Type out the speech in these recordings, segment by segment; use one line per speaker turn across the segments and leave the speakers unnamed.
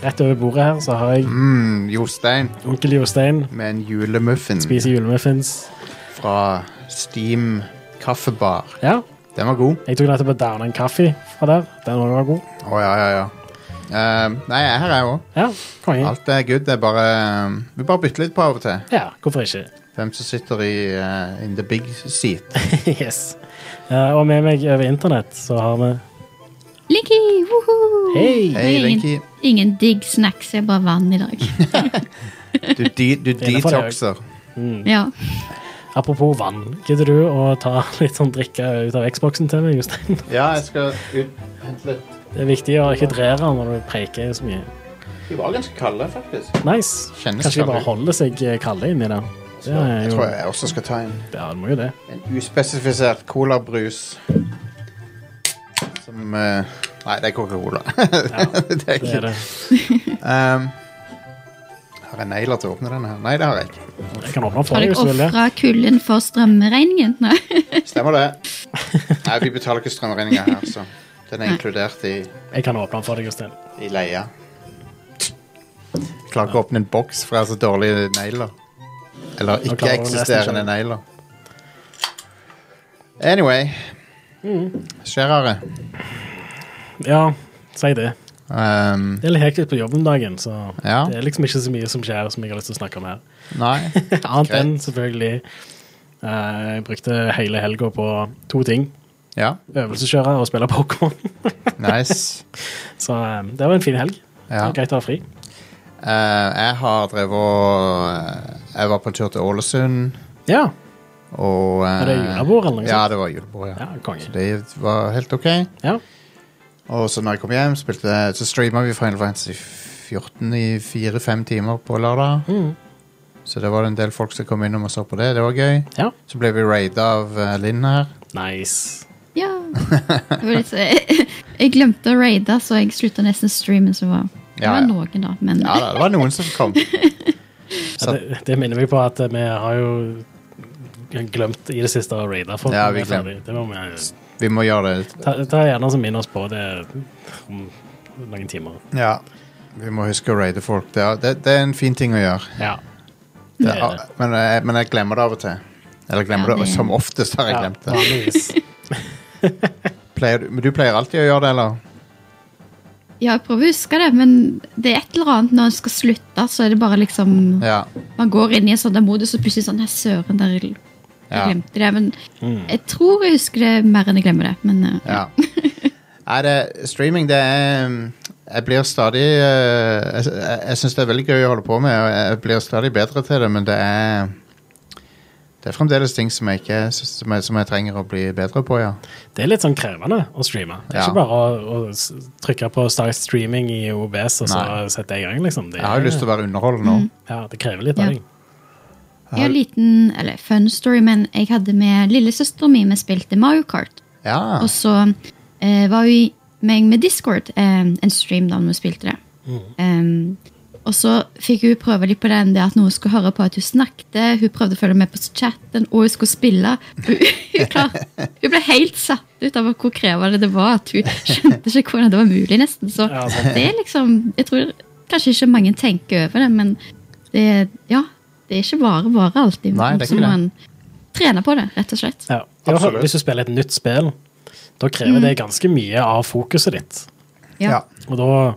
rett over bordet her så har jeg
Mm, Jostein
onkel Jostein.
med en julemuffin
Spiser julemuffins.
fra Steam kaffebar.
Ja,
Den var god.
jeg tok nettopp og downa en kaffe fra der. Den også var god.
Å, ja, ja, ja. Eh, nei, jeg er her, jeg òg.
Ja, konge.
Alt er good. Det er bare eh, Vi bare bytter litt på av og til.
Ja, hvorfor ikke?
Hvem som sitter i eh, in the big seat.
yes. Uh, og med meg over internett så har vi
Linky! Woohoo!
Hei!
Hei,
Det er
Linky.
Ingen, ingen digg snacks, det er bare vann i dag.
Du, de, du
Innenfor det
detoxer.
ja.
Apropos vann, gidder du å ta litt sånn drikke ut av Xboxen til meg, Jostein?
Ja, jeg skal ut hente litt
Det er viktig å hydrere når du preker så mye.
De var ganske kalde, faktisk.
Nice.
Kjennes
Kanskje de bare
kalde.
holder seg eh, kalde inni der. Det er
Jeg
jo,
tror jeg også skal ta en,
ja, det må jo det.
en uspesifisert colabrus. Som eh, Nei, det er Coca-Cola. det er
Det
ikke
er det.
Um, har jeg negler til å åpne denne her? Nei, det har jeg ikke.
Jeg kan åpne den for
Har
deg
dere
hvis du vil det.
ofra kulden for strømregningen? Nei.
Stemmer det. Nei, vi betaler ikke strømregninga her, så den er inkludert i,
Jeg kan åpne den for deg, Jostein.
i leia. Jeg klarer ikke å åpne en boks fra så dårlige negler. Eller
Nå klarer du
ikke-eksisterende
nesten
negler. Anyway.
Mm.
Skjer, Are?
Ja, si det.
Um,
Det er litt hektisk på jobb om dagen, så
Ja.
det er liksom ikke så mye som skjer som jeg har lyst til å snakke om her.
nei.
Annet
Greit.
enn selvfølgelig eh, Jeg brukte hele helga på to ting.
Ja,
Øvelseskjøre og spille Pokémon.
nice.
Så eh, det var en fin helg. Det
Ja.
var Greit å ha fri.
Eh, jeg har drevet og eh, Jeg var på en tur til Ålesund.
Ja,
Og, eh,
Var det julebord eller noe
Ja,
sånt?
det var julebord, ja.
ja
Så
konge.
det var helt ok.
Ja.
Og så når jeg kom hjem, spilte, så streama vi Final Fantasy 14 i 4-5 timer på lørdag.
Mhm.
Så det var en del folk som kom innom og så på det. Det var gøy.
ja.
Så ble vi raida av eh, Linn her.
Nice.
Ja. Det var litt så- Jeg glemte å raide, så jeg slutta nesten streamen som var. Det
Ja,
var
ja.
noen, da. Men
Ja da, det var noen som kom.
Ja, det, det minner meg på at eh, vi har jo glemt i det siste å raide folk.
Ja,
når
vi
er ferdig. Det må vi
Vi må gjøre det.
ta, ta gjerne som minner oss på det om noen timer.
Ja. Vi må huske å raide folk. Det er, det, det er en fin ting å gjøre.
Ja.
Det
Det er
er,
det.
men, jeg, men jeg glemmer det av og til. Eller glemmer
Ja,
det
det-
som oftest har jeg
Ja,
glemt det.
vanligvis.
Pleier, du- men du pleier alltid å gjøre det, eller?
ja, jeg prøver å huske det, men det er et eller annet når en skal slutte, så er det bare liksom
Ja.
Man går inn i en sånn der modus, og plutselig sånn Nei, søren, der jeg
Ja.
glemte det. Men
Mm.
jeg tror jeg husker det mer enn jeg glemmer det. Men eh,
Ja. Nei, det, streaming, det er um, Jeg blir stadig uh, Jeg, jeg, jeg syns det er veldig gøy å holde på med, og jeg blir stadig bedre til det, men det er Det er fremdeles ting som jeg, ikke, som jeg, som jeg trenger å bli bedre på, ja.
Det er litt sånn krevende å streame. Det er
Ja.
ikke bare å, å s- trykke på start streaming i OBS og så
Nei.
sette det i gang, liksom. Det,
Jeg har jo lyst til å være underholdende òg.
ja, det krever litt av
Ja.
deg.
Jeg har en liten eller, fun story, men jeg hadde med lillesøsteren min. Vi spilte Mario Kart.
Ja.
Og så eh, var jo meg med Discord eh, en stream da vi spilte det.
Mm.
Eh, og så fikk hun prøve litt på den, det at noen skulle høre på at hun snakket. Hun prøvde å følge med på chatten, og hun skulle spille. Hun, hun, klar, hun ble helt satt ut av hvor krevende det var. At hun skjønte ikke hvordan det var mulig, nesten. Så
Ja,
altså.
sant.
det er liksom Jeg tror kanskje ikke mange tenker over det, men det, ja, det er ikke bare bare alltid.
Nei, det er
Så
ikke
må
det.
en trene på det, rett og slett.
Ja. I hvert fall
Absolutt.
Hvis du spiller et nytt spill, da krever det ganske mye av fokuset ditt.
ja.
Og da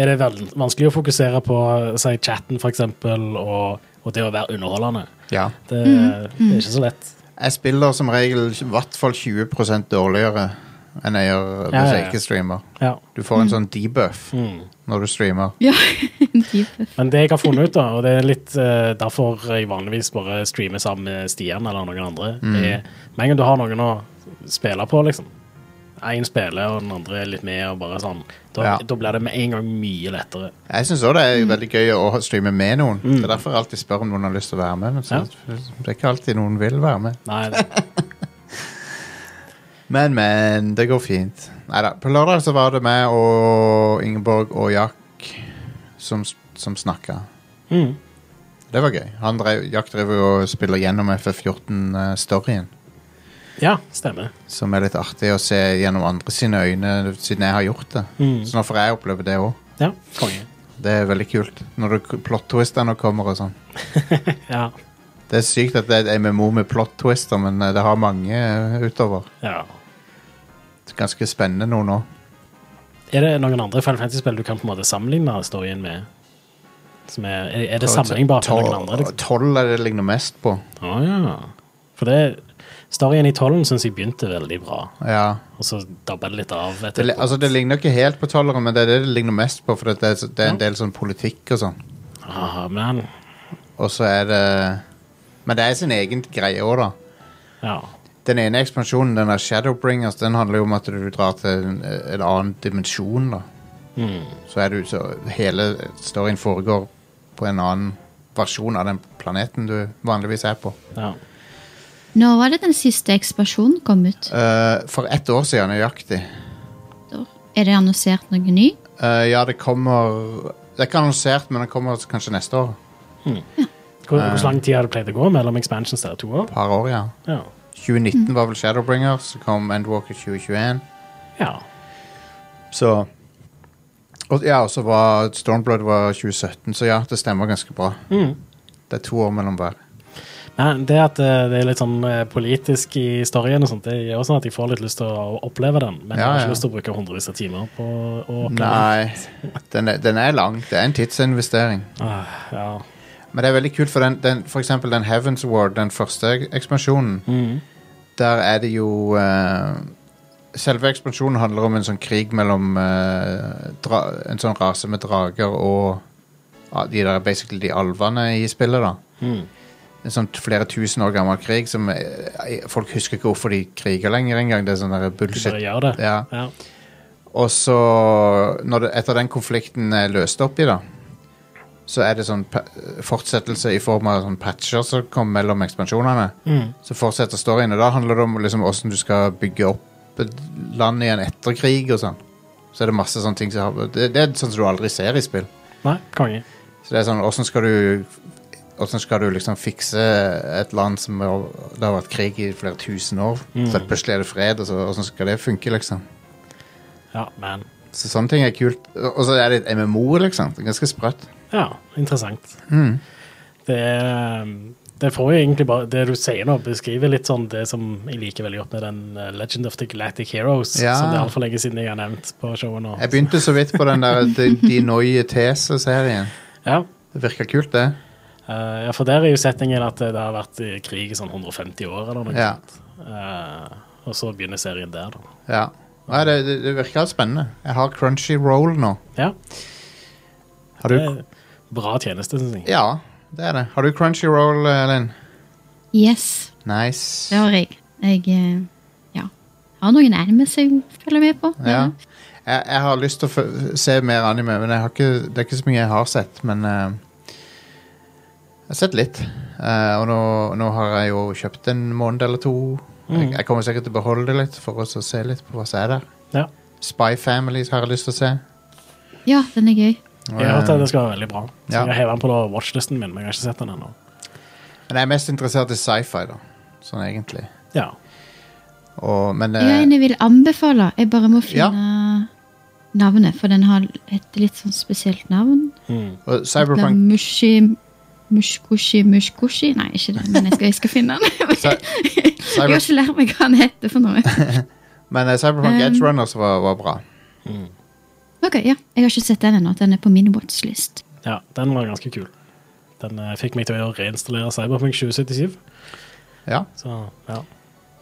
er det vel- vanskelig å fokusere på si, chatten, for eksempel, og, og det å være underholdende.
ja.
Det, det er ikke så lett.
Jeg spiller som regel i hvert fall 20 dårligere enn jeg gjør hvis
Ja, ja, ja. Mm.
jeg ikke streamer.
Ja.
Du får en sånn debuff når du streamer.
Ja, en type.
Men det jeg har funnet ut, da, og det er litt eh, derfor jeg vanligvis bare streamer sammen med Stian eller noen andre, er med en gang du har noen å spille på, liksom, én spiller, og den andre er litt med, og bare sånn. Da,
Ja.
da blir det med en gang mye lettere.
Jeg syns òg det er veldig gøy å streame med noen. Det er derfor jeg alltid spør om noen har lyst til å være med. Men så, Det er ikke alltid noen vil være med.
Nei, det,
Men, men, det går fint. Neida, På lørdag så var det meg og Ingeborg og Jack som, som snakka.
mm.
Det var gøy. Han drev, Jack driver jo og spiller gjennom FF14-storyen.
Ja, stemmer.
eh, Som er litt artig å se gjennom andre sine øyne, siden jeg har gjort det.
Mm.
Så nå får jeg oppleve det òg.
Ja, konge.
Det er veldig kult. Når du- plot-twistene kommer og sånn.
Ja.
Det er sykt at det er et MMO med plot-twister, men eh, det har mange eh, utover.
ja.
Det er ganske spennende noe nå.
Er det noen andre Final Fantasy-spill du kan på en måte sammenligne storyen med? Som er, er, er det sammenlignbart med noen andre? Liksom?
Tolv er det det ligner mest på.
Å ja. For det, storyen i tollen syns jeg begynte veldig bra,
Ja.
og så dabba det litt av.
Det,
etter
li- altså, det ligner ikke helt på tolleren, men det er det det ligner mest på, for det er, det er en del sånn politikk og sånn.
ah, men,
Og så er det Men det er sin egen greie òg, da.
ja.
Den ene ekspansjonen, den er Shadowbringers, den handler jo om at du drar til en, en annen dimensjon, da.
Mm.
Så er du så Hele storyen foregår på en annen versjon av den planeten du vanligvis er på.
ja.
Nå var det den siste ekspansjonen kom ut.
Eh, for ett år siden nøyaktig.
Er det annonsert noe ny?
Eh, ja, det kommer Det er ikke annonsert, men det kommer kanskje neste år.
Hvor,
Eh.
hvor lang tid har det pleid å gå mellom expansions der? To år?
Par år, ja.
Ja.
2019 var vel Shadowbringer, så kom Endwalker 2021.
ja.
Så og, Ja, og så var Stormblood var 2017, så ja, det stemmer ganske bra.
Mm.
Det er to år mellom hver.
Men det at eh, det er litt sånn eh, politisk i storyen og sånt, det gjør sånn at jeg får litt lyst til å oppleve den, men jeg
Ja,
har
ja.
ikke lyst til å bruke hundrevis av timer på å oppleve den.
Nei, den er, den er lang. Det er en tidsinvestering.
Ah, ja.
Men det er veldig kult, for, den, den, for eksempel den Heavens Ward, den første ekspansjonen, der er det jo eh, Selve ekspansjonen handler om en sånn krig mellom eh, dra, en sånn rase med drager og ja, de der basically de alvene i spillet, da.
Mm.
En sånn flere tusen år gammel krig som eh, Folk husker ikke hvorfor de kriger lenger engang. Det er sånn der
Du
bullshit.
bare gjør det.
Ja.
Ja.
Og så, når det, etter den konflikten er løst opp i, da, så er det sånn pa- fortsettelse i form av sånn patcher som kommer mellom ekspansjonene.
Mm.
Så fortsetter storyene. Da handler det om liksom, hvordan du skal bygge opp et land igjen etter krig og sånn. Så er det masse sånne ting som har Det, det er sånn som du aldri ser i spill.
Nei, konge.
Så det er sånn, hvordan skal du hvordan skal du liksom fikse et land som har, det har vært krig i flere tusen år? Så plutselig er det fred, og så, hvordan skal det funke, liksom?
Ja, men
Så sånne ting er kult. Og så er det et MMO, liksom. Det er ganske sprøtt.
Ja, interessant.
Mm.
Det, er, um, det får jo egentlig bare Det du sier nå, beskriver litt sånn det som jeg liker veldig godt med den uh, Legend of the Galactic Heroes,
Ja.
som det er altfor lenge siden jeg har nevnt på showet nå.
Jeg begynte så vidt på den der eh, De, de Neue These-serien.
Ja.
Det virker kult, det.
uh, ja, for der er jo settingen at eh, det har vært i krig i sånn 150 år eller noe.
Ja.
Uh, og så begynner serien der, da.
ja. Nei, det, det, det virker spennende. Jeg har Crunchy Roll nå.
Ja,
Har
det
du,
er bra tjeneste, syns jeg.
ja, det er det. Har du Crunchy Roll, Linn?
Yes, det
Nice.
har jeg. Jeg eh, ja. har noen nærmest jeg følger med på.
Ja. Jeg, jeg har lyst til å f se mer anime, men jeg har ikke, det er ikke så mye jeg har sett. Men eh, jeg har sett litt. Eh, og nå, nå har jeg jo kjøpt en måned eller to. Jeg, jeg kommer sikkert til å beholde det litt for å så se litt på hva som er der.
Ja.
Spy Family har jeg lyst til å se.
ja, den er gøy.
Jeg har hørt at det skal være veldig bra. Så
Ja.
Jeg har hevet den på da watchlisten min, men jeg har ikke sett den ennå.
Men jeg er mest interessert i sci-fi, da. Sånn egentlig.
Ja.
Og, men
Jeg er
eh,
en jeg vil anbefale. Jeg bare må finne
Ja.
navnet, for den har et litt sånn spesielt navn.
Mm.
og
Det er
Cyberpunk
Mushi Mushkushi Mushkushi Nei, ikke det, men jeg skal, jeg skal finne den.
Cy-
Jeg
cyber,
har ikke lært meg hva den heter for noe.
Men eh, Cyberpunk
Um,
Edge Runners var, var bra.
Ok, ja, Jeg har ikke sett den ennå. Den er på min watchlist.
Ja, den var ganske kul. Den eh, fikk meg til å reinstallere Cyberpunk 2077.
Ja.
Så ja.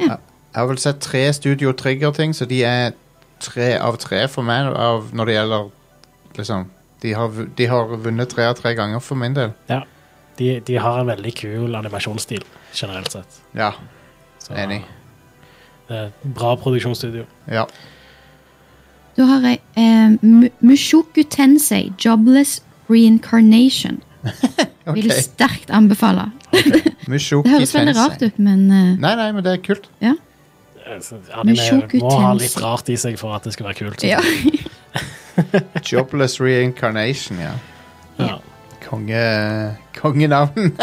Jeg har vel sett tre Studio Trigger-ting, så de er tre av tre for meg av, når det gjelder liksom de har, vu- de har vunnet tre av tre ganger for min del.
ja. De, de har en veldig kul animasjonsstil generelt sett.
Ja,
Så,
enig.
Det er et bra produksjonsstudio.
Ja.
Da har jeg eh, Mu- Mushoku Tensei Jobless Reincarnation.
Ok.
Vil sterkt anbefale.
Mushoku
Det høres veldig
Tensei.
rart ut, men eh,
Nei, nei, men det er kult.
ja.
Anime
Mushoku
Eh, må ha
Tensei.
litt rart i seg for at det skal være kult.
ja.
Jobless reincarnation, ja.
Ja.
Konge, kongenavn.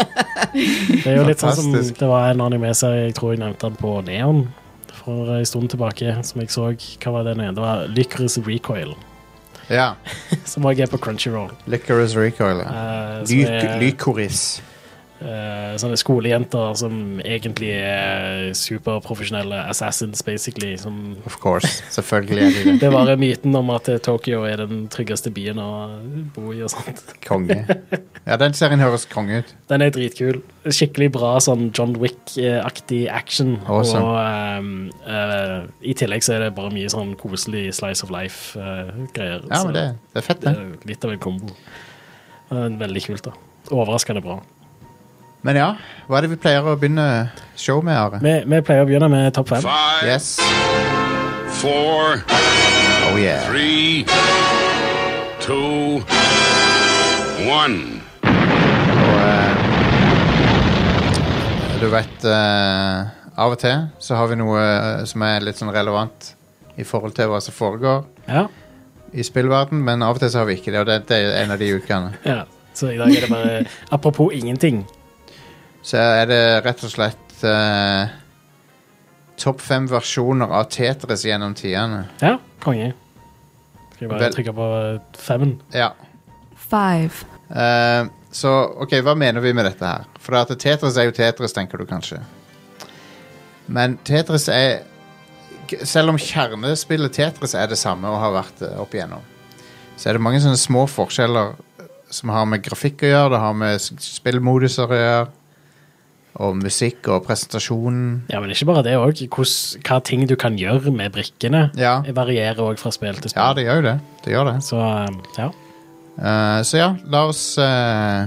Det er jo litt sånn som
Fantastisk.
det var en anime-serie jeg tror jeg nevnte den på Neon for eh, en stund tilbake, som jeg så. Hva var den igjen? Det var Lycris Recoil,
ja.
som også er på Crunchyroll.
Licorice recoil. ja.
Eh, som
Lyk-
er,
Lykoris.
eh, sånne skolejenter som egentlig er superprofesjonelle assassins, basically. Som
Of course. Selvfølgelig er de det.
det var myten om at eh, Tokyo er den tryggeste byen å bo i og sånt.
Konge. Ja, den serien høres konge ut.
Den er dritkul. Skikkelig bra sånn John Wick-aktig action.
Awesome.
Og ehm, eh, i tillegg så er det bare mye sånn koselig slice of eh, life-greier.
Ja, men det, det er fett, det.
litt av en kombo. Men veldig kult, da. Overraskende bra.
Men ja, hva er det vi pleier å begynne show med, Are?
Vi, vi pleier å begynne med topp fem.
Five,
Yes.
four,
Oh yeah.
three, two, one.
Og eh, du vet eh, Av og til så har vi noe eh, som er litt sånn relevant i forhold til hva som foregår
Ja.
i spillverden, men av og til så har vi ikke det, og dette er en av de ukene.
ja. Så i dag er det bare Apropos ingenting.
så er det rett og slett eh, topp fem versjoner av Tetris gjennom tidene.
Ja, konge. Skal jeg bare
Vel-
trykke på eh, femmen?
Ja.
five,
Eh, så OK, hva mener vi med dette her? For at Tetris er jo Tetris, tenker du kanskje. Men Tetris er k- Selv om kjernespillet Tetris er det samme og har vært det opp igjennom, så er det mange sånne små forskjeller eh, som har med grafikk å gjøre, det har med s- spillmoduser å gjøre, og musikk og presentasjonen.
Ja, men ikke bare det òg. Hva ting du kan gjøre med brikkene,
Ja.
varierer òg fra spill til spill.
Ja, det gjør jo det. Det gjør det.
Så um, ja.
Eh, så ja, la oss eh,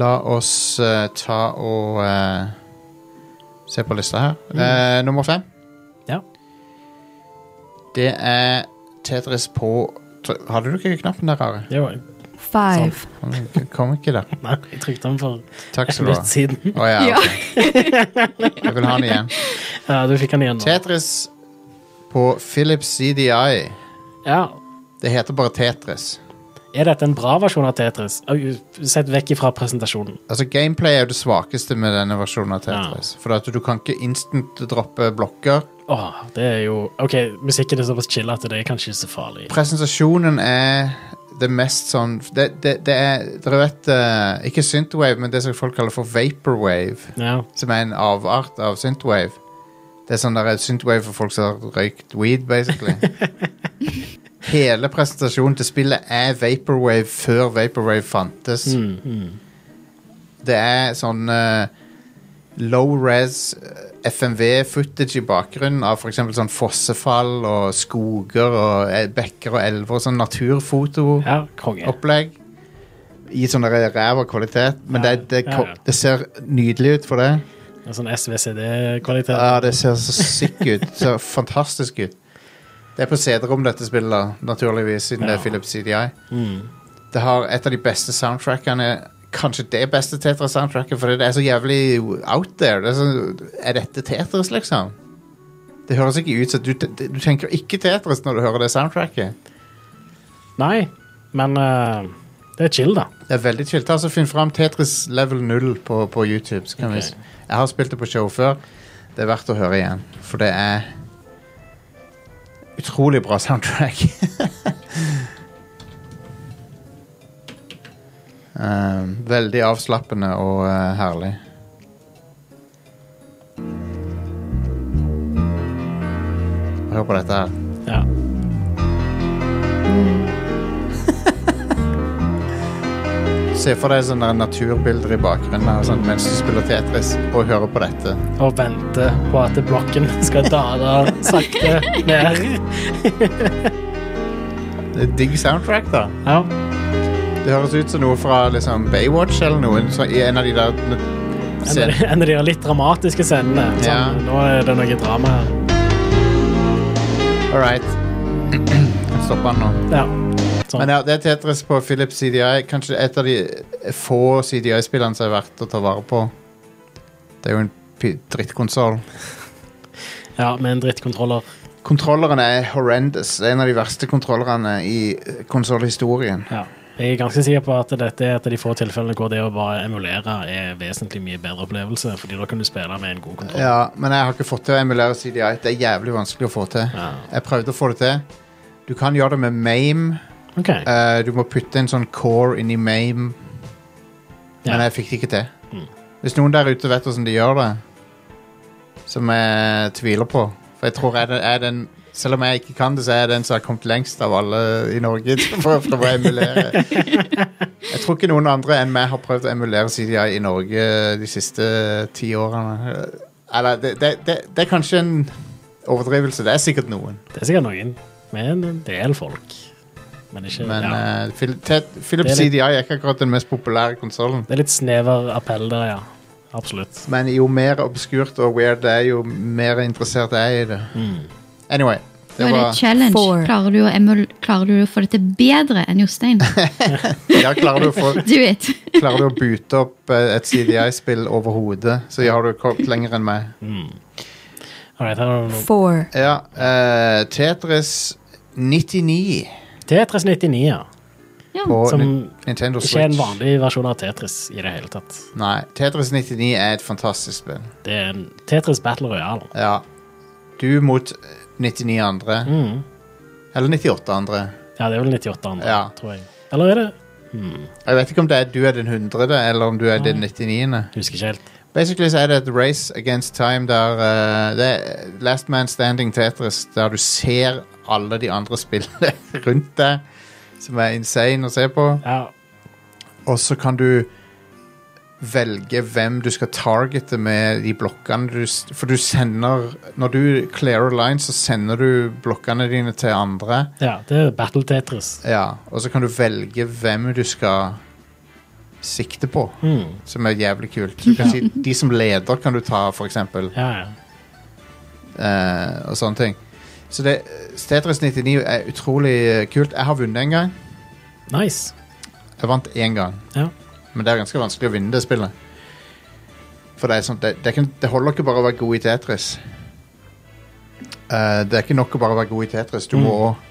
La oss eh, ta og eh, se på lista her. Eh, nummer fem.
Ja.
Det er Tetris på tr- Hadde du ikke knappen der, Are?
Det var,
five,
Kom, kom ikke der.
nei, jeg trykte den for
Takk
et
skal du ha.
minutt siden.
Å ja.
Ja.
ok. Jeg vil ha den igjen.
Ja, du fikk den igjen nå.
Tetris på Philips CDI.
Ja.
Det heter bare Tetris.
Er dette en bra versjon av Tetris? Au, Sett vekk ifra presentasjonen.
Altså Gameplay er jo det svakeste med denne versjonen av Tetris. For at du kan ikke instant droppe blokker.
Åh, det er jo OK, musikken er såpass chill at det er kanskje ikke så farlig.
Presentasjonen er det mest sånn Det, det, det er Dere vet eh, Ikke Synthwave, men det som folk kaller for Vaporwave.
Ja.
Som er en avart av Synthwave. Det er sånn der Synthwave for folk som har røykt weed, basically. Hele presentasjonen til spillet er Vaporwave før Vaporwave fantes.
Mm, mm.
Det er sånn eh, low res FMV-footage i bakgrunnen av f.eks. sånn fossefall og skoger og eh, bekker og elver. Sånn naturfotoopplegg.
ja, konge.
I sånn der ræva kvalitet. Men
Ja,
det, det,
ja,
ko-
ja.
det ser nydelig ut for det.
En Sånn SVCD-kvalitet.
Ja, det ser så sick ut. Så fantastisk ut. Det er på CD-rom dette spillet, da, naturligvis, siden det
Ja.
er Philips CDI.
Mm.
Det har et av de beste soundtrackene Kanskje det beste Tetra-soundtracket, fordi det er så jævlig out there. Det er, så, er dette Tetris, liksom? Det høres ikke ut som du, du tenker ikke Tetris når du hører det soundtracket.
Nei, men eh, det er chill, da.
Det er veldig chill. Ta så Finn fram Tetris level 0 på, på YouTube. Så kan vi,
Ok.
s- jeg har spilt det på show før. Det er verdt å høre igjen, for det er utrolig bra soundtrack. um, veldig avslappende og eh, herlig. Hør på dette her.
Ja.
Se for deg sånne naturbilder i bakgrunnen her, sånn, mens du spiller Tetris og hører på dette.
Og vente på at blokken skal dale sakte ned.
Det er digg soundtrack, da.
Ja.
Det høres ut som noe fra liksom, Baywatch eller noe. Så i en av de der n-
En av de- en av de litt dramatiske scenene. Sånn,
Ja.
Nå er det noe drama her.
All right. Jeg stopper den nå.
Ja. Sånn.
Men ja, det er Tetris på Philips CDI. Kanskje et av de få CDI-spillene som er verdt å ta vare på. Det er jo en p- drittkonsoll.
ja, med en drittkontroller.
Kontrolleren er horrendous. Det er en av de verste kontrollerne i eh, konsollhistorien.
Ja. Jeg er ganske sikker på at dette er et av de få tilfellene hvor det å bare emulere er vesentlig mye bedre opplevelse, fordi da kan du spille med en god kontroll.
Ja, men jeg har ikke fått til å emulere CDI. Det er jævlig vanskelig å få til.
Ja.
Jeg prøvde å få det til. Du kan gjøre det med MAME.
Ok.
Eh, du må putte en sånn core inn i MAME.
Ja.
Men jeg fikk det ikke til.
Mm.
Hvis noen der ute vet hvordan de gjør det, som jeg tviler på For jeg tror jeg er den- jeg er den Selv om jeg ikke kan det, så er jeg den som har kommet lengst av alle i Norge til å prøve å emulere. Jeg tror ikke noen andre enn meg har prøvd å emulere CDI i Norge de siste ti årene. Eller det, det, det, det er kanskje en overdrivelse. Det er sikkert noen.
Det er sikkert noen, men en del folk. Men ikke
Men
ja.
eh, Phil- Ted- Philips
Det er litt-
CDI er ikke akkurat den mest populære konsollen.
Det er litt snever appell der, ja. Absolutt.
Men jo mer obskurt og weird det er, jo mer interessert er jeg i det.
mm.
Anyway.
Det
Det
var
var,
det challenge.
Four.
Klarer du, å emul klarer du å få det til bedre enn Jostein?
ja, klarer, du å få,
Do it!
klarer du å bute opp eh, et CDI-spill over hodet, så har du kommet lenger enn meg.
All right, her er det noe.
four,
Ja, eh, Tetris 99
Tetris 99, ja.
Ja.
på
Som
Ni- Nintendo Switch.
Ikke en vanlig versjon av Tetris i det hele tatt.
Nei, Tetris 99 er et fantastisk spill.
Det er en Tetris Battle Royale.
Ja. Du mot 99 andre.
Mm.
Eller 98 andre.
Ja, det er vel 98 andre,
Ja.
tror jeg. Eller er det? Mm,
Jeg vet ikke om det er du er den 100., eller om du er den 99.
Husker ikke helt.
Basically så er det et race against time der eh, det er Last Man Standing Tetris, der du ser alle de andre spillene rundt deg, som er insane å se på.
Ja,
Og så kan du velge hvem du skal targete med de blokkene du s- For du sender Når du clearer lines, så sender du blokkene dine til andre.
ja det er Battle Tetris.
Ja, og så kan du velge hvem du skal sikte på,
Mm.
som er jævlig kult. Du kan si, de som leder kan du ta, for eksempel.
Ja, ja.
eh, og sånne ting. Så det, Tetris 99 er utrolig eh, kult. Jeg har vunnet en gang.
Nice.
Jeg vant én gang.
Ja.
Men det er ganske vanskelig å vinne det spillet. For det, er sånn, det, det, kan, det holder ikke bare å være god i Tetris. Eh, det er ikke nok å bare være god i Tetris. Du må òg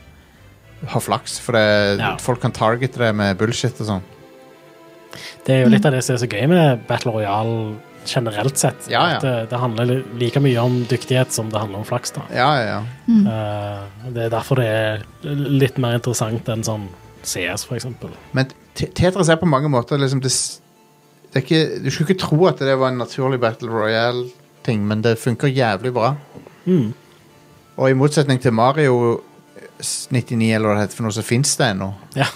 ha flaks, for det,
Mm. Ja.
folk kan targete deg med bullshit og sånn.
Det er jo litt av det som er så gøy med Battle Royale generelt sett.
Ja, ja.
At det, det handler li- like mye om dyktighet som det handler om flaks. da.
Ja, ja, ja.
Eh, det er derfor det er litt mer interessant enn sånn CS, for eksempel.
Men te- Tetris er på mange måter liksom det, s- det er ikke, Du skulle ikke tro at det var en naturlig Battle Royale-ting, men det funker jævlig bra.
Mm.
Og i motssetning til Mario eh, s- 99, eller hva det heter for noe, så fins det ennå.
Ja.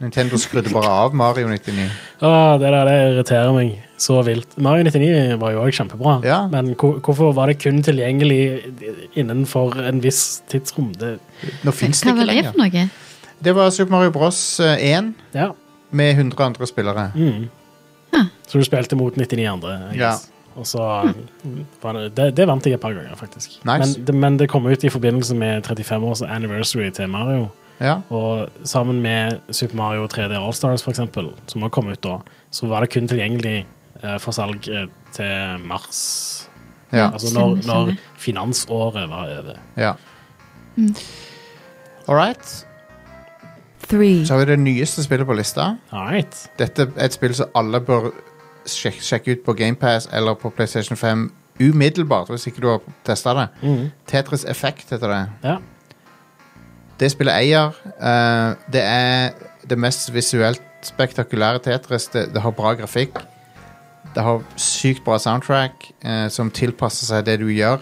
Nintendo skrudde bare av Mario 99.
Åh, det der det irriterer meg så vilt. Mario 99 var jo òg kjempebra,
Ja.
men hvor- hvorfor var det kun tilgjengelig innenfor en viss tidsrom? Det,
Nå fins det
Hva
ikke
var det
lenger.
for noe?
Det var Super Mario Bros. eh, 1
ja.
med 100 andre spillere.
Mm.
Huh.
Så du spilte mot 99 andre, I
Ja.
guess. Og så var det, det, det vant jeg et par ganger, faktisk.
Nice.
Men, det, men det kom ut i forbindelse med 35-års anniversary til Mario.
Ja.
Og sammen med Super Mario 3D Allstars, for eksempel, som har kommet ut da, så var det kun tilgjengelig eh, for salg eh, til mars.
ja.
Altså når,
Stemmer,
når
stemmer.
finansåret var over.
ja.
Mm.
All right.
three,
Så har vi det nyeste spillet på lista.
All right.
Dette er et spill som alle bør sjek sjekke ut på GamePass eller på PlayStation 5 umiddelbart, hvis ikke du har testa det.
Mhm.
Tetris Effect heter det.
Ja.
Det spillet eier. eh, det er det mest visuelt spektakulære Tetris. Det, det har bra grafikk. Det har sykt bra soundtrack eh, som tilpasser seg det du gjør.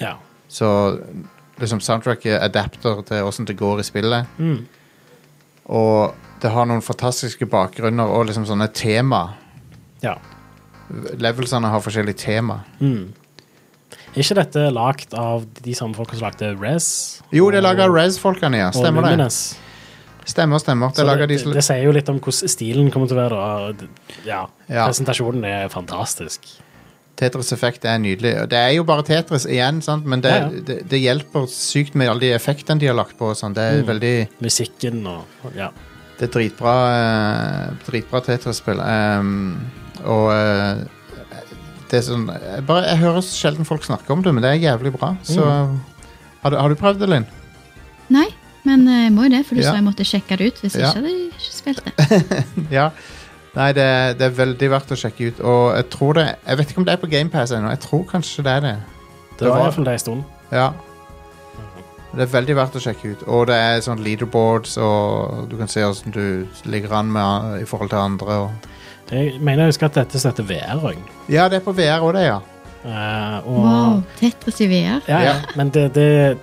ja.
Så liksom soundtracket adapter til åssen det går i spillet.
Mm.
Og det har noen fantastiske bakgrunner og liksom sånne tema.
ja.
Levelsene har forskjellige tema.
Mm. Er ikke dette lagt av de samme folka som lagde Rez?
Jo, det er laga Rez-folkene, ja.
og
Stemmer det.
Luminous?
Stemmer, stemmer. Det
Så
lager de
det,
sl-
det sier jo litt om hvordan stilen kommer til å være. da, og d- Ja,
Ja.
Presentasjonen er fantastisk.
Tetris Effect er nydelig. Og Det er jo bare Tetris igjen, sant? men det,
Ja, ja.
Det, det hjelper sykt med alle de effektene de har lagt på. og Sånn. Det er
Mm.
veldig
Musikken og ja.
Det er dritbra, eh, dritbra Tetris-spill. Ehm, og eh, det er sånn jeg, bare, jeg hører sjelden folk snakke om det, men det er jævlig bra. Så
Mm.
har, du, har du prøvd det, Linn?
Nei, men eh, jeg må jo det, for du
Ja.
sa jeg måtte sjekke det ut hvis jeg
Ja.
ikke hadde ikke spilt det.
Ja. Nei, det, det er veldig verdt å sjekke ut. Og jeg tror det Jeg vet ikke om det er på GamePass ennå. Jeg tror kanskje det er det.
Det var
var-
iallfall det en stund.
Ja. Det er veldig verdt å sjekke ut. Og det er sånn leaderboards, og du kan se hvordan du ligger an med i forhold til andre. Og...
Jeg mener jeg husker at dette støtter VR òg.
Ja, det er på VR òg, det, ja.
eh, og
Wow, Tetris i VR.
ja, ja.
Ja.
Men det, det,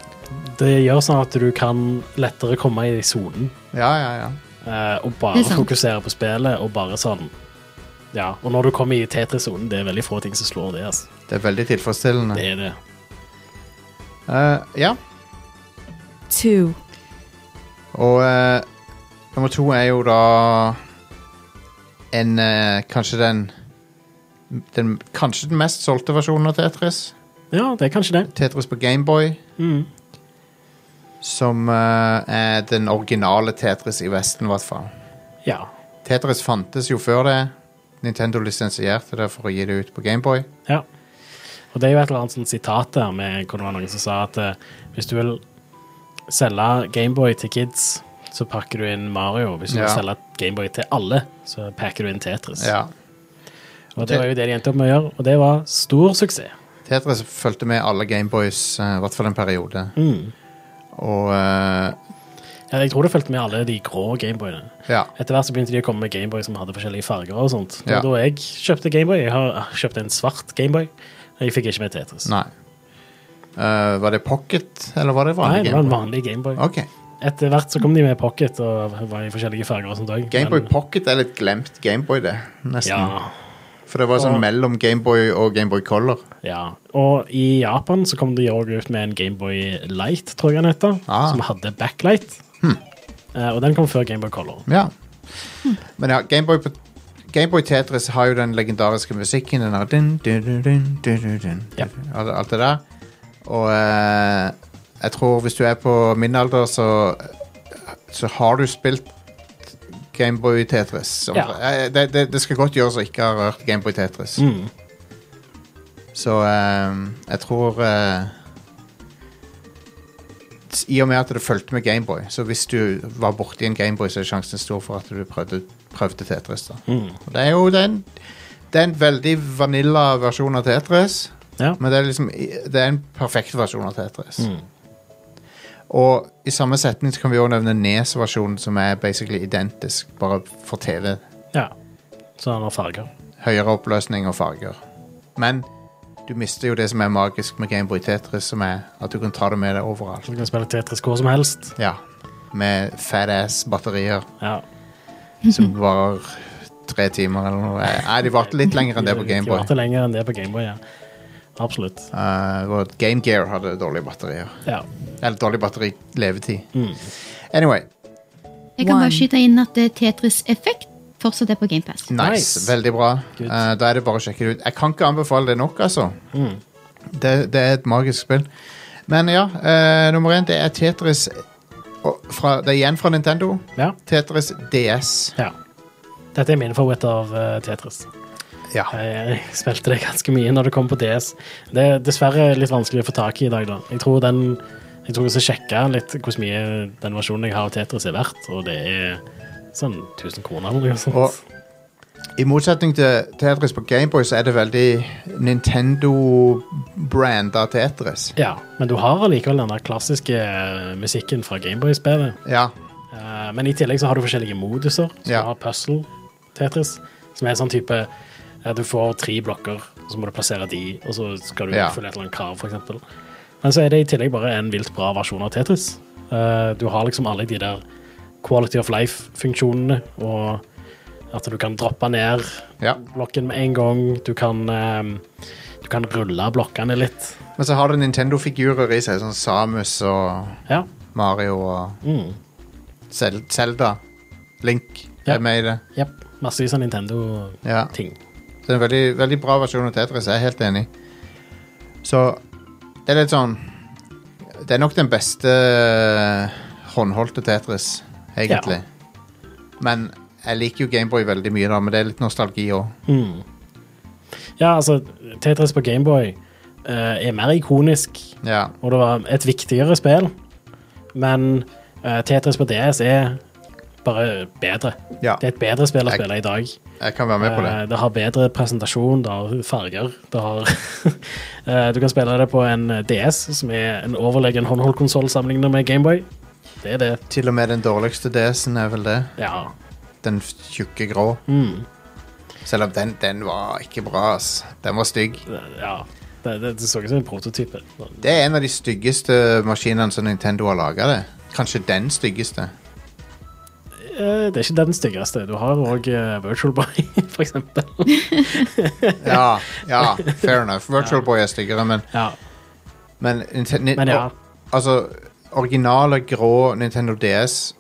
det gjør sånn at du kan lettere komme i sonen
Ja, ja, ja.
eh, og
Det
bare
er sant.
fokusere på spillet og bare sånn Ja. Og når du kommer i Tetris-sonen, det er veldig få ting som slår det. Altså.
Det er veldig tilfredsstillende.
Det er det.
Eh, ja.
two,
Og eh, nummer to er jo da en eh, Kanskje den, den Kanskje den mest solgte versjonen av Tetris.
Ja, det er kanskje det.
Tetris på Gameboy.
Mm.
Som eh, er den originale Tetris i Vesten, i hvert fall.
Ja.
Tetris fantes jo før det. Nintendo lisensierte det for å gi det ut på Gameboy.
Ja. Og det er jo et eller annet sånt sitat der med hvor det var noen som sa at eh, hvis du vil selge Gameboy til kids, så pakker du inn Mario. Hvis du
Ja.
vil selge Gameboy til alle, så pakker du inn Tetris.
Ja.
Og det var jo det de endte opp med å gjøre, og det var stor suksess.
Tetris fulgte med alle Gameboys, eh, i hvert fall en periode.
Mm.
Og eh,
Ja, Jeg tror det fulgte med alle de grå Gameboyene.
ja.
Etter hvert så begynte de å komme med Gameboy som hadde forskjellige farger. og sånt. Det
Ja.
var da jeg kjøpte Gameboy. Jeg har jeg kjøpte en svart Gameboy. Jeg fikk ikke med Tetris.
Nei. Eh, var det pocket, eller var det
Nei,
vanlig
det var en
Gameboy? Ah.
vanlig Gameboy.
Ok.
Etter hvert så kom de med pocket og var i forskjellige farger. og sånt også.
Gameboy
Men-
Pocket er litt glemt Gameboy, det. Nesten.
Ja,
For det var sånn mellom Gameboy og Gameboy Color.
ja. Og i Japan så kom de også ut med en Gameboy Light, tror jeg den heter,
Ah. Hm.
som hadde backlight. Eh, og den kom før Gameboy Color.
Ja. Men ja, Gameboy på Gameboy Tetris har jo den legendariske musikken. Den har dun, dun, dun, dun, dun, dun, dun,
Ja.
alt, alt det der. Og eh, jeg tror hvis du er på min alder, så, så har du spilt Gameboy Tetris.
Ja. Mm.
Eh, Det, det, det skal godt gjøres å ikke ha rørt Gameboy Tetris.
Hm,
Så eh, jeg tror eh, s- I og med at det fulgte med Gameboy, så hvis du var borti en Gameboy, så er sjansen stor for at du prøvde, prøvde Tetris. Da.
hm.
Og det er jo den Det er en veldig vanilla versjon av Tetris,
Ja.
men det er liksom Det er en perfekt versjon av Tetris. Og i samme setning så kan vi òg nevne Nes-versjonen, som er basically identisk, bare for TV.
ja. Så han har farger.
Høyere oppløsning og farger. Men du mister jo det som er magisk med Gameboy Tetris, som er at du kan ta det med deg overalt.
Så du kan spille Tetris hvor som helst.
Ja. Med fat ass batterier
Ja.
som varer tre timer eller noe. Nei, de varte litt lenger enn det på
De
Gameboy.
varte lenger enn det på Gameboy, ja. Absolutt.
Uh, Game Gear hadde dårlige batterier.
Ja.
Eller dårlig batterilevetid.
Mm.
Anyway.
Jeg kan
One.
bare skyte inn at eh, Tetris Effect fortsatt er på GamePass.
Nice.
Nice.
Veldig bra.
Good.
Eh, da er det bare å sjekke det ut. Jeg kan ikke anbefale det nok, altså. Det, det er et magisk spill. Men ja, eh, nummer én, det er Tetris og fra, Det er igjen fra Nintendo.
ja.
Tetris DS.
ja. Dette er min favoritt av eh, Tetris.
Ja.
Jeg jeg spilte det ganske mye når det kom på DS. Det er dessverre litt vanskelig å få tak i i dag, da. Jeg tror den Jeg tror jeg skal sjekke litt hvor mye den versjonen jeg har av Tetris er verdt, og det er sånn 1000 kroner eller noe sånt.
Og I motsetning til Tetris på Gameboy, så er det veldig Nintendo-brand av Tetris.
Ja, men du har allikevel den der klassiske eh, musikken fra Gameboy-spillet.
Ja.
Eh, men i tillegg så har du forskjellige moduser. Så
Ja.
du har Puzzle Tetris, som er en sånn type eh, Du får tre blokker, og så må du plassere de, og så skal du
Ja.
oppfylle et eller annet krav, f.eks. Men så er det i tillegg bare en vilt bra versjon av Tetris. Eh, du har liksom alle de der quality of life-funksjonene, og at du kan droppe ned
ja.
blokken med en gang. Du kan, eh, du kan rulle blokkene litt.
Men så har det Nintendo-figurer i seg, sånn Samus og
Ja.
Mario og
Mm.
Zel- Zelda. Link
Ja.
er med i det.
Jepp. Massevis av sånn Nintendo-ting.
Ja. Så det er en veldig, veldig bra versjon av Tetris, jeg er helt enig. Så det er litt sånn Det er nok den beste eh, håndholdte Tetris, egentlig. Men jeg liker jo Gameboy veldig mye, da, men det er litt nostalgi òg.
Mm. Ja, altså, Tetris på Gameboy eh, er mer ikonisk,
Ja.
og det var et viktigere spill. Men eh, Tetris på DS er bare bedre.
ja.
Det er et bedre spill å
Jeg-
spille i dag.
Jeg kan være med på det.
Eh, det har bedre presentasjon, det har farger, det har Eh, Du kan spille det på en DS, som er en overlegen håndholdkonsoll sammenlignet med Gameboy. Det er det.
Til og med den dårligste DS-en er vel det.
Ja.
Den f- tjukke grå.
Mm.
Selv om den, den var ikke bra, ass. Den var stygg.
ja. Det, det, det så ut som en prototype.
Det er en av de styggeste maskinene som Nintendo har laga det. Kanskje den styggeste.
Eh, det er ikke den styggeste. Du har òg Virtual Boy, for eksempel.
Ja, ja, fair enough. Virtual Boy er styggere, men,
Ja.
men, Ninte- ni-
Men ja.
Altså, originale grå Nintendo DS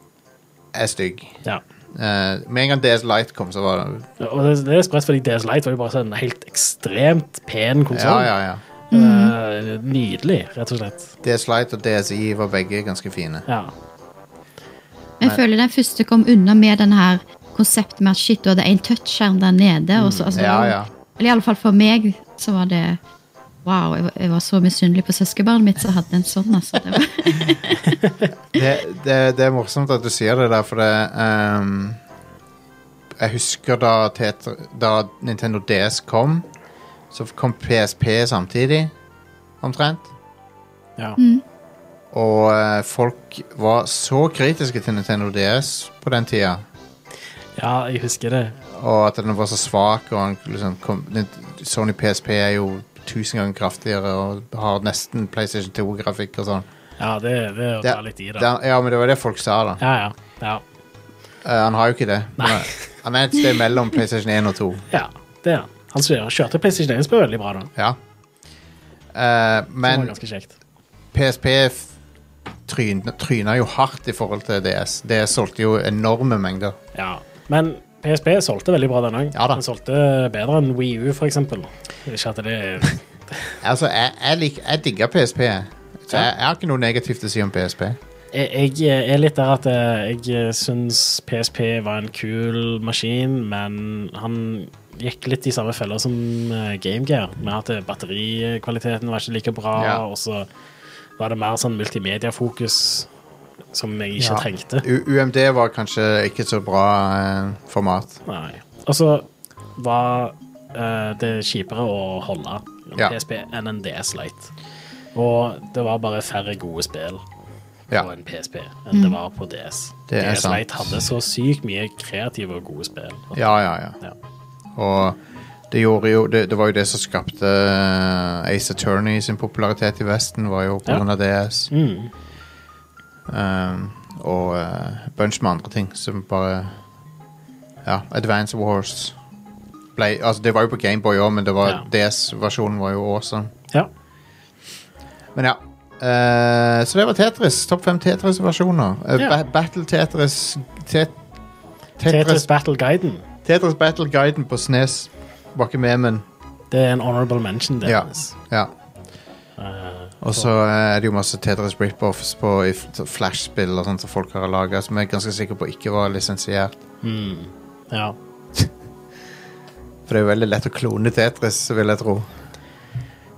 er stygg.
ja.
Eh, med en gang DS Lite kom, så var det
Og det, det er spredt fordi DS Lite var jo bare sånn en helt ekstremt pen
Ja,
konsoll.
ja, ja.
nydelig, rett og slett.
DS Lite og DSI var begge ganske fine.
Ja.
Jeg føler den første kom unna med den her konseptet med at shit, du hadde en touchskjerm der nede. Og så, altså,
Ja, ja.
Eller i alle fall for meg så var det Wow, jeg var, jeg var så misunnelig på søskenbarnet mitt som hadde en sånn. Altså. Det var,
det, det, det er morsomt at du sier det der, for det ehm, Jeg husker da, Tetra, da Nintendo DS kom, så kom PSP samtidig, omtrent.
ja.
Og eh, folk var så kritiske til Nintendo DS på den tida.
ja, jeg husker det.
Og at den var så svak. Og han liksom kom, Nint- Sony PSP er jo tusen ganger kraftigere og har nesten PlayStation 2-grafikk og sånn.
Ja, det, det er å ta litt i, da.
det- ja, men det var det folk sa, da.
Ja, ja. Ja,
Eh, han har jo ikke det.
Nei.
Han er et sted mellom PlayStation 1 og 2.
ja det er han. Han som kjørte PlayStation 1-spill veldig bra, da.
Ja. Eh,
Det var
men
ganske kjekt.
PSP f- tryn- tryna jo hardt i forhold til DS. DS solgte jo enorme mengder.
Ja. Men PSP solgte veldig bra den òg.
Ja da.
den solgte bedre enn Wii U, for eksempel. Ikke at det
Altså, jeg, jeg, lik, jeg digger PSP. jeg. Så jeg, jeg har ikke noe negativt å si om PSP.
jeg, jeg er litt der at eh, jeg syns PSP var en kul maskin, men han gikk litt i samme feller som eh, Game Gear, med at eh, batterikvaliteten var ikke like bra,
Ja.
og så var det mer sånn multimediafokus som jeg ikke
Ja.
trengte.
U UMD var kanskje ikke så bra eh, format.
Nei. Og så var eh, det kjipere å holde en
Ja.
PSP enn en DS Lite. Og det var bare færre gode spill
Ja.
på en PSP enn det var på DS.
Det er
DS
sant.
Lite hadde så sykt mye kreative og gode spill.
Ja, ja, ja.
Ja.
Og det gjorde jo Det, det var jo det som skapte eh, Ace Attorney sin popularitet i Vesten, var jo på
Ja.
grunn av DS.
Mm.
Um, og eh, bunch med andre ting som bare Ja, Advance Wars ble, altså Det var jo på Gameboy òg, men det var
Ja.
DS-versjonen var jo awesome.
ja.
Men ja. eh, så det var Tetris. Topp fem Tetris-versjoner. Eh,
Ja.
ba Battle Tetris tet
Tetris
Tetris,
Battle Guiden.
Tetris Battle Guiden på Snes var ikke med, men
Det er en honorable mention.
Ja.
Dennis.
ja.
Eh,
Og så eh, er det jo masse Tetris rip-offs på i f- så Flash-spill og sånt som folk har laga, som jeg er ganske sikker på ikke var lisensiert.
mm. ja.
For det er jo veldig lett å klone Tetris, vil jeg tro.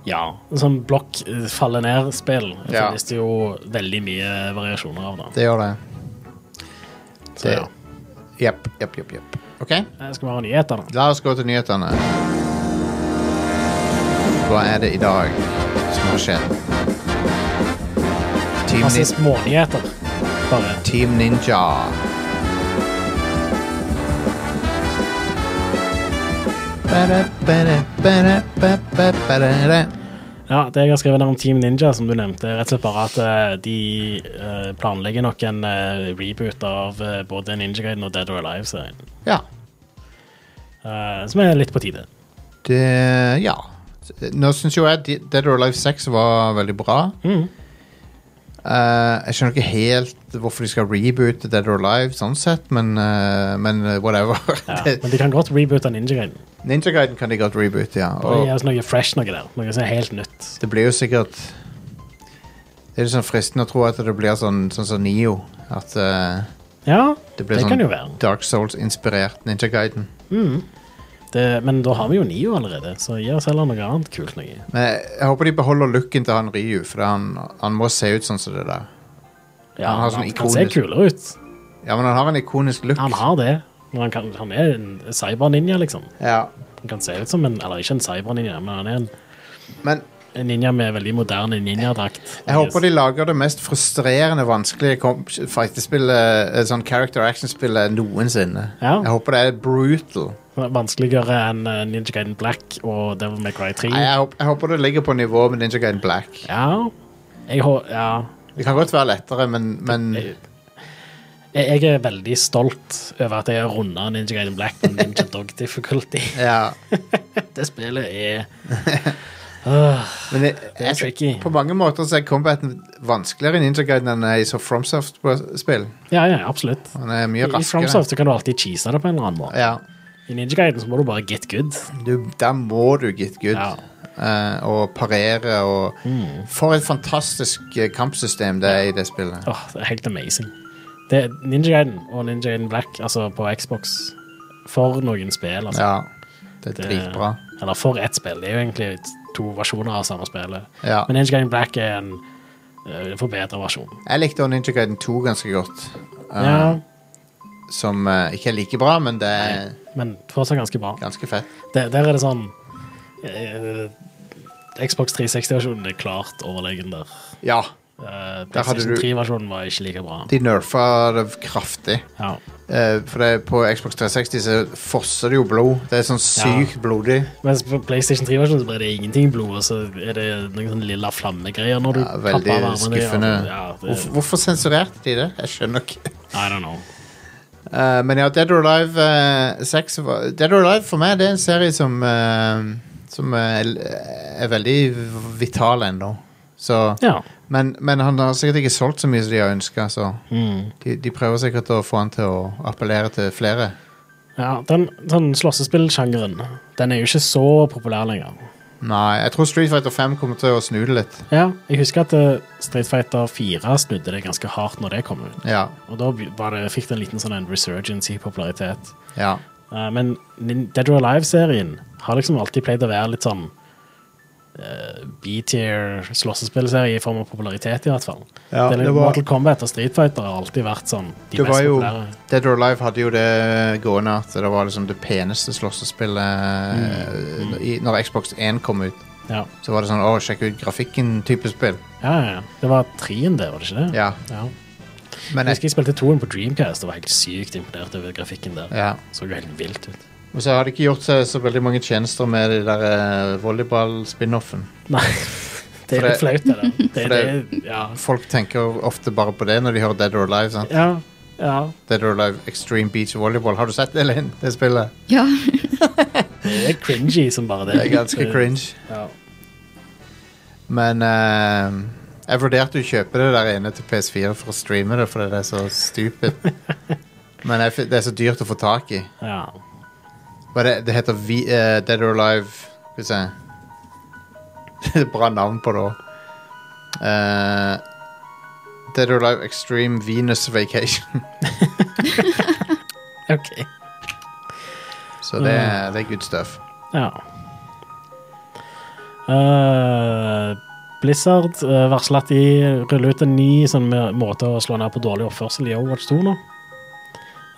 ja. Sånn blokk eh, faller ned-spill
Ja.
finnes det jo veldig mye variasjoner av. da
Det gjør det.
Så,
det-
ja.
Jepp, jepp, jepp. jepp. Ok,
Eh, Skal vi ha nyheter, da?
la oss gå til nyhetene. Hva er det i dag som har skjedd? Team,
Masse
Nin
smånyheter. Bare.
Team Ninja. Ba-da, ba-da, ba-da, ba-da, ba-da.
Ja, det jeg har skrevet der om Team Ninja, som du nevnte, er rett og slett bare at eh, de eh, planlegger nok en eh, reboot av eh, både Ninja Gaiden og Dead or Alive-serien.
Ja.
Eh, som er litt på tide.
Det
Mm.
Ja. Nå syns jo jeg De- Dead or Alive 6 var veldig bra. Eh, jeg skjønner ikke helt hvorfor de skal reboote Dead or Alive, sånn sett, men, eh, men eh, whatever.
Ja, men de kan godt reboote Ninja Gaiden.
Ninja Guiden kan de godt reboote, ja.
Bare
Og
gi oss noe fresh noe der. Noe som er helt nytt.
det blir jo sikkert Det er litt sånn fristende å tro at det blir sånn sånn som Nio. At eh,
Ja,
det blir
det kan jo
sånn
være.
Dark Souls-inspirert Ninja Guiden.
Det, men da har vi jo Nio allerede, så gi oss heller noe annet kult noe.
Men jeg, jeg håper de beholder looken til han Ryu, for han, han må se ut sånn som det der.
Ja,
Han har sånn
han, han ser
ikonisk-
kulere ut.
Ja, men han har en ikonisk look.
Han har det. Men han, kan, han er en cyber-ninja, liksom.
Ja.
Han kan se ut som en Eller ikke en cyber-ninja, men han er en,
Men
en ninja med veldig moderne ninjadrakt.
Jeg håper de lager det mest frustrerende vanskelige kom- fightespillet, eh, sånn character action-spillet noensinne.
Ja.
Jeg håper det er brutal.
Vanskeligere enn eh, Ninja Gaiden Black og Devil May Cry 3.
Nei, Jeg, håper, jeg håper det ligger på nivå med Ninja Gaiden Black.
Ja. Jeg, hå- ja.
Det kan godt være lettere, men, men
Jeg, jeg er veldig stolt over at jeg har runda Ninja Gaiden Black på Ninja Dog Difficulty.
ja.
Det spillet er
Men jeg,
Det er tricky.
jeg, på mange måter så er combaten vanskeligere i Ninja Gaiden enn i så FromSoft-spill.
Ja, ja, absolutt.
Han er mye
I
raskere.
FromSoft så kan du alltid cheese det på en eller annen måte.
Ja.
I Ninja Gaiden så må du bare get good.
Du, der må du get good.
Ja. Mm.
eh, og parere og For et fantastisk eh, kampsystem det er i det spillet.
Åh, det er helt amazing. Det, Ninja Gaiden og Ninja Gaiden Black, altså på Xbox, for noen spill, altså.
Ja, det er
Det-
dritbra.
Eller for ett spill. Det er jo egentlig to versjoner av samme spillet.
Ja.
Men Ninja Gaiden Black er en eh, forbedret versjon.
Jeg likte Ninja Gaiden 2 ganske godt. eh,
Ja,
Som eh, ikke er like bra, men det er
men fortsatt ganske bra.
ganske fett.
Der, der er det sånn eh, Xbox 360-versjonen er klart overlegen der.
Ja.
Uh,
Der hadde
PlayStation
du-
3-versjonen var ikke like bra.
De nerfa det kraftig.
Ja.
Eh, for det, på Xbox 360 så fosser det jo blod. Det er sånn sykt blodig.
Mens på PlayStation 3-versjonen så blir det ingenting blod, og så er det noen sånne lilla flammegreier når du
Ja,
tapper
veldig
varmen.
skuffende.
Ja, det,
Hvorfor, hvorfor sensurerte de det? Jeg skjønner ikke.
I don't know.
Eh, men ja, Dead or Alive eh, 6 var- Dead or Alive for meg det er en serie som eh, Som eh, er veldig vital ennå. Så
Ja.
Men, men han har sikkert ikke solgt så mye som de har ønska, så
Mm.
de, de prøver sikkert å få han til å appellere til flere.
ja den sånn slåssespillsjangeren, den er jo ikke så populær lenger.
Nei, jeg tror Street Fighter 5 kommer til å snu det litt.
Ja, jeg husker at eh, Street Fighter 4 snudde det ganske hardt når det kom ut.
Ja.
Og da by- var det, fikk det en liten sånn en resurgence i popularitet.
ja.
Eh, men Nin- Dead or Alive-serien har liksom alltid pleid å være litt sånn eh, B-tier slåssespillserie i form av popularitet, i hvert fall.
Ja,
det er,
det var-
Mortal Kombat og Street Fighter har alltid vært sånn de
Det
mest
var jo
populære.
Dead or Alive hadde jo det gående at det var liksom det peneste slåssespillet mm. Når Xbox 1 kom ut,
Ja.
så var det sånn Å, sjekk ut grafikken-type spill.
Ja, ja, ja. Det var trien, det, var det ikke det?
Ja.
Jeg
Men jeg,
husker jeg spilte toen på Dreamcast og var helt sykt imponert over grafikken der.
ja.
Så jo helt vilt ut.
Og så har de ikke gjort seg så veldig mange tjenester med de der eh, volleyball-spin-offen.
Nei, det
For
er litt flaut, det der. Det,
for det-
det, ja.
Folk tenker ofte bare på det når de hører Dead or Alive. sant?
Ja, ja.
Dead or Alive Extreme Beach Volleyball. Har du sett det, Linn? Det spillet?
Ja.
Det er cringy som bare det.
Det er ganske cringe.
Ja.
Men eh, jeg vurderte å kjøpe det der inne til PS4 for å streame det, fordi det er så stupid. Men jeg, fin- det er så dyrt å få tak i.
ja.
Men det, det heter vi, eh, Dead or Alive Skal vi se Det er et Bra navn på det òg. Dead or Alive Extreme Venus Vacation.
OK.
Så det, er- det er good stuff.
Ja. Eh, Blizzard eh, varsler at de ruller ut en ny sånn, med- måte å slå ned på dårlig oppførsel i Overwatch 2 nå.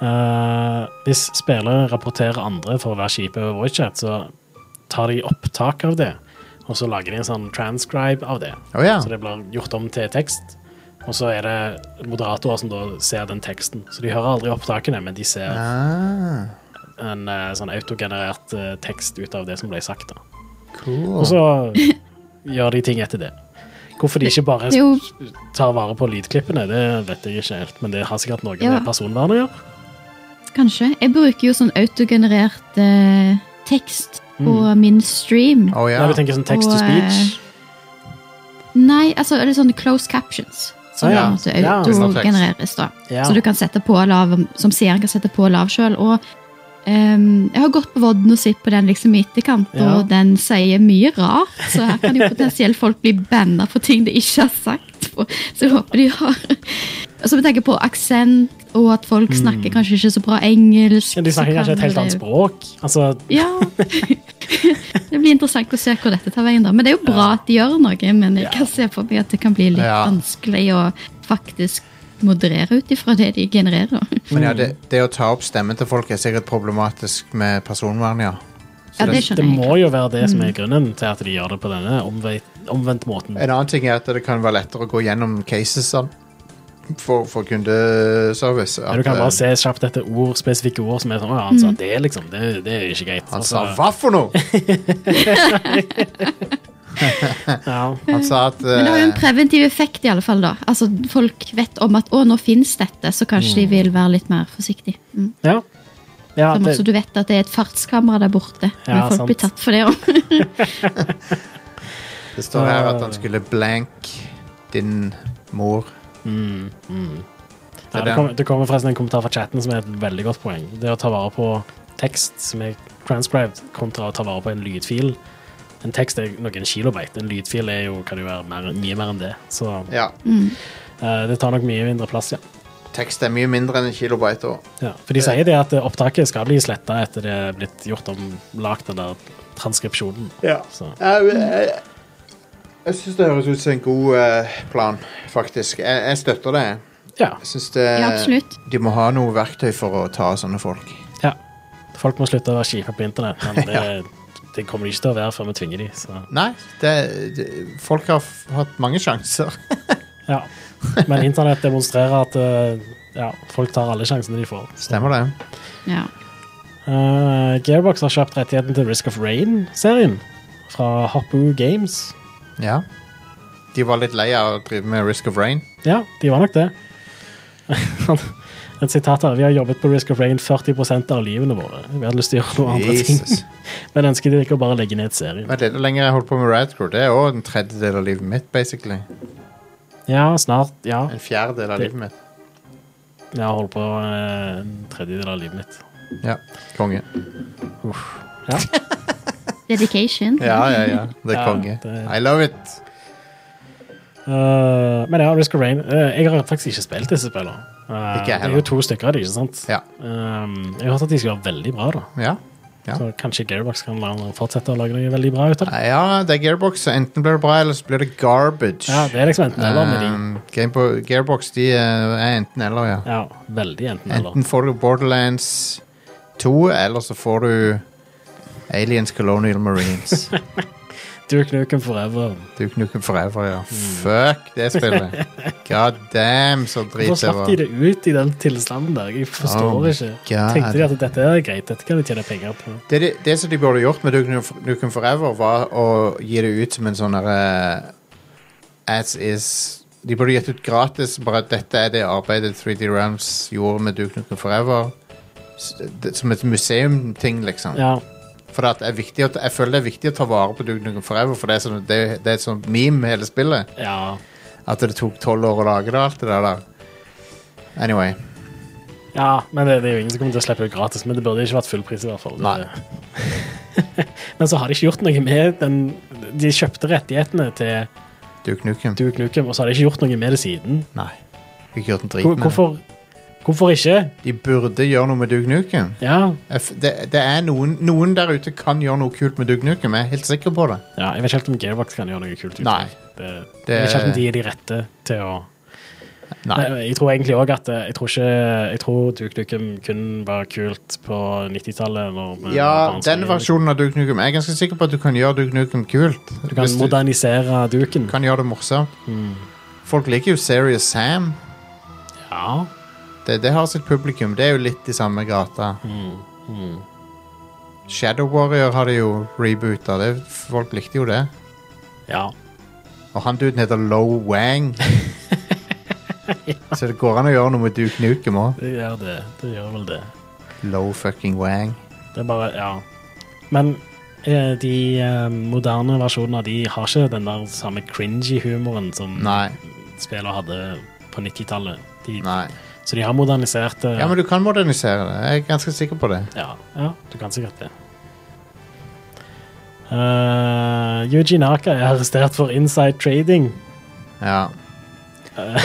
Eh, hvis spillere rapporterer andre for å være kjipe over voicechat, så tar de opptak av det, og så lager de en sånn transcribe av det.
Å ja.
Så det blir gjort om til tekst. Og så er det moderatorer som da ser den teksten. Så de hører aldri opptakene, men de ser
Ah,
en eh, sånn autogenerert eh, tekst ut av det som ble sagt. da.
cool.
Og så gjør de ting etter det. Hvorfor de ikke bare
Det er jo
tar vare på lydklippene, det vet jeg ikke helt, men det har sikkert noe
Ja.
med personvern å gjøre.
Kanskje. Jeg bruker jo sånn autogenerert eh, tekst på
Mm.
min stream.
Å ja.
Når du tenker sånn text to
Og, eh,
speech.
Nei, altså, eller sånne close captions. Som
Ah, ja.
da måtte
Ja.
autogenereres. da.
Ja.
Så du kan sette på lav, som seeren kan sette på lav sjøl. Og ehm, jeg har gått på Vodden og sett på den liksom i etterkant,
Ja.
og den sier mye rart. Så her kan jo potensielt folk bli banna for ting de ikke har sagt. For, så jeg håper de har Og så må jeg tenke på aksent, og at folk snakker kanskje ikke så bra engelsk.
Men Mm. de
så
snakker
kan
kanskje et helt
det-
annet språk. Altså,
Ja. det blir interessant å se hvor dette tar veien. da. Men det er jo bra at de gjør noe, men jeg kan se for meg at det kan bli litt
Ja.
vanskelig å faktisk moderere ut ifra det de genererer.
Men ja, det, det å ta opp stemmen til folk er sikkert problematisk med personvern, ja.
Ja, det
det
skjønner jeg. Mm.
må jo være det som er grunnen til at de gjør det på denne omvei, omvendt måten.
Mm. En annen ting er at det kan være lettere å gå gjennom cases sånn, for, for kundeservice.
Ja, du kan
At,
bare se
eh,
kjapt etter ord, spesifikke ord som er sånn Å ja, han
Mm.
sa det, liksom. Det, det er jo ikke greit.
Han
Altså,
sa hva for noe?!
ja.
Han sa at
Men det har jo en
eh,
preventiv effekt, i alle fall. da. Altså, Folk vet om at 'å, nå fins dette', så kanskje de vil være litt mer forsiktige. Mm.
Ja. ja,
Som også
det,
du vet at det er et fartskamera der borte, men
Ja,
folk
sant.
blir tatt for det òg.
det står her at han skulle blank din mor.
ja, det, kommer, det kommer forresten en kommentar fra chatten som er et veldig godt poeng. Det å ta vare på tekst som er transcribed, kontra å ta vare på en lydfil. En tekst er noen kilobyte, en lydfil er jo, kan jo være mer, mye mer enn det. Så
Ja.
eh, det tar nok mye mindre plass, ja.
Tekst er mye mindre enn en kilobyte. også.
Ja, for de sier det at eh, opptaket skal bli sletta etter det er blitt gjort om lagt den der transkripsjonen. Så.
Jeg, jeg, Eh, jeg syns det høres ut som en god eh, plan, faktisk. Jeg, jeg støtter det.
Ja,
Jeg synes det
Ja, absolutt.
De må ha noe verktøy for å ta sånne folk.
ja. Folk må slutte å være kjipe på internett, men det, det kommer de ikke til å være før vi tvinger de, så
Nei, det, det, folk har f hatt mange sjanser.
ja. Men internett demonstrerer at eh, ja, folk tar alle sjansene de får. Så.
Stemmer det?
Ja.
Eh, Gearbox har kjøpt rettigheten til Risk of Rain-serien fra Hoppu Games.
Ja. De var litt lei av å drive med Risk of Rain.
Ja, de var nok det. Et sitat her. Vi har jobbet på Risk of Rain 40 av livene våre. Vi hadde lyst til å gjøre noe andre ting.
Jesus.
Men ønsker de ikke å bare legge ned serien?
Men det er det lenger jeg holdt på med Radcrew. Det er òg en tredjedel av livet mitt, basically.
Ja, snart. Ja.
En fjerdedel av
Det-
livet mitt.
Jeg har holdt på eh, en tredjedel av livet mitt.
Ja. Konge.
Ja.
Dedication.
Ja, ja, ja. Det er
Ja,
konge.
det-
I love it.
Eh, men ja, Risk of Rain. eh, jeg har faktisk ikke spilt disse spillene. Eh,
Ikke jeg
det er
heller.
jo to stykker av dem, ikke sant?
Ja.
Ehm, jeg har hørt at de skal være veldig bra, da.
Ja. Ja.
Så kanskje Gearbox kan la dem fortsette å lage noe veldig bra ut av det.
Nei, Ja, det er Gearbox. så Enten blir det bra, eller så blir det garbage.
Ja, det er liksom enten eller med de.
Um, Gamebo- Gearbox de eh, er enten eller, ja.
Ja, veldig enten eller.
Enten får du Borderlands 2, eller så får du Aliens Colonial Marines.
Duke Nukem Forever.
Du knukker forever, ja. Fuck det spillet. God damn, så
Hvorfor
drit det
slapp
var.
de det ut i den tilstanden der? Jeg forstår
Oh my
ikke.
God.
Tenkte de at dette er greit, dette kan de tjene penger på?
Det, de- det som de burde gjort med Duke Nukem- Nukem Forever, var å gi det ut som en sånn derre As is De burde gitt ut gratis, bare at dette er det arbeidet 3D Realms gjorde med Duke Nukem Forever. S- det- Som et museumting, liksom.
Ja,
For at det er viktig å, ta- jeg føler det er viktig å ta vare på Duke Nukem Forever, for det er, sånn, det, det er et sånt meme, hele spillet.
ja.
At det tok tolv år å lage det, alt det der. der. Anyway.
ja men det, det er jo ingen som kommer til å slippe det gratis. Men det burde ikke vært fullpris, i hvert fall.
Nei.
Men så har de ikke gjort noe med den De kjøpte rettighetene til
Duke Nukem.
Duke Nukem, og så har de ikke gjort noe med det siden.
Nei. Ikke gjort en drit
Hvor-
med det.
Hvorfor, hvorfor ikke?
De burde gjøre noe med Duke Nukem.
Ja.
Jeg f- Det, det er noen, noen der ute kan gjøre noe kult med Duke Nukem. Jeg er helt sikker på det.
ja, jeg vet ikke helt om Gearbox kan gjøre noe kult. ut av
Nei.
Det,
Det-
Jeg vet ikke helt om de er de rette til å
Nei.
Nei, Jeg tror egentlig også at eh, Jeg tror, ikke, jeg tror Duke Nukem kun var kult på 90-tallet. når vi var
Ja,
barnslige.
den versjonen av Duke Nukem. Jeg er ganske sikker på at du kan gjøre Duke Nukem kult.
Du kan Mm.
Hvis du
modernisere duken.
kan gjøre det morsomt. Folk liker jo Serious Sam.
Ja.
Det, det har sitt publikum. Det er jo litt i samme gata.
Mm.
Shadow Warrior har de jo reboota. Det- Folk likte jo det.
ja.
Og han duden heter Low Wang. Så det går an å gjøre noe med Duke Nukem òg.
Det gjør det. Det gjør vel det.
Low fucking Wang.
Det er bare Ja. Men eh, de eh, moderne versjonene av de har ikke den der samme cringy humoren som
Nei.
spillene hadde på 90-tallet. De-
Nei.
Så de har modernisert eh, det.
Ja, men du kan modernisere det. Jeg er ganske sikker på det.
Ja, ja, du kan sikkert det. Eh, Yuji Naka er arrestert for inside trading.
Ja.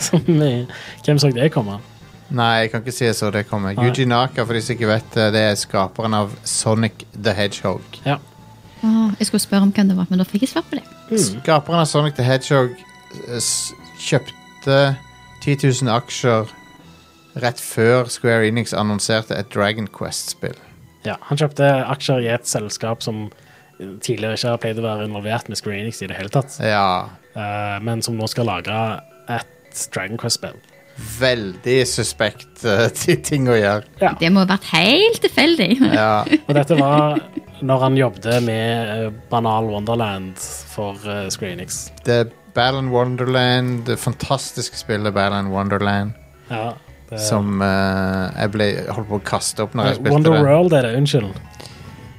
Som, eh, hvem så det komme?
Nei, jeg kan ikke si så det kommer.
Nei.
Yuji Naka, for de som ikke vet eh, det, det er skaperen av Sonic the Hedgehog.
Ja.
Åh, jeg skulle spørre om hvem det var, men da fikk jeg svar på det.
Skaperen av Sonic the Hedgehog eh, s- kjøpte 10 000 aksjer rett før Square Enix annonserte et Dragon Quest-spill.
ja. Han kjøpte aksjer i et selskap som tidligere ikke har pleid å være involvert med Square Enix i det hele tatt,
Ja,
Eh, men som nå skal lage et Dragon Quest-spill.
veldig suspekt eh, til ting å gjøre.
Ja.
Det må ha vært helt tilfeldig.
Ja,
Og dette var når han jobbet med eh, Banal Wonderland for eh, Square Enix.
det er Battle in Wonderland, det fantastiske spillet Battle in Wonderland,
Ja, det,
som eh, jeg ble, holdt på å kaste opp når jeg spilte
Wonder
det.
World er det, unnskyld.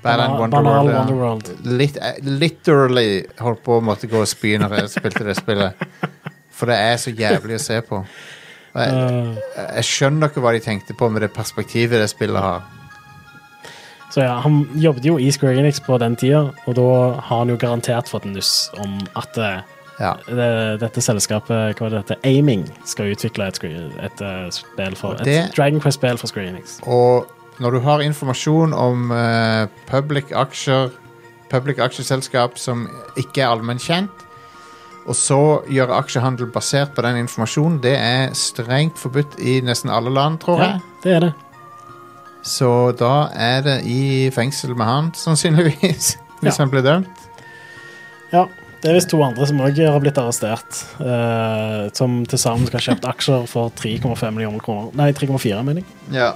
Battle in
Banal-
Wonderworld,
Banal
ja.
Wonderworld.
Litt, eh, literally holdt på å måtte gå og spy når jeg spilte det spillet. For det er så jævlig å se på. Og jeg,
Eh,
jeg skjønner ikke hva de tenkte på med det perspektivet det spillet har.
Så ja, Han jobbet jo i Square Enix på den tida, og da har han jo garantert fått nuss om at eh,
Ja,
det, dette selskapet, hva er det dette, Aiming, skal utvikle et, Square- et, eh, spill for,
Og det-
et Dragon Quest-spill for Square Enix.
Og når du har informasjon om eh, public aksjer, public aksjeselskap som ikke er allmennkjent, og så gjøre aksjehandel basert på den informasjonen, det er strengt forbudt i nesten alle land, tror
Ja,
jeg.
det er det.
Så da er det i fengsel med han, sannsynligvis, hvis
Ja.
han blir dømt.
Ja, Det er visst to andre som òg har blitt arrestert, eh, som til sammen skal ha kjøpt aksjer for 3,5 millioner kroner. Nei, 3,4, mener jeg.
Ja.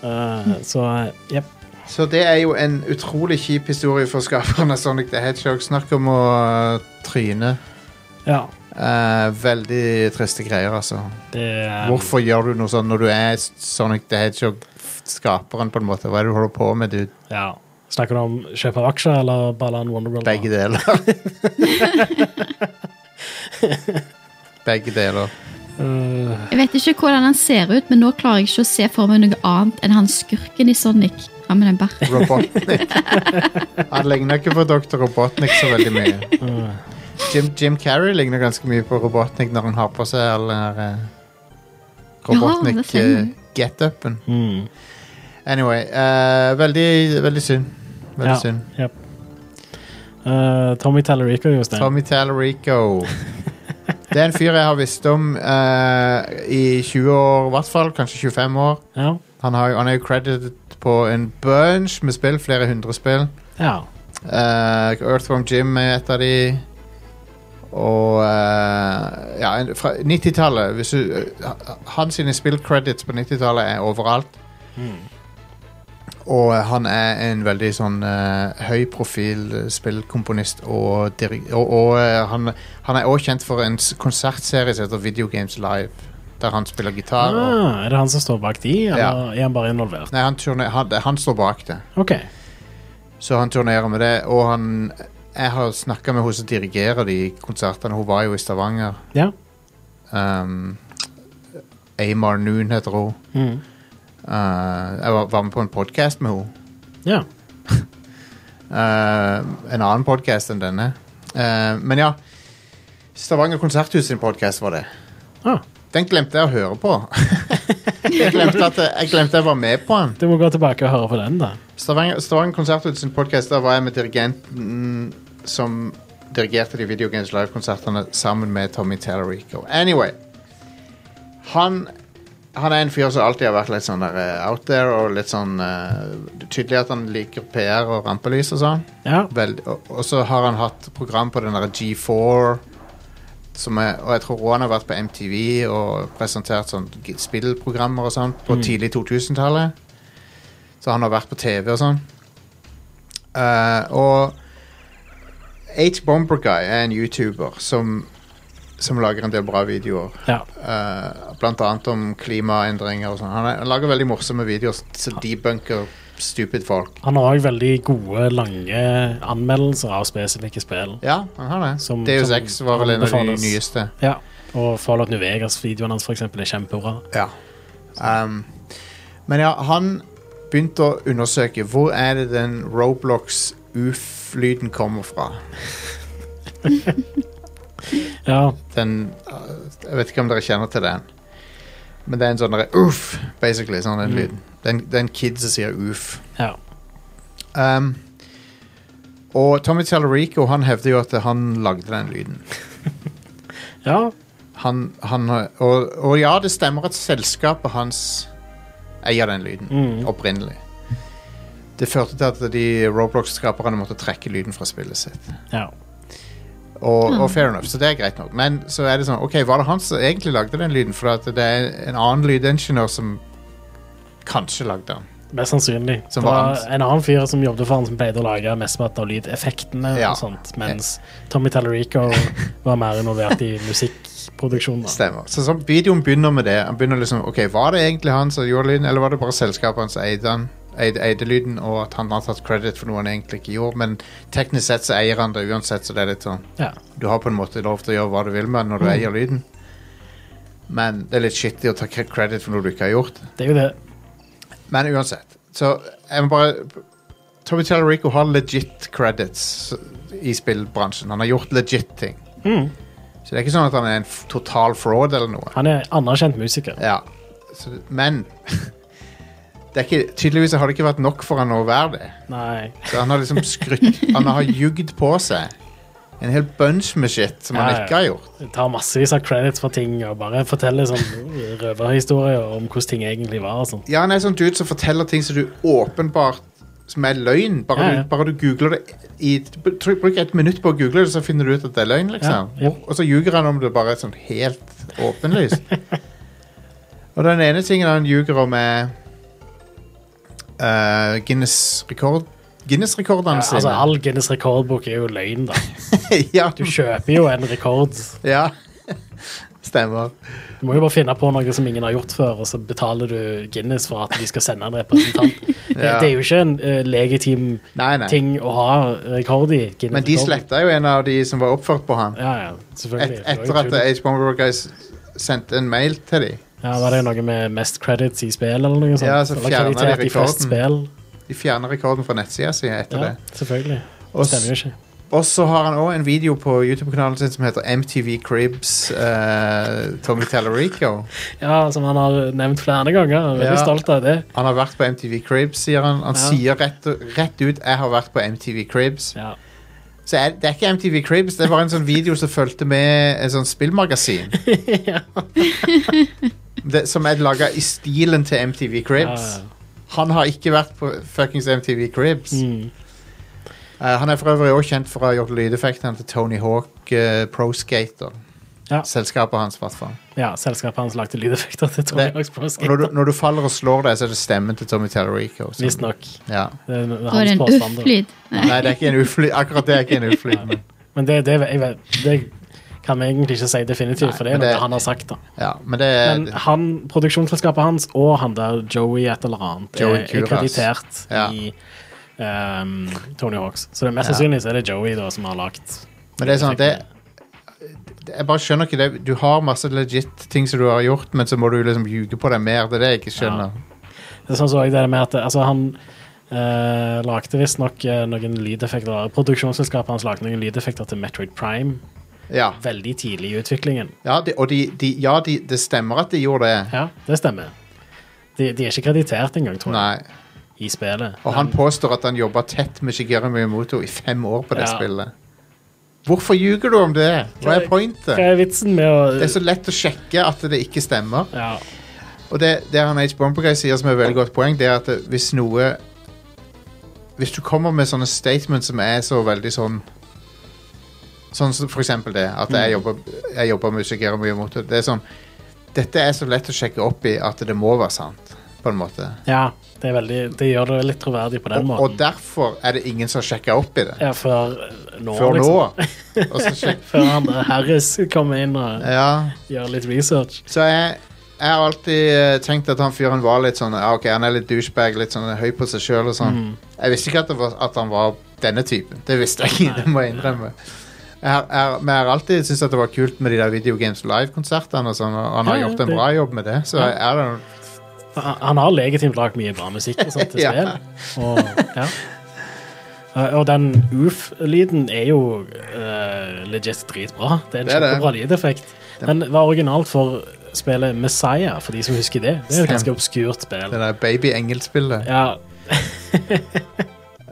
Eh, så eh, jepp.
Så det er jo en utrolig kjip historie for skaperen av Sonic the Hedgehog. Snakk om å øh, tryne.
Ja.
Eh, veldig triste greier, altså.
Det er
Hvorfor gjør du noe sånn når du er Sonic the Hedgehog-skaperen, på en måte? Hva er det du holder på med, du?
ja. Snakker du om kjøp av aksjer eller Ballan Wonderworld?
Begge deler. Begge deler.
Eh,
Jeg vet ikke hvordan han ser ut, men nå klarer jeg ikke å se for meg noe annet enn han skurken i Sonic. Han med den barten.
Robotnik. Han ligner ikke på Dr. Robotnik så veldig mye. Jim, Jim Carrey ligner ganske mye på Robotnik når han har på seg all den her eh,
det stemmer.
Robotnik-get-upen.
mm.
Anyway, eh, veldig, veldig synd. Veldig synd.
Yep. Eh, Tommy Tallarico, Jostein.
Tommy Tallarico. Det er en fyr jeg har visst om eh, i 20 år, i hvert fall. Kanskje 25 år.
Ja.
Han, har, jo- han er jo credited på en bunch med spill, flere hundre spill.
ja.
Eh, Earthworm Jim er et av de. Og eh, ja, en- fra 90-tallet hvis du- eh, Hans sine spillcredits på 90-tallet er overalt.
Mm.
Og eh, han er en veldig sånn eh, høy profil eh, spillkomponist og dirigent. Og, og eh, han, han er også kjent for en s- konsertserie som heter Video Games Live, der han spiller gitar. Og,
Ah, er det han som står bak de, eller er han bare involvert?
nei, han, turner, han, han står bak det.
OK.
Så han turnerer med det, og han Jeg har snakka med hun som dirigerer de konsertene. Hun var jo i Stavanger.
Ja.
Um, Amar Noon heter hun.
Mm.
Uh, jeg var, var med på en podkast med henne.
ja.
Uh, en annen podkast enn denne. Uh, men ja. Stavanger Konserthus sin podkast var det.
Ah,
Den glemte jeg å høre på. jeg, glemte at jeg, jeg glemte jeg var med på den.
du må gå tilbake og høre på den, da.
Stavanger, Stavanger Konserthus sin podcast, der var jeg med dirigenten som dirigerte de Video Games Live-konsertene sammen med Tommy Tallarico. Anyway, han, han er en fyr som alltid har vært litt sånn der eh, out there, og litt sånn eh, det er tydelig at han liker PR og rampelys og sånn.
Ja.
Vel, og, og så har han hatt program på den der G4, som er, og jeg tror også han har vært på MTV og presentert sånn g- spillprogrammer og sånn på tidlig 2000-tallet. Så han har vært på TV og sånn. Eh, og H. Bomber Guy er en YouTuber som, som lager en del bra videoer.
ja.
Eh, blant annet om klimaendringer og sånn. Han, er- han lager veldig morsomme videoer sånn som debunker stupid folk.
Han har òg veldig gode, lange anmeldelser av spesifikke spill.
Ja, han har det.
Som-
Deus
som
Ex var vel en av de
anbefales.
nyeste.
Ja. Og Fallout New Vegas-videoen hans for eksempel, er kjempebra.
Ja. Um, men ja, han begynte å undersøke hvor er det den Roblox-UF-lyden kommer fra.
Ja,
Den, uh, jeg vet ikke om dere kjenner til den. Men det er en sånn derre uff, basically. sånn den
Mm.
lyden. Den, den kid som sier uff.
ja.
Um, og Tommy Tallarico han hevder jo at han lagde den lyden.
ja.
Han, han, og, og ja, det stemmer at selskapet hans eier den lyden
Mm.
opprinnelig. Det førte til at de Roblox-skaperne måtte trekke lyden fra spillet sitt.
ja.
Og, og fair enough, så det er greit nok. Men så er det sånn, ok, var det han som egentlig lagde den lyden? For at det er en annen lydingeniør som kanskje lagde den.
Mest sannsynlig.
Som
det
var
var en annen fyr som jobbet for han som pleide å lage mesteparten av lydeffektene,
Ja.
og sånt, mens Tommy Tallarico var mer involvert i musikkproduksjonen. da.
Stemmer. Så, sånn, videoen begynner med det. Han begynner liksom, ok, Var det egentlig han som gjorde lyden, eller var det bare selskapet hans som eide, han- eide, eide lyden, og at han har tatt credit for noe han egentlig ikke gjorde? Men teknisk sett så eier han det uansett, så det er litt sånn
Ja.
Du har på en måte lov til å gjøre hva du vil med den
Mm.
når du eier lyden. Men det er litt shitty å ta cre- credit for noe du ikke har gjort.
Det er jo det.
Men uansett. Så jeg må bare Tommy Tallarico har legit credits i spillbransjen. Han har gjort legit ting.
Mm.
Så det er ikke sånn at han er en f- total fraud eller noe.
Han er anerkjent musiker.
Ja. Så, det- men det er ikke, tydeligvis har det ikke vært nok for han å være det.
Nei.
Så han har liksom skrytt Han har jugd på seg en hel bunch med shit som
Ja,
han
ja.
ikke har gjort.
Tar massevis av credits for ting og bare forteller sånn røverhistorier om hvordan ting egentlig var. og sånt.
Ja, han er sånn dude som forteller ting som du åpenbart Som er løgn. Bare,
Ja, ja.
Du, bare du googler det i, tryk- Bruk et minutt på å google det, så finner du ut at det er løgn, liksom.
Ja, ja.
Og, og så ljuger han om det bare sånn helt åpenlyst. og den ene tingen han ljuger om, er eh, Guinness rekord Guinness-rekordene
Ja, altså,
sine.
All Guinness rekordbok er jo løgn, da.
ja,
Du kjøper jo en rekord.
ja. Stemmer.
Du må jo bare finne på noe som ingen har gjort før, og så betaler du Guinness for at de skal sende en representant. Det-
Ja.
Det er jo ikke en eh, legitim
Nei, nei.
ting å ha rekord i. Guinness
Men de
rekord.
sletta jo en av de som var oppført på han.
Ja, ja, selvfølgelig.
Et,
Det var jo
etter at
tull.
Age Bomber Guys sendte en mail til dem.
ja, Var det noe med mest credits i spill, eller noe sånt?
Ja, så
Eller
fjerner de
kvalitet i flest
rekorden.
spill?
De fjerner rekorden fra nettsida si etter
Ja,
det.
selvfølgelig.
Og
Det stemmer jo ikke.
Og så har han òg en video på YouTube-kanalen sin som heter MTV Cribs eh, Tommy Tallarico.
Ja, som han har nevnt flere ganger. Jeg er Veldig
Ja.
stolt av det.
Han har vært på MTV Cribs, sier han. Han
Ja.
sier rett, rett ut 'Jeg har vært på MTV Cribs'.
Ja.
Så er, det er ikke MTV Cribs, det var en sånn video som fulgte med et sånt spillmagasin. det, som er laga i stilen til MTV Cribs.
Ja, ja.
Han har ikke vært på fuckings MTV Cribs.
Mm.
Eh, han er for øvrig også kjent for å ha gjort lydeffektene til Tony Hawk eh, Pro Skater.
Ja.
Selskapet hans, hvertfall.
ja, selskapet hans lagde lydeffekter til Tony
Det-
Hawk's Pro
Og når du,
Skater.
når du faller og slår deg, så er det stemmen til Tommy Tallarico. som-
Visstnok.
Ja.
Det er
Og
hans
en
påstand, da.
uff-lyd. Nei.
Nei, det er ikke en ufly, akkurat det er ikke en uflyd. Men,
Men det, det, jeg vet, det kan vi egentlig ikke si definitivt, for det er
men
noe
det-
han har sagt. da.
ja, men det er
Men han, produksjonsselskapet hans og han der Joey et eller annet
Joey
er- er
Kuras.
kreditert
Ja.
i ehm, Tony Hawks. Så det er mest
Ja.
sannsynlig så er det Joey da som har lagt
Men det er sånn, det, det Jeg bare skjønner ikke det. Du har masse legit ting som du har gjort, men så må du liksom ljuge på deg mer. Det er det jeg ikke skjønner.
Det er sånn så jeg det med at altså, han eh, lagde visstnok eh, noen lydeffekter Produksjonsselskapet hans lagde noen lydeffekter til Metroid Prime
Ja,
veldig tidlig i utviklingen.
ja de, og de, de, ja de, det stemmer at de gjorde det.
Ja, det stemmer. De, de er ikke kreditert engang, tror jeg,
Nei.
i spillet.
Og han påstår at han jobba tett med Shigeru Miyamoto i fem år på det
Ja.
spillet. Hvorfor ljuger du om det? Hva er
Hva
pointet?
er vitsen med å
Det er så lett å sjekke at det ikke stemmer.
ja,
Og det, det han H. Bomberguy sier som er et veldig godt poeng, det er at det- hvis noe Hvis du kommer med sånne statements som er så veldig sånn Sånn som for eksempel det, at
Mm.
jeg jobber, jeg jobber med musikkere mye mot det. Det er sånn Dette er så lett å sjekke opp i at det må være sant, på en måte.
ja, det er veldig Det gjør det litt troverdig på den
Og, og
måten.
derfor er det ingen som har sjekka opp i det.
Ja, før nå,
Før nå.
liksom.
Og så sjek-
Før han der Harris kommer inn og
Ja.
gjør litt research.
Så jeg jeg har alltid eh, tenkt at han fyren var litt sånn ja, ok, Han er litt douchebag, litt sånn høy på seg sjøl og sånn.
Mm.
Jeg visste ikke at, det var, at han var denne typen. Det visste jeg ikke, det må jeg innrømme. Jeg, har- jeg, har- men jeg har alltid syntes at det var kult med de der Video Games Live-konsertene og sånn, og han har
Ja, ja,
gjort en
det-
bra jobb med det, så jeg, jeg, er-
Han han har legitimt lagd mye bra musikk og sånt til
Ja.
spill. Og, ja. Eh, og den oof-lyden er jo eh, legit dritbra. Det er en
Det er det.
kjempebra lydeffekt. Den var originalt for spillet Messiah, for de som husker det. Det er jo et ganske obskurt spill.
det der baby-engelspillet.
Ja,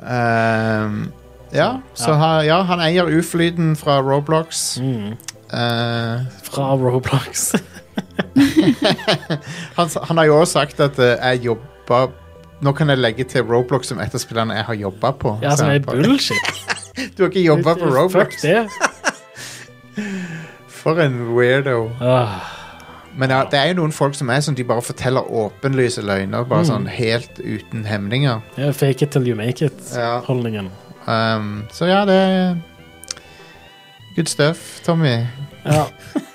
Ehm, ja, så
Ja.
Han, ja, han eier UF-lyden fra Roblox.
mm,
Eh,
fra Roblox.
han, s- han har jo også sagt at eh, jeg jobber Nå kan jeg legge til Roblox som et av spillene jeg har jobba på.
Ja, som
Så
er
jeg bare-
bullshit.
Du har ikke jobba på Roblox?
Fuck det.
For en weirdo.
Ah,
Men ja, det er jo noen folk som er sånn de bare forteller åpenlyse løgner.
Mm.
Bare sånn helt uten hemninger.
ja, fake it till you make
Ja.
it-holdningen.
Ehm, så ja, det er Good stuff, Tommy.
Ja.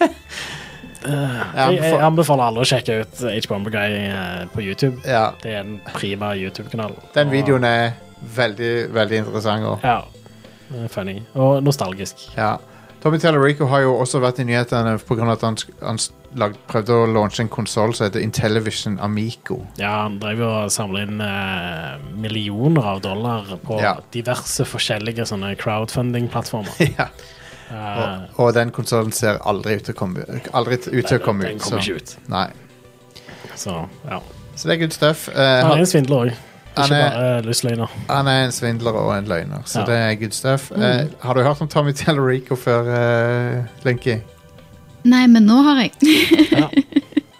Jeg
Ah. Eh, Jeg, jeg
anbefaler-
anbefaler alle å sjekke ut H-Bomber Guy eh, på YouTube.
Ja,
Det er en prima YouTube-kanal.
den
Og-
videoen er veldig, veldig interessant. Og
Ja. Det er Funny. Og nostalgisk.
Ja. Tommy Tellerico har jo også vært i nyhetene pga. at han, sk- han s- lagd, prøvde å launche en konsoll som heter Intellivision Amico.
Ja, han drev jo og samla inn eh, millioner av dollar på
Ja.
diverse forskjellige sånne crowdfunding-plattformer.
ja.
Eh,
og, og den konsollen ser aldri ut til å komme, aldri t- ut, til å komme
den
ut.
kommer
så.
ikke ut.
Nei.
Så ja.
så det er good stuff. Eh,
Han er
han,
en svindler òg. Ikke
Han er-
bare lystløgner.
han er en svindler og en løgner, så
Ja. Mm.
det er good stuff. Eh, har du hørt om Tommy Tellerico før, uh, Linky?
Nei, men nå har jeg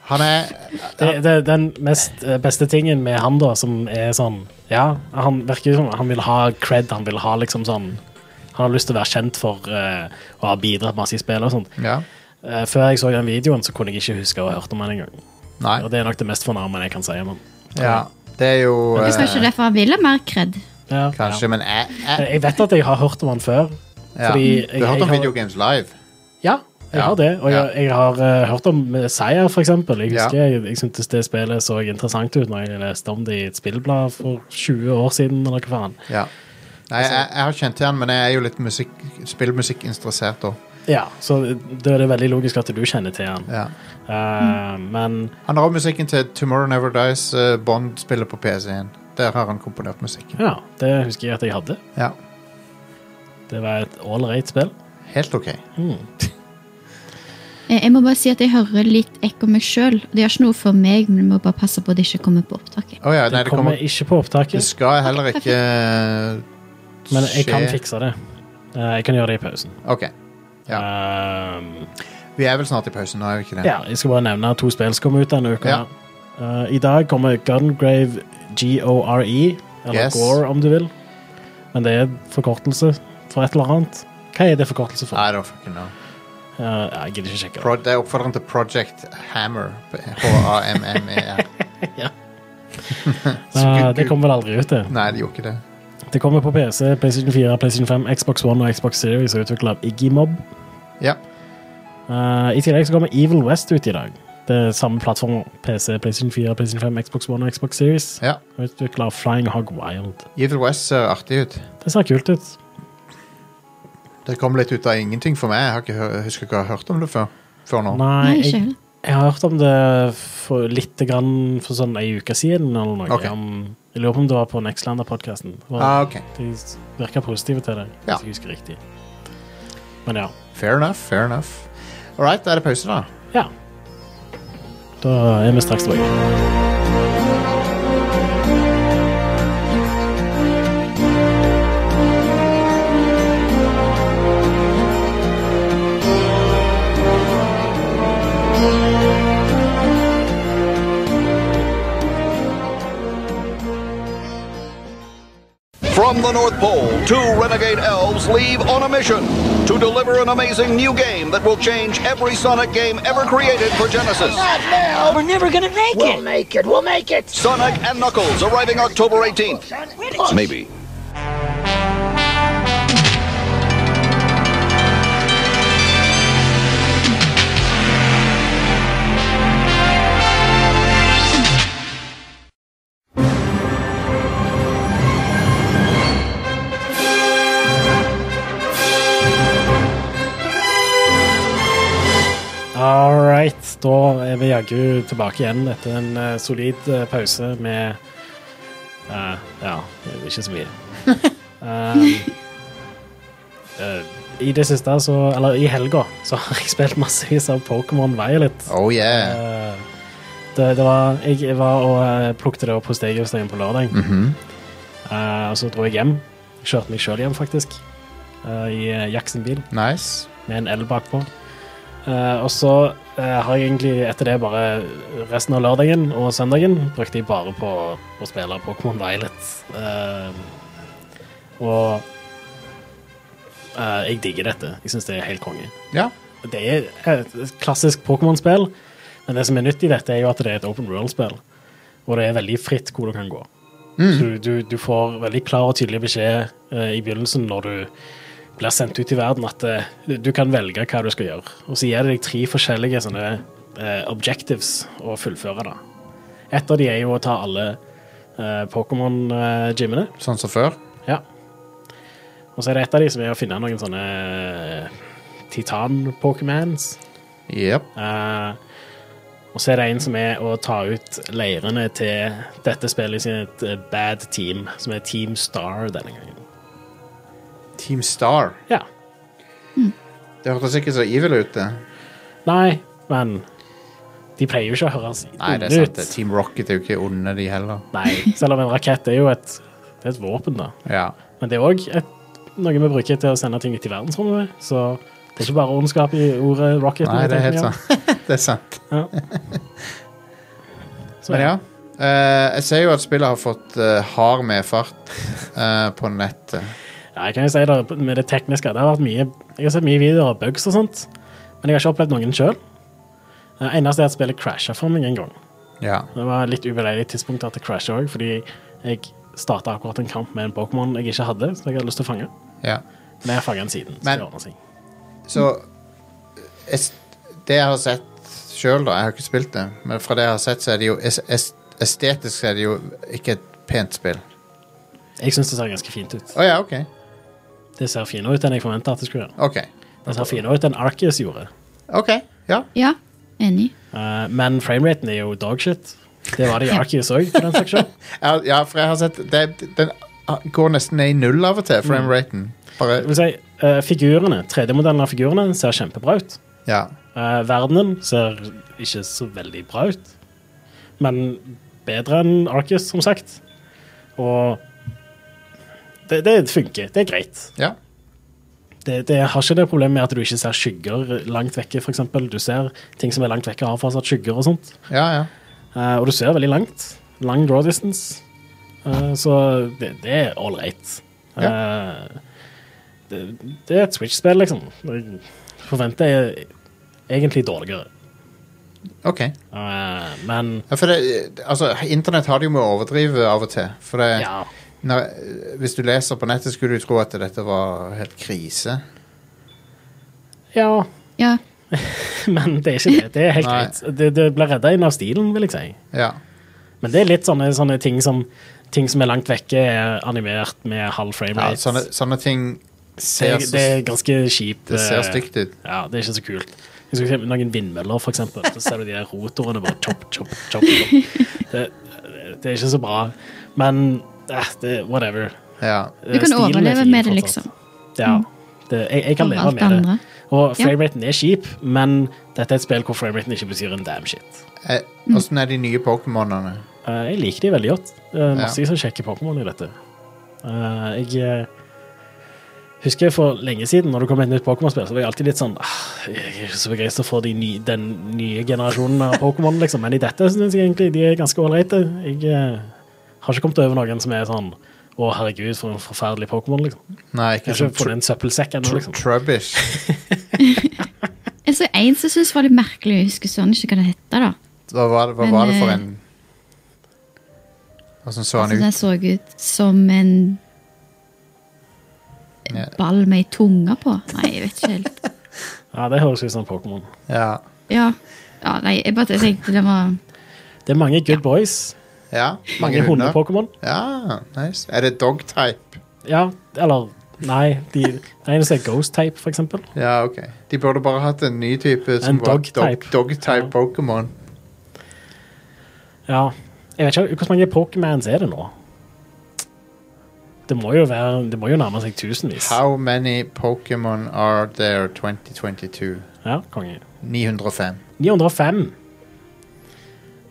Han er
Det, det, den mest, eh, beste tingen med han, da, som er sånn Ja, han virker jo som han vil ha cred. Han vil ha liksom sånn Han har lyst til å være kjent for eh, å ha bidratt masse i spill og sånt.
Ja.
Eh, før jeg så den videoen, så kunne jeg ikke huske å ha hørt om han engang.
Nei.
Og det er nok det mest fornærmende jeg kan si om han.
Ja. Det er jo
Det er
eh,
kanskje derfor han vil ha mer kred.
Ja.
Kanskje, men jeg,
Ja.
jeg,
Jeg vet at jeg har hørt om han før.
ja.
fordi jeg-
Du har hørt
jeg
om
har-
Video Games Live?
Ja, jeg
Ja.
har det. Og jeg, jeg har eh, hørt om eh, Seier, for eksempel. Jeg
Ja.
husker jeg, jeg syntes det spillet så interessant ut når jeg leste om det i et spillblad for 20 år siden, eller hva faen.
Ja. Nei,
Altså-
jeg, jeg har kjent til han, men jeg er jo litt musikk, spillmusikkinteressert òg.
Ja, så da er det veldig logisk at du kjenner til han.
Ja.
Eh, men
Han har òg musikken til Tomorrow Never Dies, eh, Bond spiller på PC-en. Der har han komponert musikken.
ja, det husker jeg at jeg hadde.
Ja,
Det var et all right spill.
Helt OK.
Eh, Jeg må bare si at jeg hører litt ekko meg sjøl. Det gjør ikke noe for meg, men jeg må bare passe på at det ikke kommer på opptaket.
Å ja, nei,
Det
det kommer
kommer ikke på
Det
opptaket,
skal heller ikke eh,
men jeg kan
skje.
fikse det. Eh, jeg kan gjøre det i pausen.
OK. Ja.
Eh,
Vi er vel snart i pausen, nå er vi ikke det?
Ja, jeg skal bare nevne at to spill som kommer ut denne uka.
Ja.
Eh, I dag kommer Gungrave GORE, E, eller
Yes.
Gore om du vil. Men det er en forkortelse for et eller annet. Hva er det forkortelse for?
I don't fucking know.
Eh, ja, jeg gidder ikke sjekke.
Pro det er oppfordreren til Project Hammer. H-a-m-m-e-r.
Ja.
E Så
Eh,
gu-
det kommer vel aldri ut, det.
gu- Nei, det gjorde ikke det.
Det kommer på PC, PlayStation 4, PlayStation 5, Xbox One og Xbox Series, utvikla av Iggymob.
Ja.
Eh, I tillegg så kommer Evil West ut i dag. Det er samme plattform. PC, PlayStation 4, PlayStation 5, Xbox One og Xbox Series.
ja.
Utvikla av Flying Hog Wild.
Evil West ser artig ut.
Det ser kult ut.
Det kom litt ut av ingenting for meg. Jeg har ikke, hø- jeg husker ikke å ha hørt om det før, før nå.
Nei,
Nei, ikke
jeg,
heller.
jeg har hørt om det for litt grann for sånn ei uke siden eller noe.
Ok.
Om, jeg lurer på om det var på Nextlander-podkasten.
Ah, ok.
De virka positive til det,
Ja.
hvis jeg husker riktig. Men ja.
Fair enough, fair enough. All right, da er det pause, da.
ja. Da er vi straks tilbake.
From the North Pole, two renegade elves leave on a mission to deliver an amazing new game that will change every Sonic game ever created for Genesis.
We're never gonna make it.
make it. We'll make it.
Sonic and Knuckles arriving October 18th. Maybe.
Da er vi jaggu tilbake igjen etter en eh, solid eh, pause med eh, Ja, ikke så mye. Um, eh, I det siste, så Eller i helga, så har jeg spilt massevis av Pokémon Violet.
Oh yeah.
Eh, det, det var, jeg var og eh, plukket det opp hos deg Jostein, på lørdag. Eh, og så dro jeg hjem. Kjørte meg sjøl hjem, faktisk. eh, I eh, Jackson-bil
Nice.
med en L bakpå. Eh, og så eh, har jeg egentlig etter det bare resten av lørdagen og søndagen brukte jeg bare på å spille Pokémon Violet. Eh, og eh, jeg digger dette. Jeg syns det er helt konge.
Ja.
Det er et et klassisk Pokémon-spill, men det som er nytt i dette, er jo at det er et open world-spill. Og det er veldig fritt hvor du kan gå. Så du, du, du får veldig klar og tydelig beskjed eh, i begynnelsen når du blir sendt ut i verden, at eh, du- du kan velge hva du skal gjøre. Og så gir det deg tre forskjellige sånne eh, objectives å fullføre. da. Et av de er jo å ta alle eh, Pokémon-gymmene.
Sånn som før.
Ja. Og så er det et av de som er å finne noen sånne eh, titan-pokémans.
Jepp.
Eh, og så er det en som er å ta ut leirene til dette spillet sin et eh, bad team, som er Team Star denne gangen.
Team Star.
Ja.
Det hørtes ikke så evil ut, det.
Nei, men de pleier jo ikke å høres
Nei,
onde
det er sant.
ut.
det. Team Rocket er jo ikke onde, de heller.
Nei, selv om en rakett er jo et, det er et våpen, da.
Ja.
Men det er òg noe vi bruker til å sende ting ut i verdensrommet med, så det er ikke bare ondskap i ordet rocket.
Nei,
når jeg
det er helt
tenker meg om.
sant. det er sant.
Så
Men ja. Eh, jeg ser jo at spillet har fått eh, hard medfart eh, på nettet.
Ja, jeg kan jo si det med det tekniske. Det har vært mye, jeg har sett mye videoer av bugs og sånt, men jeg har ikke opplevd noen sjøl. Det eneste er at spillet crasha for meg en gang.
Ja.
Det var litt ubeleilig tidspunkt at det crasha òg, fordi jeg starta akkurat en kamp med en Pokémon jeg ikke hadde, som jeg hadde lyst til å fange.
ja.
Men jeg fanga den siden. Så
Men-
det ordner seg.
Så jeg, s- Det jeg har sett sjøl, da Jeg har ikke spilt det, men fra det jeg har sett, så er det jo es, es, Estetisk er det jo ikke et pent spill.
Jeg syns det ser ganske fint ut.
Å ja, OK.
Det ser finere ut enn jeg forventa at det skulle gjøre.
OK.
Det ser finere ut enn Arceus gjorde.
ok, Ja.
Ja, enig.
Eh, men frameraten er jo dogshit. Det var det i Arceus òg, for den saks skyld.
Ja, Ja, for jeg har sett det, Den går nesten ned i null av og til, frameraten. Bare
Det vil Si, eh, figurene, 3D-modellen av figurene ser kjempebra ut.
Ja.
Eh, verdenen ser ikke så veldig bra ut, men bedre enn Arceus, som sagt. Og det, det funker. Det er greit.
ja.
Det, det har ikke det problemet med at du ikke ser skygger langt vekke, f.eks. Du ser ting som er langt vekke, har fortsatt skygger og sånt.
Ja, ja.
Eh, og du ser veldig langt. Lang draw distance. Eh, så det, det er all right. Eh, det, det er et Switch-spill, liksom. Jeg forventer jeg egentlig dårligere.
OK.
Eh, men
Ja, for det, altså, internett har det jo med å overdrive av og til. For det,
ja,
når, hvis du leser på nettet, skulle du tro at dette var helt krise.
ja.
Ja,
Men det er ikke det. Det er helt
Nei.
greit. Det, det blir redda inn av stilen, vil jeg si.
Ja.
Men det er litt sånne, sånne ting som Ting som er langt vekke, er animert med halv frame
ja
rate.
sånne, sånne ting
det,
ser,
er- det er ganske kjipt.
det ser
eh,
stygt ut.
Ja, det er ikke så kult. Hvis du ser noen vindmøller, for eksempel, så ser du de der rotorene bare chop, chop, chop. chop. Det, det er ikke så bra. Men eh, det, whatever.
Ja.
Du kan overleve med det, liksom.
Ja. Det, jeg, jeg kan
Over
leve
alt
med det.
andre.
Og
Ja.
frameraten er kjip, men dette er et spill hvor frameraten ikke betyr en damn shit.
Eh, Åssen er de nye Pokémonene?
Eh, jeg liker de veldig godt. Det er masse som sjekker Pokémon i dette. Eh, jeg eh, husker for lenge siden, når det kom et nytt Pokémon-spill, så var jeg alltid litt sånn ah, Jeg er ikke så begeistra for de ny, den nye generasjonen av Pokémon, liksom. Men i dette syns jeg egentlig de er ganske ålreite. Jeg eh, har ikke kommet over noen som er sånn å, herregud, for en forferdelig Pokémon, liksom.
Nei,
Jeg
ikke
har
sånn
ikke funnet en søppelsekk ennå,
tr-
liksom.
Trubbish.
Jeg så en som syntes var litt merkelig, jeg husker søren ikke hva det heter da.
Hva var, det- hva
Men,
var det for
eh,
en Åssen så
Altså,
han ut?
den så ut som en en
Ja.
ball med ei tunge på. Nei, jeg vet ikke helt.
Ja, det høres ut som Pokémon.
Ja.
Ja, ja nei, jeg bare tenkte det var
Det er mange good boys.
ja.
Mange hunde-Pokémon.
Ja, nice. Er det dog type?
Ja, eller Nei, de, det eneste er Ghost Type, for eksempel.
Ja, ok. De burde bare hatt en ny type som
En
var
dog-type.
dog- dog-type
Ja.
Pokémon.
Ja. Jeg vet ikke hvor mange Pokémans er det nå. Det må jo være Det må jo nærme seg tusenvis.
How many Pokémon are there 2022?
Ja, konge.
905.
905.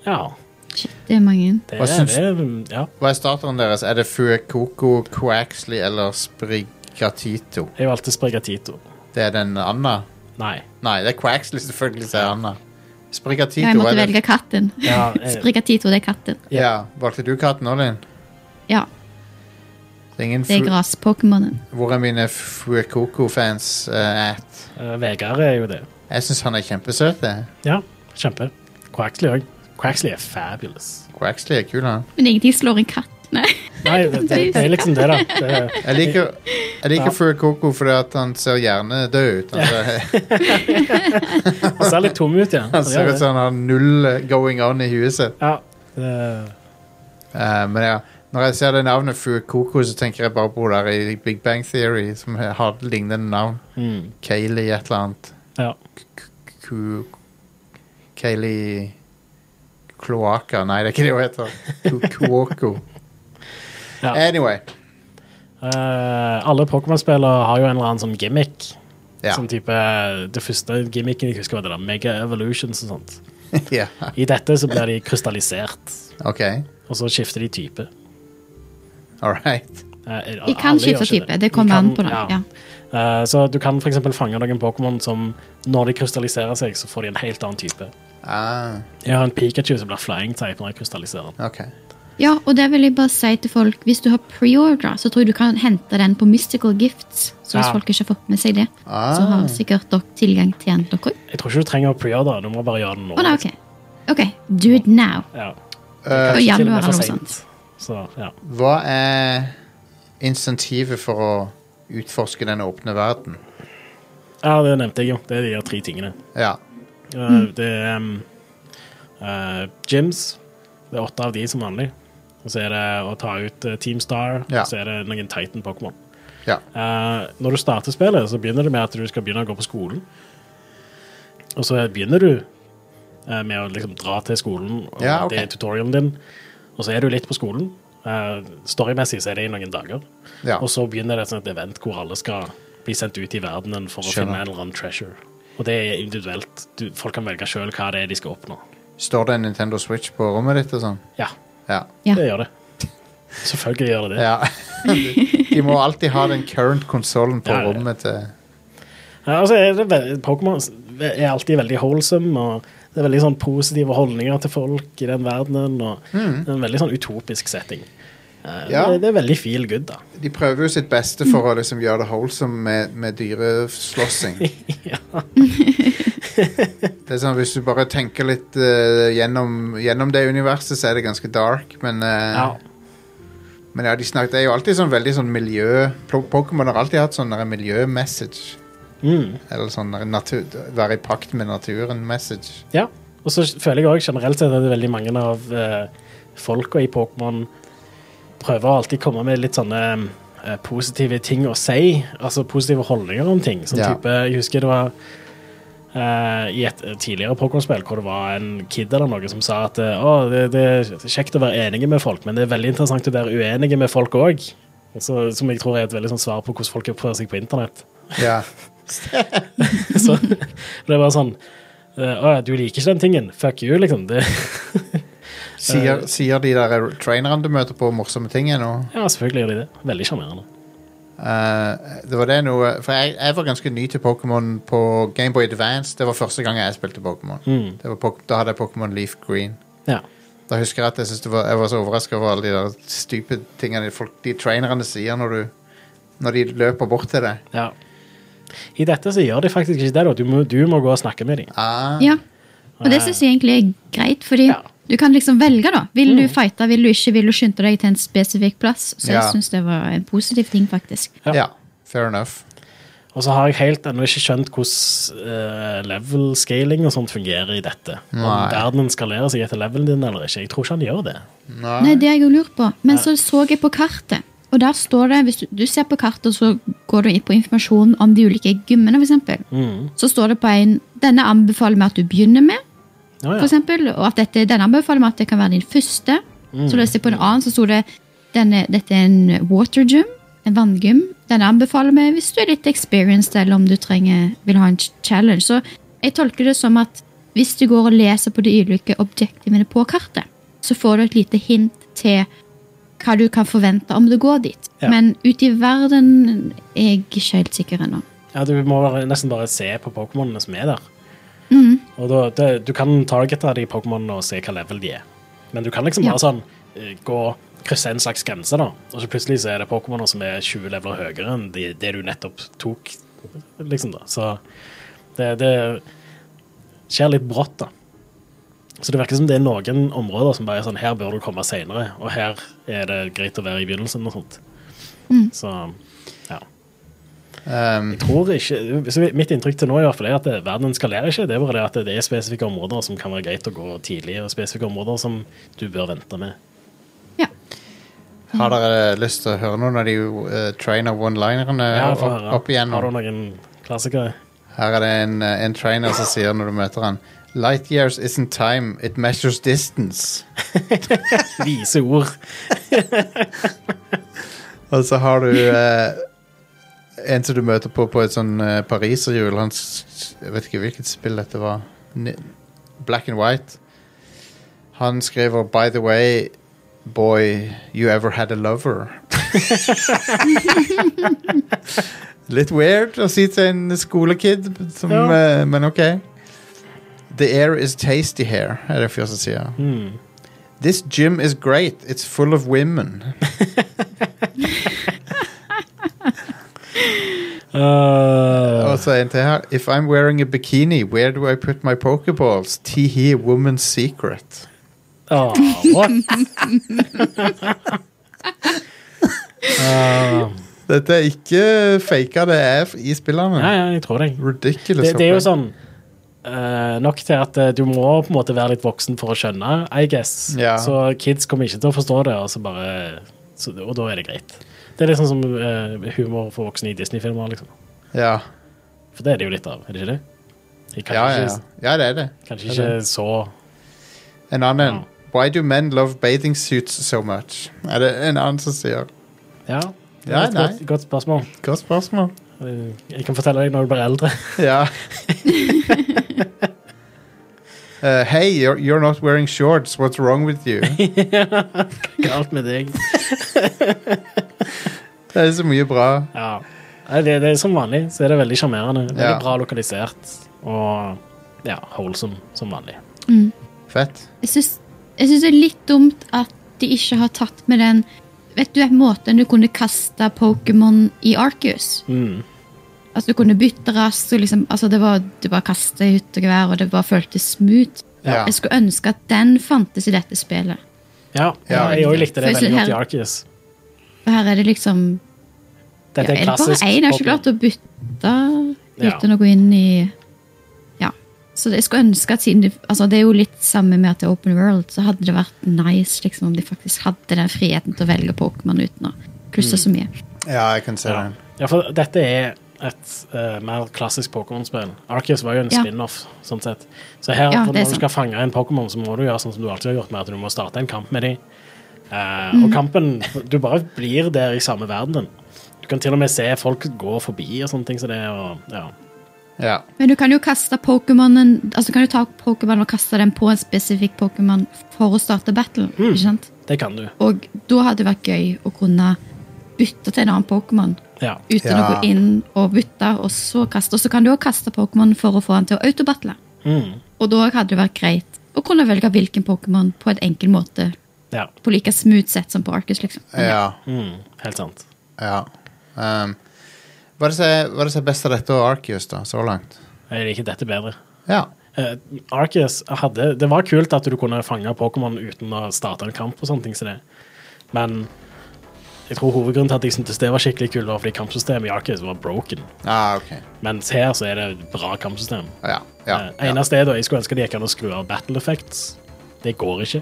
Ja.
Shit, det er mange.
Det
Hva
er,
syns-
det er Ja,
Hva er starteren deres? Er det Fuecoco, Quaxley eller Sprigatito?
jeg valgte Sprigatito.
Det er den Anna.
Nei.
Nei, det er Quaxley selvfølgelig, sier Anna. Sprigatito
Ja, jeg måtte
er
velge katten.
Ja, eh,
Sprigatito, det er katten.
Ja. Valgte du katten òg, Linn?
Ja,
Det er ingen
det er
fu-
gras-pokémonen.
Hvor er mine Fuecoco-fans eh, at?
eh, Vegard er jo det.
Jeg syns han er kjempesøt, eh. jeg.
Ja, kjempe. Quaxley òg. Quaxley er fabulous.
Quaxley er kul, han.
Men ingenting slår en katt. Nei.
Nei, det, det, det er liksom det, da. Det, er-
Jeg liker, jeg liker
Ja.
Fuecoco fordi at han ser hjernedød ut. Han ser,
han ser litt tom ut igjen.
han ser ut som han har null eh, going on i huet sitt.
Ja. det-
Eh, men ja, når jeg ser det navnet Fuecoco, så tenker jeg bare på det der i Big Bang Theory, som har lignende navn.
Mm,
Kayleigh et eller annet.
ja.
Ku... Kayleigh Kloaka Nei, det er ikke det hun heter. Ku- Kuoko.
Ja.
Anyway.
Eh, alle Pokémon-spillere har jo en eller annen sånn gimmick.
Ja.
Som type, eh, Det første gimmicken jeg husker, var det der Mega Evolutions og sånt.
ja.
I dette så blir de krystallisert,
OK.
og så skifter de type.
All right.
Eh,
De kan
alle gjør
skifte
ikke
type, det
De
kommer
kan-
an på det, ja.
Eh, så du kan f.eks. fange noen Pokémon som når de krystalliserer seg, så får de en helt annen type.
Ah,
Jeg har en Pikachu som blir flying type når jeg krystalliserer den.
OK.
Ja, og det vil jeg bare si til folk, hvis du har preordra, så tror jeg du kan hente den på Mystical Gifts. Så hvis
Ja.
folk ikke har fått med seg det, så
Ah.
har sikkert dere tilgang til den dere òg.
Jeg tror ikke du trenger å preordre, du må bare gjøre det nå.
Å nei, ok. Ok, do it now.
ja.
Og
Kanskje til og
januar
med for
eller noe
sent.
sånt.
Så, ja.
Hva er insentivet for å utforske den åpne verden?
ja, det nevnte jeg jo. Det er de her tre tingene.
Ja.
Eh, Det er um, eh, gyms. Det er åtte av de som vanlig. Og så er det å ta ut eh, Team Star,
Ja.
og så er det noen Titan-Pokémon.
ja.
Eh, når du starter spillet, så begynner det med at du skal begynne å gå på skolen. Og så begynner du eh, med å liksom dra til skolen, og
Ja, ok.
det er tutorialen din. Og så er du litt på skolen. Eh, storymessig så er det i noen dager.
ja.
Og så begynner det et sånt event hvor alle skal bli sendt ut i verdenen for å
Skjønner.
finne en eller annen treasure. Og det er individuelt. Du, folk kan velge sjøl hva det er de skal oppnå.
Står det en Nintendo Switch på rommet ditt og sånn?
Ja,
Ja.
Ja.
det gjør det. Selvfølgelig gjør det det.
ja. De må alltid ha den current konsollen på
Ja, ja.
rommet til
Ja, altså er det ve- Pokémon er alltid veldig wholesome, og det er veldig sånn positive holdninger til folk i den verdenen. og det er En veldig sånn utopisk setting. Eh,
Ja.
Det, det er veldig feel good, da.
De prøver jo sitt beste for å liksom gjøre det holdsomt med, med dyreslåssing.
Ja.
Det er sånn, Hvis du bare tenker litt eh, gjennom, gjennom det universet, så er det ganske dark, men eh,
Ja.
Men ja, de snakket, det er jo alltid sånn veldig sånn miljø Po- Pokémon har alltid hatt sånn der miljø-message.
Mm.
Eller sånn der natur, være i pakt med naturen-message.
ja. Og så føler jeg òg generelt sett at det er veldig mange av eh, folka i Pokémon prøver å alltid komme med litt sånne eh, positive ting å si. Altså positive holdninger om ting. Sånn
Ja.
type, Jeg husker det var eh, i et tidligere Pokémon-spill hvor det var en kid eller noe som sa at eh, å, det, det er kjekt å være enige med folk, men det er veldig interessant å være uenige med folk òg. Altså, som jeg tror er et veldig sånn svar på hvordan folk oppfører seg på internett.
Ja.
Så det var sånn eh, Å ja, du liker ikke den tingen. Fuck you, liksom. Det,
Sier, sier de der trainerne du møter på, morsomme ting ennå?
ja, selvfølgelig gjør de det. Veldig sjarmerende.
Eh, det var det noe For jeg, jeg var ganske ny til Pokémon på Gameboy Advance. Det var første gang jeg spilte Pokémon.
Mm.
Det var Pok- Da hadde jeg Pokémon Leaf Green.
Ja.
Da husker jeg at jeg, syntes det var, jeg var så overraska over alle de der stupid tingene folk, de trainerne sier når, du, når de løper bort til deg.
Ja. I dette så gjør de faktisk ikke det. da. Du må, du må gå og snakke med dem.
Ah,
Ja. Og det syns jeg egentlig er greit, fordi
Ja. Mm.
du kan liksom velge, da. Vil du fighte, vil du ikke, vil du skynde deg til en spesifikk plass? Så jeg
Ja.
syns det var en positiv ting, faktisk.
Ja.
ja. fair enough.
Og så har jeg helt ennå ikke skjønt hvordan eh, level scaling og sånt fungerer i dette. Om
Nei.
verden skalerer seg etter levelen din eller ikke. Jeg tror ikke han gjør det.
Nei.
Nei, det har jeg jo lurt på. Men så så jeg på kartet, Og der står det, Hvis du, du ser på kartet, så går du inn på informasjon om de ulike gymmene. For eksempel.
Mm.
Så står det på en Denne anbefaler vi at du begynner med.
Å, ja.
For eksempel, og at dette, denne anbefaler vi at det kan være din første. Så leste jeg på en annen, så sto det denne, dette er en water gym. En vanngym. Denne anbefaler vi hvis du er litt experienced eller om du trenger, vil ha en ch- challenge. Så jeg tolker det som at hvis du går og leser på de ulike objektivene på kartet, så får du et lite hint til hva du kan forvente om du går dit.
Ja.
Men ute i verden er jeg ikke helt sikker ennå.
ja, du må bare- nesten bare se på Pokémonene som er der. Og da, det, du kan targete de Pokémonene og se hva level de er. Men du kan liksom
Ja.
bare sånn eh, gå krysse en slags grense, da. Og så plutselig så er det Pokémoner som er 20 leveler høyere enn de, det du nettopp tok, liksom, da. Så det, det skjer litt brått, da. Så det virker som det er noen områder som bare er sånn Her bør du komme seinere, og her er det greit å være i begynnelsen og sånt. Så ja.
Um,
Jeg tror ikke, så Mitt inntrykk til nå i hvert fall er at det, verden skalerer ikke. Det er bare det at det er spesifikke områder som kan være greit å gå tidlig, og spesifikke områder som du bør vente med.
Ja.
har dere lyst til å høre noen av de eh, trainer one-linerne
Ja, få
opp,
høre.
opp igjennom?
Har du noen klassikere?
Her er det en, eh, en trainer som sier når du møter han Light years isn't time, it measures distance.
Vise ord.
Og så har du eh, en som du møter på på et sånn eh, pariserhjul. Han s- Jeg vet ikke hvilket spill dette var. Ni- Black and White. Han skriver 'By the way, boy, you ever had a lover'. Litt weird å si til en skolekid, som,
Ja.
eh, men ok. The air is tasty here, er det fyr som sier. This gym is great. It's full of women. Og
Uh,
så en til her. If I'm wearing a bikini, where do I put my pokeballs? Teehee, woman's secret.
ah, what? uh,
Dette er ikke faka, det er f- i spillene.
ja, ja, jeg tror deg.
Ridiculous.
Det, det er jo
opplegg.
sånn eh, nok til at eh, du må på en måte være litt voksen for å skjønne, I guess.
Ja.
Så kids kommer ikke til å forstå det, og, så bare, så, og da er det greit. Det er litt sånn som eh, humor for voksne i Disney-filmer, liksom.
Ja.
For det er det jo litt av, er det ikke det? Jeg kan
Ja, ja, ja.
ikke,
ja, det er det.
Kanskje ikke så
En annen. Why do men love bathing suits so much? Er det en annen som sier?
Ja, det
Ja,
er et
nei.
godt, godt spørsmål.
Godt spørsmål.
Eh, Jeg kan fortelle deg når du blir eldre.
Ja. Uh, hey, you're, you're not wearing shorts. What's wrong with you?
Galt med deg.
Det er så mye bra.
Ja. Nei, Det, det er som vanlig, så er det veldig sjarmerende. Veldig
Ja.
bra lokalisert og ja, holsom som vanlig.
Fett.
Jeg syns jeg syns det er litt dumt at de ikke har tatt med den Vet du den måten du kunne kaste Pokémon i Arcus? Altså, du kunne bytte raskt, og liksom altså, det var, Du bare kastet i hytt og gevær, og det bare føltes smooth.
Ja.
Jeg skulle ønske at den fantes i dette spillet.
Ja,
Ja.
jeg òg likte det
Først
veldig godt
her-
i Arceus.
For her er det liksom ja,
Dette
Er
er
det bare
klassisk.
én? Jeg har ikke
Pokémon.
klart å bytte
Ja.
uten å gå inn i Ja. Så det- jeg skulle ønske at siden det, altså det er jo litt samme med at det er open world, så hadde det vært nice liksom, om de faktisk hadde den friheten til å velge Pokémon uten å
Mm.
klusse så mye.
Ja, jeg kan se den.
Ja. ja, for dette er et eh, mer klassisk Pokémon-spill. Arceus var jo en
Ja.
spin-off, sånn sett. Så her,
Ja,
for
det
når du
er sant.
skal fange en Pokémon, så må du gjøre sånn som du alltid har gjort, med at du må starte en kamp med dem.
Mhm.
Og kampen Du bare blir der i samme verden. Du kan til og med se folk gå forbi og sånne ting som det. Og, ja.
Ja.
Men du kan jo kaste Pokémonen Altså du kan jo ta Pokémon og kaste den på en spesifikk Pokémon for å starte battle.
Mm.
Ikke sant?
Det kan du.
Og da hadde det vært gøy å kunne bytte til en annen Pokémon.
Ja.
uten å
Ja.
gå inn og bytte, og så kaste. Og så kan du òg kaste Pokémon for å få han til å autobattle.
Mm.
Og da hadde det vært greit å kunne velge hvilken Pokémon på en enkel måte.
ja.
På like smooth sett som på Arcus, liksom.
Ja.
Mm, helt sant.
ja. Um, hva er det som er- hva er det som er best av dette og Arceus da, så langt?
Jeg liker dette bedre.
Ja.
Eh, Arceus hadde Det var kult at du kunne fange Pokémon uten å starte en kamp og sånne ting som det. Men jeg tror hovedgrunnen til at jeg syntes det var skikkelig kult, var fordi kampsystemet i Arceus var broken.
Ah, ok.
Mens her så er det et bra kampsystem.
Ja. ja,
Eh,
ja.
Eneste er da jeg skulle ønske de gikk an å skru av battle effects. Det går ikke.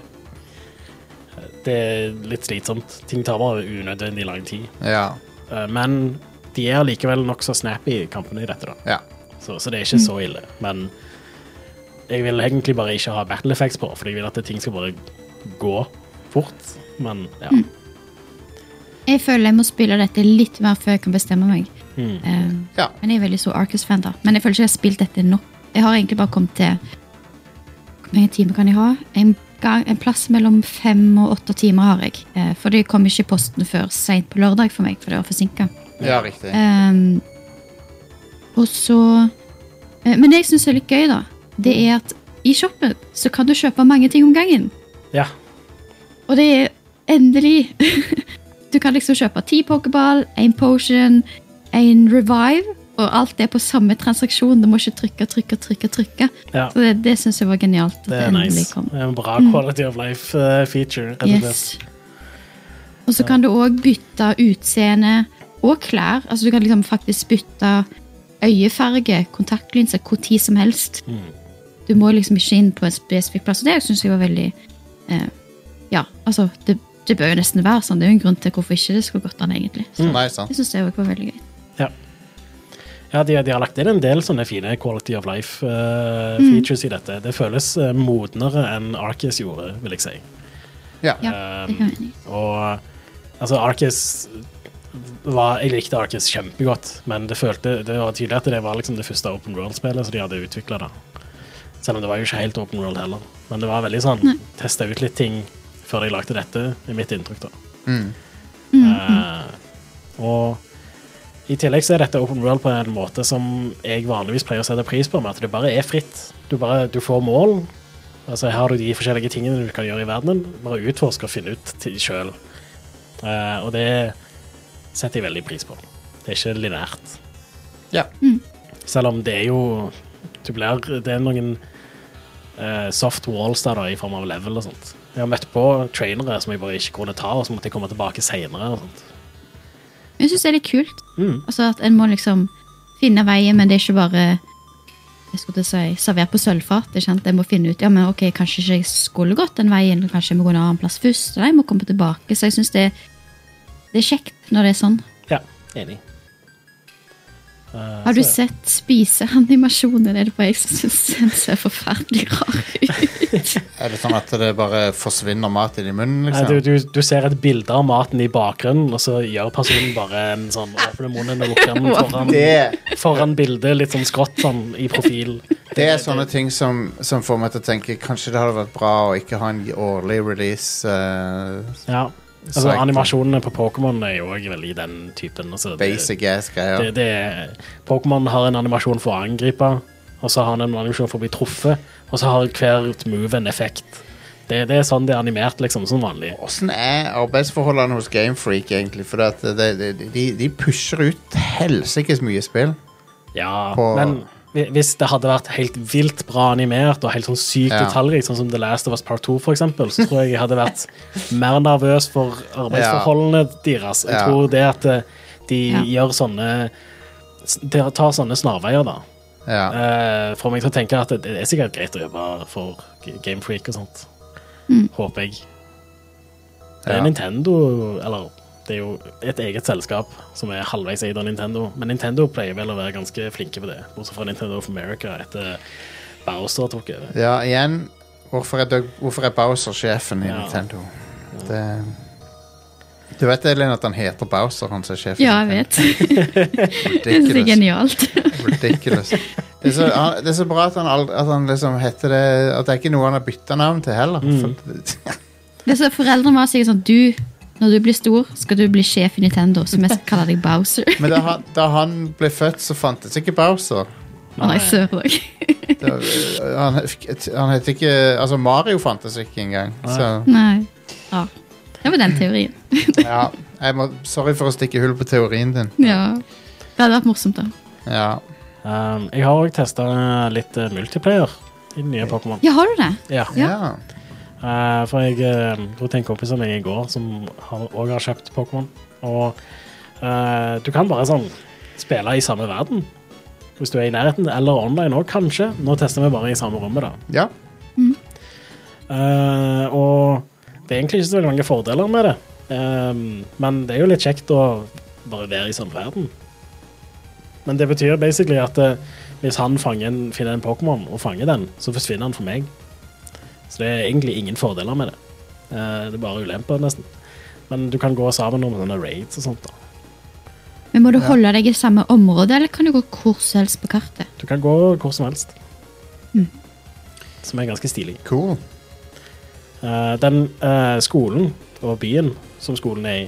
Eh, det er litt slitsomt. Ting tar bare unødvendig lang tid.
Ja.
Eh, Men de er likevel nokså snappy i kampene i dette, da.
ja.
Så, så det er ikke
Mm.
så ille. Men jeg vil egentlig bare ikke ha battle effects på, for jeg vil at ting skal bare gå fort. Men ja.
Mm. Jeg føler jeg må spille dette litt mer før jeg kan bestemme meg.
Mm.
Eh,
Ja.
men jeg er veldig stor Arcus-fan, da. Men jeg føler ikke jeg har spilt dette nok. Jeg har egentlig bare kommet til Hvor mange timer kan jeg ha? En, gang, en plass mellom fem og åtte timer har jeg. Eh, for det kom ikke i posten før seint på lørdag for meg, for det var forsinka.
ja riktig.
Ehm, og så eh, Men det jeg syns er litt gøy, da, det er at i shoppen så kan du kjøpe mange ting om gangen.
ja.
Og det er endelig Du kan liksom kjøpe ti pokéball, en potion, en revive, og alt det på samme transaksjon. Du må ikke trykke, trykke, trykke. trykke.
Ja.
Så det, det syns jeg var genialt. at
Det er
endelig
nice.
kom. Mm.
Det er en bra quality of life-feature. rett og slett.
Yes. Og så kan du òg bytte utseende og klær. Altså Du kan liksom faktisk bytte øyefarge, kontaktlinser, hvor tid som helst. Du må liksom ikke inn på en spesifikk plass. Og det syns jeg var veldig eh, Ja, altså det, det bør jo nesten være sånn. Det er jo en grunn til hvorfor ikke det skulle gått an, egentlig. Så
Nei, sant.
det syns jeg òg var veldig gøy.
Ja. Ja, de, de har lagt inn en del sånne fine quality of
Mm.
life-features i dette. Det føles eh, modnere enn Arcus gjorde, vil jeg si.
Ja.
Ja, det kan jeg være enig i.
Og altså, Arcus var, Jeg likte Arcus kjempegodt, men det følte Det var tydelig at det var liksom det første open world-spillet som de hadde utvikla, da. Selv om det var jo ikke helt open world heller. Men det var veldig sånn Testa ut litt ting før jeg lagde dette, er mitt inntrykk, da. Eh, og i tillegg så er dette open world på en måte som jeg vanligvis pleier å sette pris på, med at det bare er fritt. Du, bare, du får mål, Altså, her har du de forskjellige tingene du kan gjøre i verdenen. Bare utforske og finne ut til sjøl. og det setter jeg veldig pris på. Det er ikke lineært.
Ja.
Selv om det er jo du blir, Det er noen eh, soft walls der da, i form av level og sånt. Jeg har møtt på trainere som jeg bare ikke kunne ta, og så måtte jeg komme tilbake seinere.
Men Jeg syns det er litt kult. Altså At en må liksom finne veien, men det er ikke bare jeg skulle til å si, servert på sølvfat. ikke sant? En må finne ut ja, men ok, kanskje ikke jeg skulle gått den veien, kanskje jeg må gå en annen plass først. Nei, jeg må komme tilbake. Så jeg syns det, det er kjekt når det er sånn.
Ja, enig.
Har du sett spiseanimasjonen? Er det bare jeg som syns den ser forferdelig rar ut?
Er det sånn at det bare forsvinner mat inn i munnen,
Nei, du,
liksom?
du, du ser et bilde av maten i bakgrunnen, og så gjør personen bare en sånn åpner munnen og lukker den foran
Det,
foran bildet, litt sånn skrått sånn i profil.
det er sånne ting som, som får meg til å tenke kanskje det hadde vært bra å ikke ha en årlig release. eh,
Ja. Altså,
Psycho.
animasjonene på Pokémon er jo òg veldig den typen. Altså, det,
basic
det,
ass-greier.
det er- Pokémon har en animasjon for å angripe, og så har han en animasjon for å bli truffet, og så har hvert move en effekt. Det, det er sånn det er animert, liksom, som vanlig.
Åssen er arbeidsforholdene hos Gamefreak, egentlig? For det, at det, det, de, de pusher ut helsikes mye spill.
Ja,
På-
men hvi- hvis det hadde vært helt vilt bra animert og helt sånn sykt
Ja.
detaljrikt, sånn som The Last of Us Part 2, for eksempel, så tror jeg jeg hadde vært mer nervøs for arbeidsforholdene deres. Jeg
Ja.
tror det at eh, de
Ja.
gjør sånne s- De tar sånne snarveier, da.
Ja.
Eh, får meg til å tenke at det er sikkert greit å jobbe for G- Game Freak og sånt. Håper jeg. Det er
Mm. Ja.
Nintendo, eller det er jo et eget selskap som er halvveis eid av Nintendo. Men Nintendo pleier vel å være ganske flinke på det, bortsett fra Nintendo of America etter Bowser tok over.
ja, igjen Hvorfor er, Doug, hvorfor er Bowser sjefen i
Ja.
Nintendo? Det, du vet Elin, at han heter Bowser, han som er sjefen? i
Ja, jeg
Nintendo?
vet. Det syns jeg er genialt.
Ridiculous. Det er så, han, det er så bra at han, ald- at han liksom heter det At det er ikke noe han har bytta navn til heller. For,
Det er så Foreldrene var sikkert sånn Du, når du blir stor, skal du bli sjef i Nintendo, så vi skal kalle deg Bowser.
men da, han- da han ble født, så fantes ikke Bowser.
Å nei, søren.
Det, han, han het ikke Altså, Mario fantes ikke engang. Så
Nei. Ja. Det var den teorien.
ja. Jeg må, sorry for å stikke hull på teorien din.
Ja. Det hadde vært morsomt, da.
Ja.
Um, jeg har òg testa litt eh, multiplayer i den nye Pokémon.
Ja, har du det?
Ja.
Ja.
Eh, for jeg eh, dro til en kompis av meg i går som har- òg har kjøpt Pokémon. Og eh, du kan bare sånn spille i samme verden. Hvis du er i nærheten, eller online òg, kanskje. Nå tester vi bare i samme rommet, da.
ja.
Eh, og Det er egentlig ikke så veldig mange fordeler med det. Ehm, men det er jo litt kjekt å bare være i samme verden. Men det betyr basically at eh, hvis han fanger en, finner en Pokémon og fanger den, så forsvinner han for meg. Så det er egentlig ingen fordeler med det. Eh, det er bare ulemper, nesten. Men du kan gå sammen om sånne raids og sånt. da.
Men Må du holde deg i samme område, eller kan du gå hvor som helst på kartet?
Du kan gå hvor som helst. Som er ganske stilig.
Cool.
Eh, den eh, skolen og byen som skolen er i,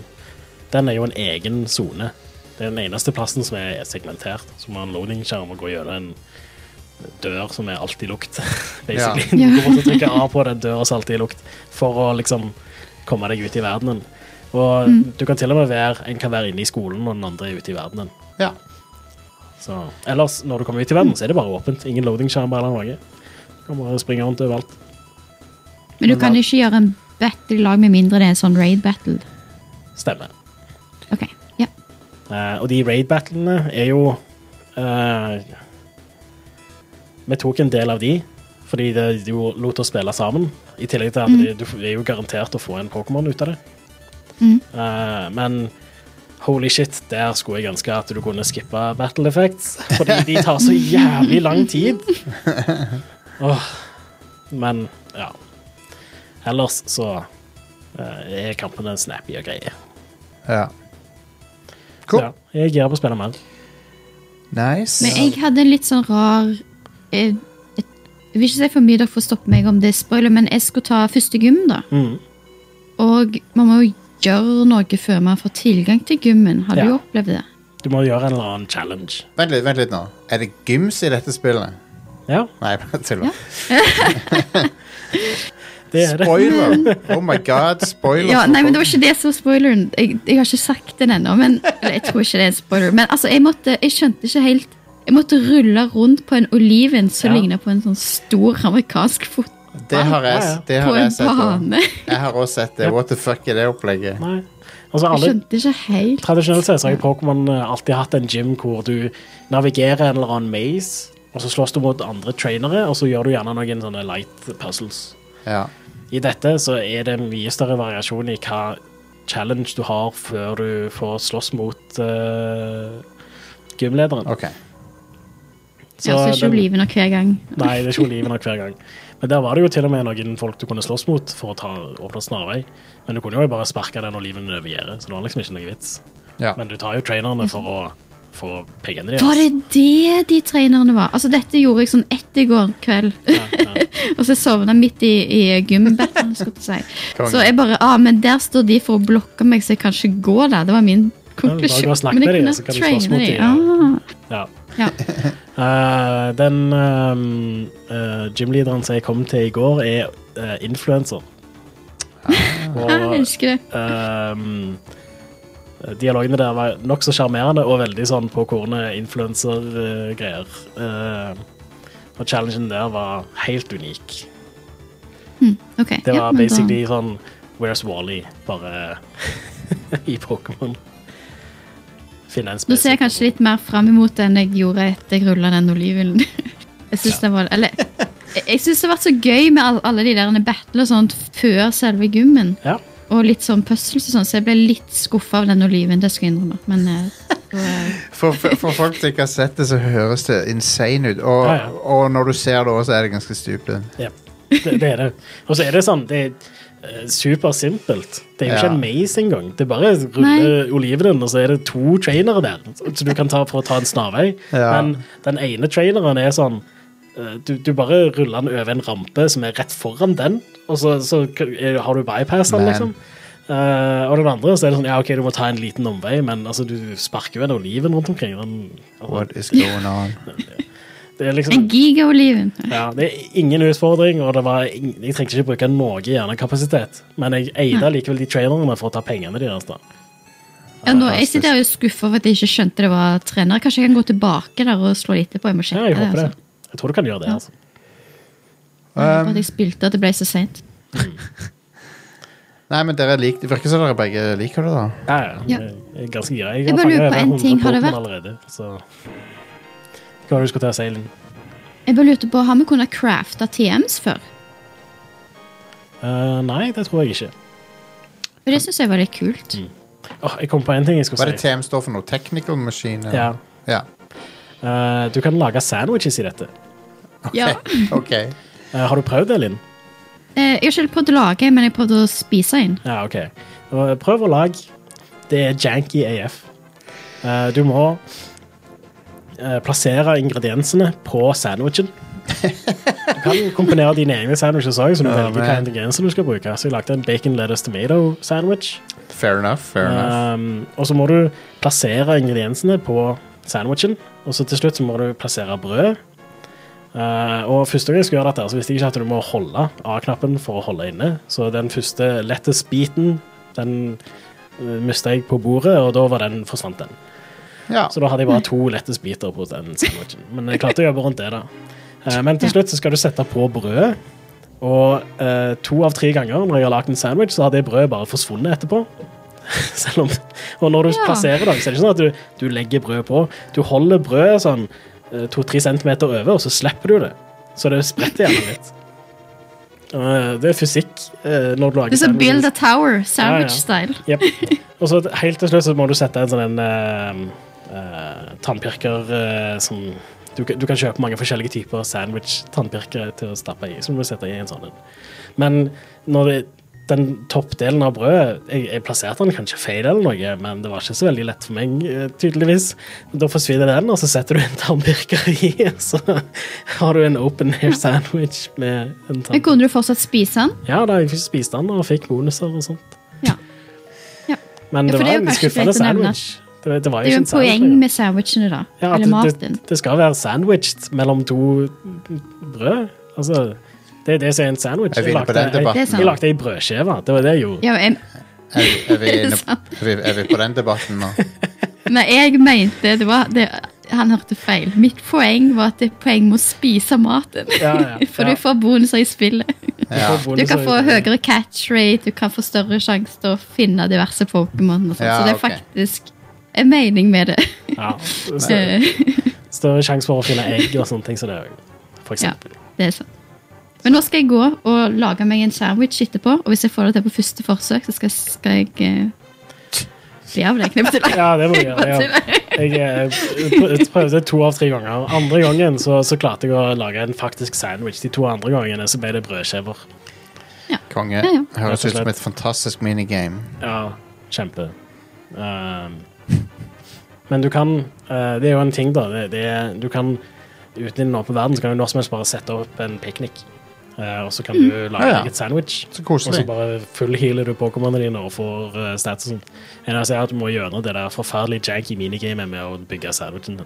den er jo en egen sone. Det er den eneste plassen som er segmentert. Som har en loading-skjerm og går gjennom en dør som er alltid lukt. basically.
Ja.
Du måtte trykke A på den døra som alltid er lukt, for å liksom komme deg ut i verdenen. Og
Mm.
du kan til og med være, en kan være inne i skolen, og den andre er ute i verdenen.
Ja.
Så, ellers, når du kommer ut i verden, så er det bare åpent. Ingen loading-skjerm eller noe. Du kan bare springe rundt overalt.
Men du kan ikke gjøre en battle i lag med mindre det er en sånn raid battle.
Stemmer.
Ok, ja.
Eh, og de raid-battlene er jo eh, Vi tok en del av de, fordi det, de jo lot oss spille sammen. I tillegg til at det, du er jo garantert å få en Pokémon ut av det. Eh, men holy shit, der skulle jeg ønske at du kunne skippe battle effects, fordi de tar så jævlig lang tid. Åh, men ja. Ellers så eh, er kampene snappy og greie.
ja. Cool.
Ja, jeg er gira på å spille mer.
Nice.
Men jeg hadde en litt sånn rar eh, et- Jeg vil ikke si for mye, dere får stoppe meg om det er spoiler, men jeg skulle ta første gym, da.
Mhm.
Og man må jo gjøre noe før man får tilgang til gymmen. Har
Ja.
du opplevd det?
Du må gjøre en eller annen challenge.
Vent litt, vent litt nå. Er det gyms i dette spillet?
Ja,
Nei, bare tuller.
det er det.
Spoiler! Oh my god, spoiler.
Ja,
for
nei, men
folk.
Det var ikke det som var spoileren. Jeg, jeg har ikke sagt den ennå. Men, eller, jeg tror ikke det er en spoiler. Men altså, jeg, måtte, jeg skjønte ikke helt Jeg måtte rulle rundt på en oliven som
Ja.
lignet på en sånn stor amerikansk fot
Det har jeg,
Ja, ja.
det
på
har jeg
en
sett. også.
bane.
Jeg har også sett det. What the fuck er det opplegget?
Nei. Altså,
Jeg
alle,
skjønte ikke helt.
tradisjonelt sett så har jo Pokémon eh, alltid hatt en gym hvor du navigerer en eller annen maze, og så slåss du mot andre trainere, og så gjør du gjerne noen sånne light puzzles.
Ja.
I dette så er det mye større variasjon i hva challenge du har før du får slåss mot eh, gymlederen.
OK.
Jeg har ikke
den-
olivener hver gang.
Nei, det er ikke olivener hver gang. Men der var det jo til og med noen folk du kunne slåss mot for å ta, åpne snarvei. Men du kunne jo bare sparke den olivenen over gjerdet, så det var liksom ikke noe vits.
Ja.
Men du tar jo trainerne for å få pengene deres.
Var det det de trainerne var? Altså, Dette gjorde jeg sånn ett i går kveld. og så sovna jeg midt i, i gymbattlen. skulle jeg til å
Konge.
Si. Så jeg bare ah, men der står de for å blokke meg, så jeg kan ikke gå der. Det var min konklusjon.
bare gå og snakke
men
med
jeg
de,
kunne
så kan du
traine
slåss mot
de. Ah.
de, Ja.
Ja.
Eh, den ehm, eh, gymlederen som jeg kom til i går, er eh, influencer.
Ah, jeg elsker det.
Ehm, eh, dialogene der var nokså sjarmerende og veldig sånn på kornet influenser-greier. og challengen der var helt unik.
Ok,
eh, Det
ja,
var
men da-
basically sånn Where's Wally? Bare i Pokémon. Finne en
Da ser jeg
spesifikk-
kanskje litt mer fram imot det enn jeg gjorde etter jeg rulla den olivenen. jeg syns det var Eller jeg- jeg synes det har vært så gøy med all, alle de der battle og sånt før selve gymmen.
Ja.
Og litt sånn puzzles og sånn, så jeg ble litt skuffa av den oliven. Det skal jeg innrømme. Men eh, det var-
For, for, for folk som ikke har sett det, så høres det insane ut. Og,
Ja, ja.
og når du ser det også, så er det ganske stupid.
Ja, det, det er det. Og så er det sånn, det er eh, supersimpelt. Det er jo ikke
Ja.
en maze engang. Det er bare å rulle
Nei.
olivenen, og så er det to trainere der, så du kan ta for å ta en snarvei.
Ja.
Men den ene traineren er sånn eh, du, du bare ruller den over en rampe som er rett foran den, og så, så k- er- har du bypass den,
Man.
liksom. Eh, og den andre så er det sånn, ja, ok, du må ta en liten omvei, men altså, du sparker jo en oliven rundt omkring. Den, altså,
What is going on?
det er liksom,
En giga-oliven.
ja, det er ingen utfordring, og det var ing- jeg trengte ikke bruke noe hjernekapasitet. Men jeg
Hm.
eide likevel de trailerne for å ta pengene deres. da.
Ja, nå, jeg sitter her og er skuffa over at jeg ikke skjønte det var trener. Kanskje jeg kan gå tilbake der og slå det etterpå? Jeg må
Ja,
sjekke
jeg håper det.
Altså.
Jeg tror du kan gjøre det. altså.
Bare at jeg spilte at det ble så seint.
Nei, men dere lik, Det virker som dere begge liker det, da.
Ja, ja.
Ja.
Jeg er ganske gira. Jeg
Jeg
har
bare lurer
fanget over
på en
100
ting. Har det
Pokémon
vært-
allerede. så... Hva var det du skulle til å si, Linn?
Jeg bare lurte på, Har vi kunnet crafte TMs før?
Eh, nei, det tror jeg ikke.
Og det syns jeg var litt kult.
Åh, jeg kom på en ting jeg
Hva er
skulle
det
si.
TM står for noe? Technical machine? eller?
Ja.
ja.
Eh, du kan lage sandwiches i dette.
Ja.
OK.
Eh, har du prøvd det, Linn?
Eh, Jeg har ikke prøvd å lage, men jeg prøvde å spise en.
Ja, ok. Og Prøv å lage. Det er janky AF. Eh, Du må eh, plassere ingrediensene på sandwichen. Du kan kombinere dine egne sandwiches òg, så du
Ja,
velger hvilke
man.
ingredienser du skal bruke. Så jeg lagde en bacon lettuce tomato sandwich.
Fair enough. Fair enough.
Um, og så må du plassere ingrediensene på sandwichen. Og så til slutt så må du plassere brød. Uh, og første gang jeg skulle gjøre dette, så visste jeg ikke at du må holde A-knappen for å holde inne. Så den første lettest-biten, den uh, mista jeg på bordet, og da var den forsvant den.
Ja.
Så da hadde jeg bare to lettest-biter på den sandwichen. Men jeg klarte å jobbe rundt det, da. Eh, Men til slutt så skal du sette på brødet. Og eh, to av tre ganger når jeg har lagd en sandwich, så har det brødet bare forsvunnet etterpå. Selv om, og når du
Ja.
plasserer det, så er det ikke sånn at du, du legger brødet på. Du holder brødet sånn eh, to-tre centimeter over, og så slipper du det. Så det spretter gjerne litt. Eh, det er fysikk eh, når du lager
Det er sånn
sandwiches.
Build a Tower,
Ja,
sandwich-style.
Jep. Og så helt til slutt så må du sette en sånn en eh, eh, tannpirker eh, som du, kan- du kan kjøpe mange forskjellige typer sandwich-tannpirkere til å stappe i. Så må du sette i en sånn en. Men når det, den toppdelen av brødet jeg, jeg plasserte den kanskje feil eller noe, men det var ikke så veldig lett for meg, eh, tydeligvis. Da forsvinner den, og så setter du en tannpirker i, og så har du en open air sandwich med en
Men
tannpirker.
kunne du fortsatt spise den?
Ja, da jeg spiste den og fikk bonuser og sånt.
Ja.
Men
Ja,
det
for
var
det er jo
en
kanskje
skuffende
greit å nevne.
sandwich. Det, det var
Det er
jo ikke
jo en
en sandwich.
poeng
lenger.
med sandwichene, da.
ja,
Eller
at det,
maten.
det, det skal være sandwiched mellom to brød. Altså, det er det som er en sandwich.
Er vi inne på den
jeg,
debatten?
Det er sant.
jeg lagde ei brødskive. Det var det jeg gjorde.
Ja, jeg,
Er, vi- er, vi
Det er
inne,
sant.
er, vi, er vi på den debatten nå?
nei, jeg mente det var det, Han hørte feil. Mitt poeng var at det er poeng med å spise maten.
Ja, ja,
For
ja.
du får bonuser i spillet.
Ja.
Du får
Du
bonus
kan
av-
få høyere catch rate, du kan få større sjanse til å finne diverse Pokémon. og sånt.
Ja,
Så det er
ok.
faktisk en mening med det.
Ja, så, større sjanse for å finne egg og sånne ting som det òg, for
ja,
eksempel.
det er sant. Men nå skal jeg gå og lage meg en sandwich etterpå, og hvis jeg får det til på første forsøk, så skal, skal jeg eh, bli av det knippet til deg.
Ja, det må jeg gjøre. Ja. Jeg eh, pr- prøvde to av tre ganger. Andre gangen så, så klarte jeg å lage en faktisk sandwich. De to andre gangene så ble det brødskiver.
Konge.
Ja, ja.
Høres ut
Rett og
som
slett.
et fantastisk minigame.
Ja, kjempe. Ehm, men du kan eh, Det er jo en ting, da. Det, det, er- du kan Uten den åpne verden så kan du når som helst bare sette opp en piknik. Eh, og så kan du lage
Mm. Ja, ja.
deg et sandwich.
Så
Og så
koselig.
bare fullhealer du Pokémonene dine og får uh, statsen. Eneste er at du må gjøre det der forferdelig janky minigamet med å bygge sandwichen din.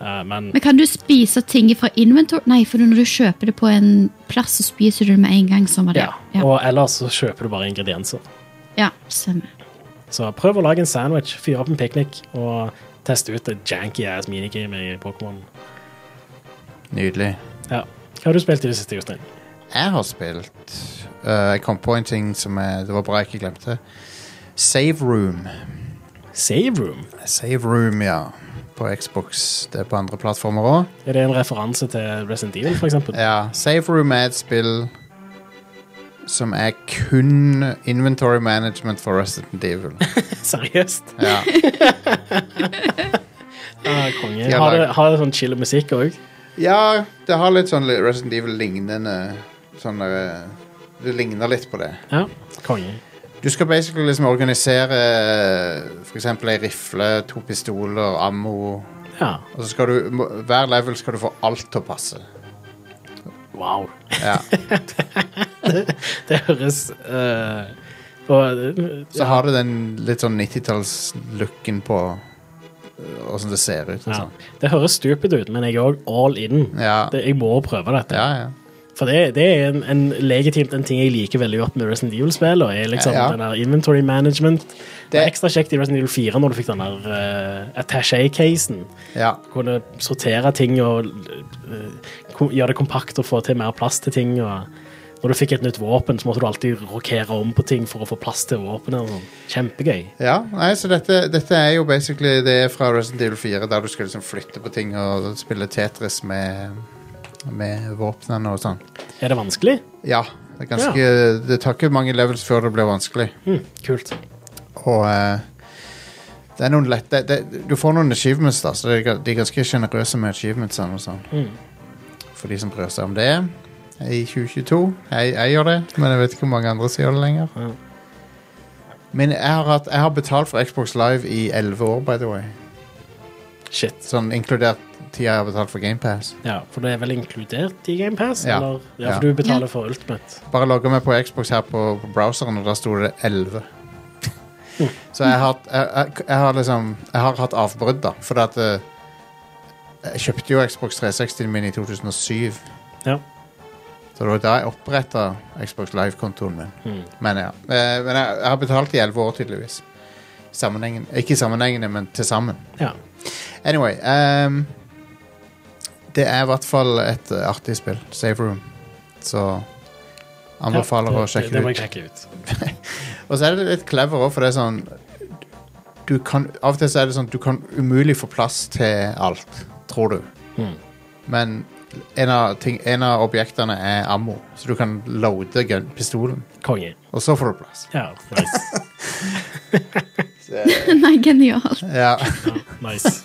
Eh, men
Men kan du spise ting fra inventor? Nei, for når du kjøper det på en plass, så spiser du det med en gang. Sånn var det.
ja.
Ja.
Og ellers så kjøper du bare ingredienser.
Ja, stemmer.
Så prøv å lage en sandwich, fyre opp en piknik og teste ut det janky ass minigamet i Pokémon.
Nydelig.
Ja. Hva har du spilt i det siste, Jostein?
Jeg har spilt eh, Jeg kom på en ting som jeg, det var bra jeg ikke glemte. Save Room.
Save Room?
Save Room, ja. På Xbox. Det er på andre plattformer òg.
Er det en referanse til Resident Evil, for eksempel?
Ja, Safe Room er et spill som er kun inventory management for Resident Evil.
Seriøst?
Ja,
Ja, konge.
Ja,
Har det,
da-
har det sånn chill musikk òg?
ja det har litt sånn li- Resident Evil-lignende sånn eh, Det ligner litt på det.
Ja. Konge.
Du skal basically liksom organisere eh, For eksempel ei rifle, to pistoler, ammo
Ja.
Og så skal du må- Hver level skal du få alt til å passe.
Wow.
Ja.
Det høres eh, og,
Så har du den litt sånn 90-talls-looken på eh, åssen det ser ut. og
ja.
sånn.
Det høres stupid ut, men jeg er òg all in.
Ja.
Det, jeg må prøve dette.
Ja, ja.
For det, det er en, en legitimt en ting jeg liker veldig godt med Resident Evil-spill. Og er liksom
Ja.
den der inventory management. Det
Det-
var ekstra kjekt i Resident Evil 4 når du fikk den der eh, attaché-casen.
ja.
Kunne sortere ting og eh, ko- gjøre det kompakt og få til mer plass til ting. Og når du fikk et nytt våpen, så måtte du alltid rokere om på ting for å få plass til våpenet. og sånn. Kjempegøy.
Ja, nei, så dette, dette er jo basically det er fra Resident Evil 4, der du skal liksom flytte på ting og spille Tetris med, med våpnene og sånn.
Er det vanskelig?
Ja, Det, er ganske, det tar ikke mange levels før det blir vanskelig.
Hm, kult.
Og eh, det er noen lette det, Du får noen achievements, da, så det er, ga- de er ganske sjenerøse med achievementsene. og sånn. For de som bryr seg om det. I 2022. Jeg, jeg gjør det, men jeg vet ikke hvor mange andre som gjør det lenger.
Mm.
Men jeg har, hatt, jeg har betalt for Xbox Live i 11 år, by the way.
Shit.
Sånn inkludert tida jeg har betalt for GamePass.
Ja, for det er vel inkludert i GamePass?
Ja.
Eller? Ja,
Ja.
for du betaler
Ja.
for Ultimate.
Bare logga meg på Xbox her på, på browseren, og da sto det 11. Så jeg har, jeg, jeg, jeg har liksom Jeg har hatt avbrudd, da. For at eh, Jeg kjøpte jo Xbox 360 min i 2007.
Ja.
Så det var da jeg oppretta Xbox Live-kontoen min.
Mm.
Men ja. Eh, Men jeg, jeg har betalt i 11 år, tydeligvis. Sammenhengen, ikke sammenhengende, men til sammen.
ja.
Anyway ehm, Det er i hvert fall et eh, artig spill. Save Room. Så anbefaler
ja,
å sjekke
det, det
ut.
må jeg sjekke ut.
Og så er det litt clever òg, for det er sånn du kan, Av og til så er det sånn du kan umulig få plass til alt, tror du.
Mhm.
Men en av, ting, en av objektene er ammo, så du kan loade gun, pistolen.
Konge.
Og så får du plass.
Ja, nice.
Nei, genialt.
Ja.
nice.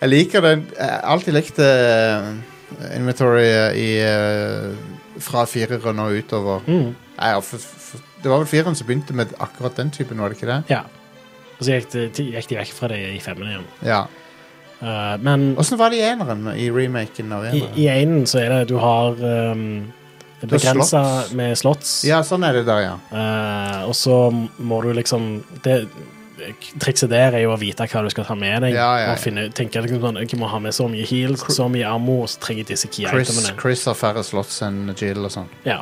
Jeg liker den. Jeg har alltid likt eh, inventory i, eh, fra fireren og utover.
Mm.
Nei, ja, for, for, det var vel fireren som begynte med akkurat den typen, var det ikke det?
Ja. Og så gikk, det, gikk de vekk fra det i femmene igjen.
Ja.
Eh, men
Åssen var det i eneren i remaken? av
i,
eneren?
i einen så er det du har um,
har
begrensa
slotts.
med slotts,
Ja, sånn er det der, ja.
eh, og så må du liksom det, Trikset der er jo å vite hva du skal ta med deg.
Ja, ja, ja.
Og finne, tenke liksom sånn, Jeg må ha med så mye heals, så mye ammo, og så trenger jeg disse
Chris,
key-itemene.
Chris har færre slotts enn Jill og sånn.
Ja,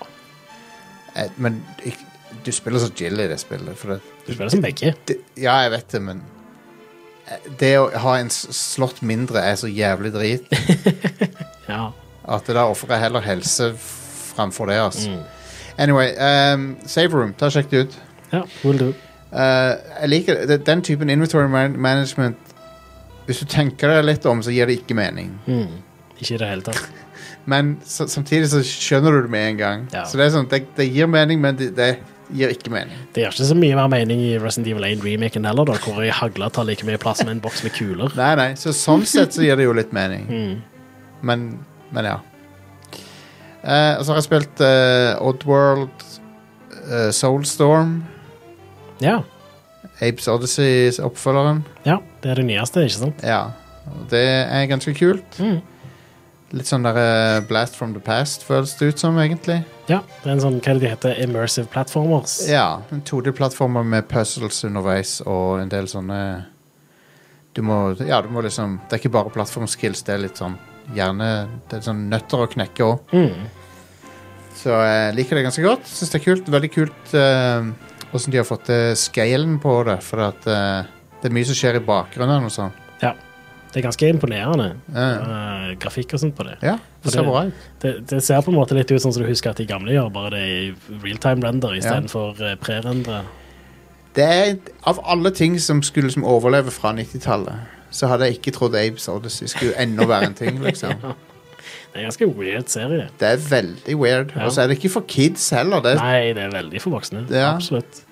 Eh, Men ik- du spiller som Jill i det spillet. For det,
du spiller som begge.
det, ja, jeg vet det, men eh, Det å ha en s- slott mindre er så jævlig drit
Ja.
at da ofrer jeg heller helse f- framfor det, altså.
Mm.
Anyway, ehm, save room. Ta og Sjekk det ut.
ja will do.
Eh, jeg liker det. den typen inventory man management Hvis du tenker deg litt om, så gir det ikke mening.
Mm. Ikke i det hele tatt.
Men så, samtidig så skjønner du det med en gang.
Ja.
Så det er sånn, det, det gir mening, men det, det gir ikke mening.
Det gjør ikke så mye mer mening i Resident Evil 1 remaken heller, da, hvor ei hagle tar like mye plass med en boks med kuler.
Nei, nei, så sånn sett så gir det jo litt mening.
Mm.
Men, men ja. Eh, og så har jeg spilt eh, Oddworld, eh, Soulstorm,
Ja.
Apes Odysseys oppfølgeren.
ja, det er det nyeste, ikke sant?
Ja, og det er ganske kult.
Mm.
Litt sånn der eh, Blast from the Past føles det ut som, egentlig.
Ja, det er en sånn, hva er det de heter, immersive platformers.
Ja, en 2D-plattformer med puzzles underveis og en del sånne Du må, ja, du må liksom Det er ikke bare plattformskills, det er litt sånn gjerne Det er sånn nøtter å knekke òg.
Mm.
Så jeg liker det ganske godt. Syns det er kult. Veldig kult åssen de har fått til scalen på det. For at eh, det er mye som skjer i bakgrunnen og sånn.
ja. Det er ganske imponerende.
Eh,
eh, grafikk og sånt på det.
ja,
For
det ser
det-
bra ut.
det. Det ser på en måte litt ut sånn som du husker at de gamle gjør, bare det er i realtime render istedenfor ja. pre-render.
Det er Av alle ting som skulle liksom overleve fra 90-tallet, så hadde jeg ikke trodd Abes Odyssey skulle ennå være en ting, liksom.
Det er en ganske weird serie.
Det er veldig weird.
Ja.
Og så er det ikke for kids heller. Det,
Nei, det er veldig for voksne.
Ja.
Absolutt.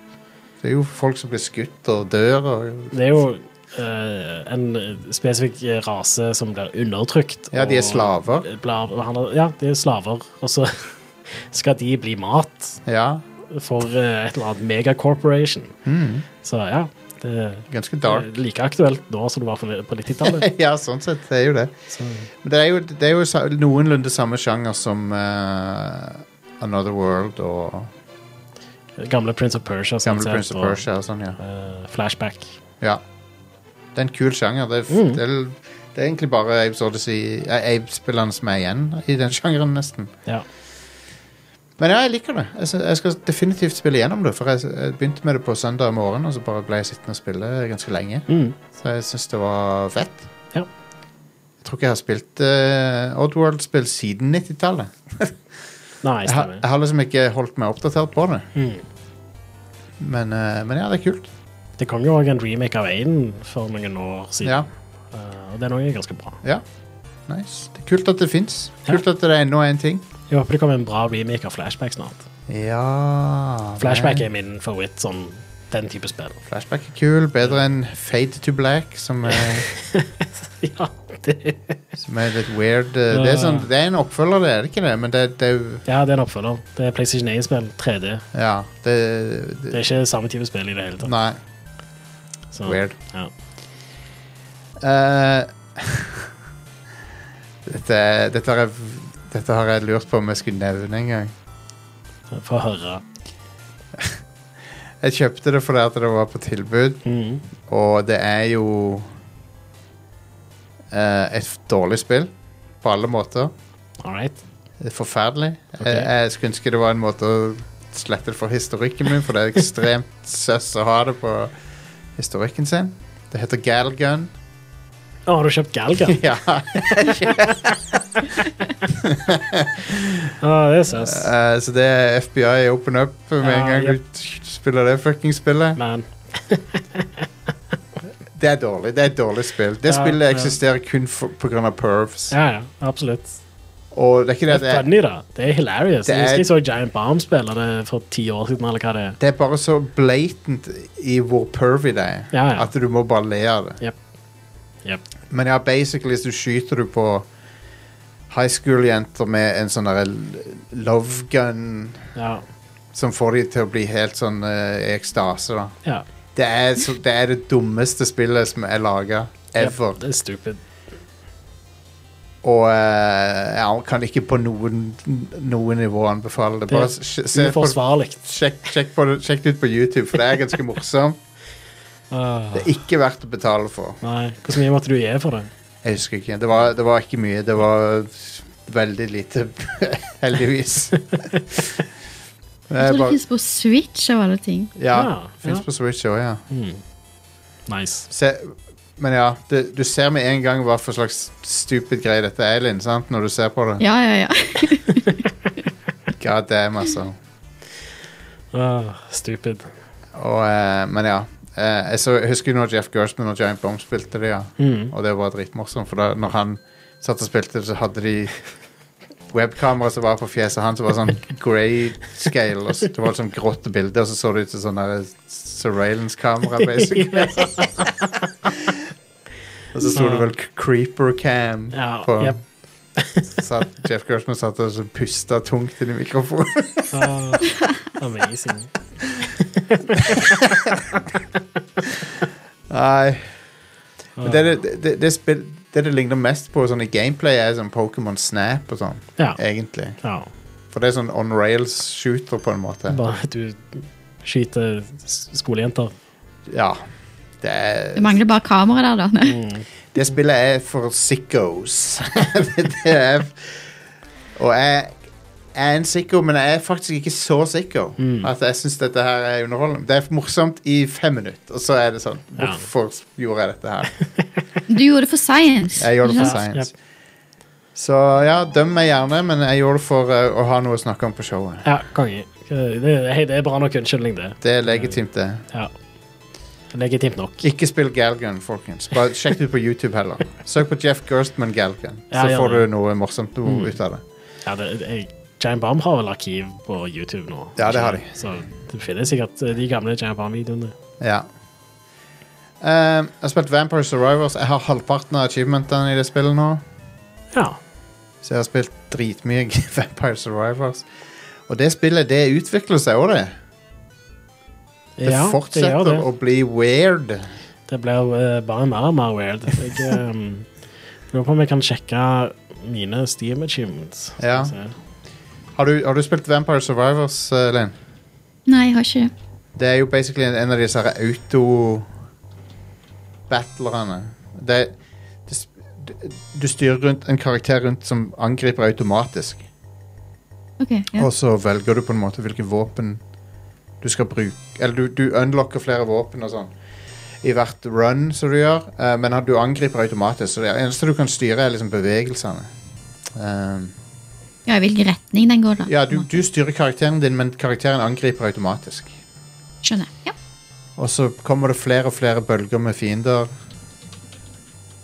det er jo folk som blir skutt og dør og
Det er jo eh, en spesifikk eh, rase som blir undertrykt.
Ja, de er
og
slaver.
blir behandlet- ja, de er slaver. Og så skal de bli mat
Ja.
for eh, et eller annet megacorporation.
Mm.
Så ja, det er
Ganske dark.
like aktuelt nå som det var på på 90-tallet.
ja, sånn sett. Det er jo det.
Så,
Men det er jo, det er jo sa- noenlunde samme sjanger som eh, Another World og
eh, Gamle Prince of Persia. sånn
Gamle
sett,
Prince of
og,
Persia og sånn, ja.
eh, flashback.
ja. Det er en kul sjanger. Det er, f- det er, det er egentlig bare Abes Odyssey eh, Abe-spillerne som er igjen i den sjangeren, nesten.
Ja.
Men ja, jeg liker det. Jeg, sy- jeg skal definitivt spille gjennom det. For jeg, jeg begynte med det på søndag morgen, og så bare ble jeg sittende og spille ganske lenge.
Mm.
Så jeg syns det var fett.
Ja.
Jeg tror ikke jeg har spilt eh, Oddworld-spill siden 90-tallet.
Nei,
Jeg, har-
stemmer.
jeg har liksom ikke holdt meg oppdatert på det.
Mm.
Men, eh, men ja, det er kult.
Det kom jo òg en remake av Aiden for noen år siden,
Ja,
eh, og den òg er ganske bra.
ja. Nice. Det er kult at det fins. Kult at det er ennå en ting.
Jeg håper det kommer en bra remake av Flashback snart.
Ja
Flashback
men-
er min favoritt, sånn den type spill.
Flashback er kul. Bedre enn Fade to Black, som eh, er,
ja, det,
som er litt weird. Det er, sånn, det er en oppfølger, det er det ikke det? Men det, det er jo
ja, det er en oppfølger. Det er PlayStation 1-spill. 3D.
Ja. Det,
Det er ikke samme type spill i det hele tatt.
Nei.
Så,
Weird.
Ja.
Eh, dette, dette, har jeg, dette har jeg lurt på om jeg skulle nevne en gang.
Få høre.
Jeg kjøpte det fordi at det var på tilbud,
Mhm.
og det er jo eh, et dårlig spill på alle måter.
All right.
Det er forferdelig. Jeg, jeg skulle ønske det var en måte å slette det for historikken min, for det er ekstremt søss å ha det på historikken sin. Det heter Galgun.
Å, har du kjøpt Galgan?
Ja,
Å, det er søs.
eh, så det er FBI open up med
Ja,
en gang
jep.
du t- spiller det fucking spillet.
Men
Det er dårlig. Det er et dårlig spill. Det
Ja,
spillet
ja.
eksisterer kun for- på grunn av pervs.
ja, ja, absolutt.
Og det er ikke det
Det
at
er
det er,
funny, da. Det er hilarious.
Det
Jeg
er-
husker jeg så Giant Bomb spille det for ti år siden, eller hva det er.
det er bare så blatant i hvor pervy det er,
Ja, ja.
at du må bare le av det.
Yep.
Men ja, basically så skyter du på high school-jenter med en sånn derre l- love gun
Ja.
som får de til å bli helt sånn eh, i ekstase, da.
ja.
Det er, så, det er det dummeste spillet som er laga ever.
Yep. Det er stupid.
Og eh, ja, man kan ikke på noen, noen nivå anbefale det.
Det
Bare
er
sj- se på,
uforsvarlig.
sjekk, sjekk, på det, sjekk det ut på YouTube, for det er ganske morsomt.
Åh,
Det er ikke verdt å betale for.
Ah, Nei. Hvor mye måtte du gi for det?
Jeg husker ikke. Det var, det var ikke mye. Det var veldig lite, heldigvis. Det
Jeg
er
tror det
bare,
finnes på Switch av alle ting.
ja,
Ja,
fins
ja.
på Switch òg, ja.
Nice.
Se, men ja, det, du ser med en gang hva for slags stupid greie dette er, Linn, sant? når du ser på det.
Ja, ja, ja.
God damn, altså.
Åh, Ah, stupid.
Og, eh, men ja. Eh, jeg, så, jeg husker jo når Jeff Gershman og Giant Bomb spilte det, ja. Og det var dritmorsomt, for da når han satt og spilte det, så hadde de webkamera som var på fjeset hans, som var sånn grayscale, og så, det var sånn grått bilde, og så så det ut som sånn der surveillance-kamera, basically. og så sto det vel Creeper Cam
Ja,
på
jep.
satt, Jeff Gershman satt og så pusta tungt inn i mikrofonen.
Åh, Ah, amazing.
Nei.
Ah.
Men det, det, det, det, spill, det det ligner mest på sånn i gameplay, er sånn Pokémon Snap og sånn.
Ja.
Egentlig.
ja.
For det er sånn on rails shooter, på en måte.
Bare at du skyter s- skolejenter.
Ja. Det, er,
Det mangler bare kamera der, da.
Mm. det spillet er for sickos. det er Og jeg jeg er en sicko, men jeg er faktisk ikke så sicko.
Mm.
At jeg syns dette her er underholdende. Det er morsomt i fem minutter, og så er det sånn
Ja.
Hvorfor gjorde jeg dette her?
Du gjorde det for science.
Jeg gjorde det for
Ja.
science. Så ja, døm meg gjerne, men jeg gjorde det for eh, å ha noe å snakke om på showet.
Ja, konge. Eh, Det, hei, det er bra nok unnskyldning, det.
Det er legitimt, det.
Ja. Legitimt nok.
Ikke spill Galgun, folkens. Bare sjekk det ut på YouTube heller. Søk på Jeff Gerstman Galgun,
Ja,
så
gjør
får
det. Mm.
du noe morsomt noe ut av det.
Ja, det, jeg, Giant Bomb har vel arkiv på YouTube nå.
Ja, det har de.
Så det finnes sikkert eh, de gamle Giant Bomb-videoene.
Ja. Eh, jeg har spilt Vampire Survivors. Jeg har halvparten av achievementene i det spillet nå.
Ja.
Så jeg har spilt dritmye Vampire Survivors. Og det spillet, det utvikler seg òg, det. Det
ja,
fortsetter
det.
å bli weird.
Det blir eh, bare mer og mer weird. Jeg eh, lurer på om jeg kan sjekke mine Steam achievements.
Ja.
Så-
Har du, har du spilt Vampire Survivors, eh, Linn?
Nei, jeg har ikke det.
Det er jo basically en- en av disse her auto-battlerne. Det, det, s- d- du styrer rundt en karakter rundt som angriper automatisk.
Ok, ja.
Og så velger du på en måte hvilke våpen du skal bruke. Eller du, du unlocker flere våpen og sånn i hvert run som du gjør. eh, men at du angriper automatisk, så det eneste du kan styre, er liksom bevegelsene. Um,
ja, i hvilken retning den går, da.
ja, du, du styrer karakteren din, men karakteren angriper automatisk.
Skjønner. Ja.
Eh. Og så kommer det flere og flere bølger med fiender.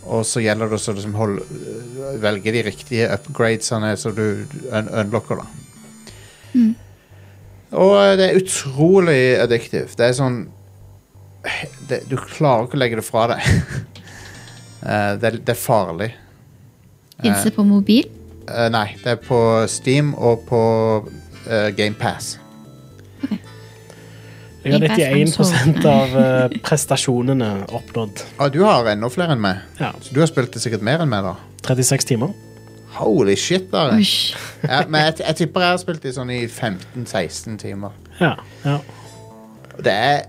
Og så gjelder det å så liksom holde, øh, velge de riktige upgradesene som du un unlocker, da. Og eh, det er utrolig addictive. Det er sånn det, Du klarer ikke å legge det fra deg. Eh, det, er- det er farlig.
Fins det på mobil?
Eh, nei, det er på Steam og på eh, GamePass.
Jeg har
I Best Friends
91
Hall.
av eh, prestasjonene oppnådd.
Og Ah, du har enda flere enn meg.
Ja.
Så du har spilt det sikkert mer enn meg, da.
36 timer.
Holy shit, da.
Usch.
Ja, men jeg, jeg tipper jeg har spilt det sånn i 15-16 timer.
Ja. ja.
Og Det er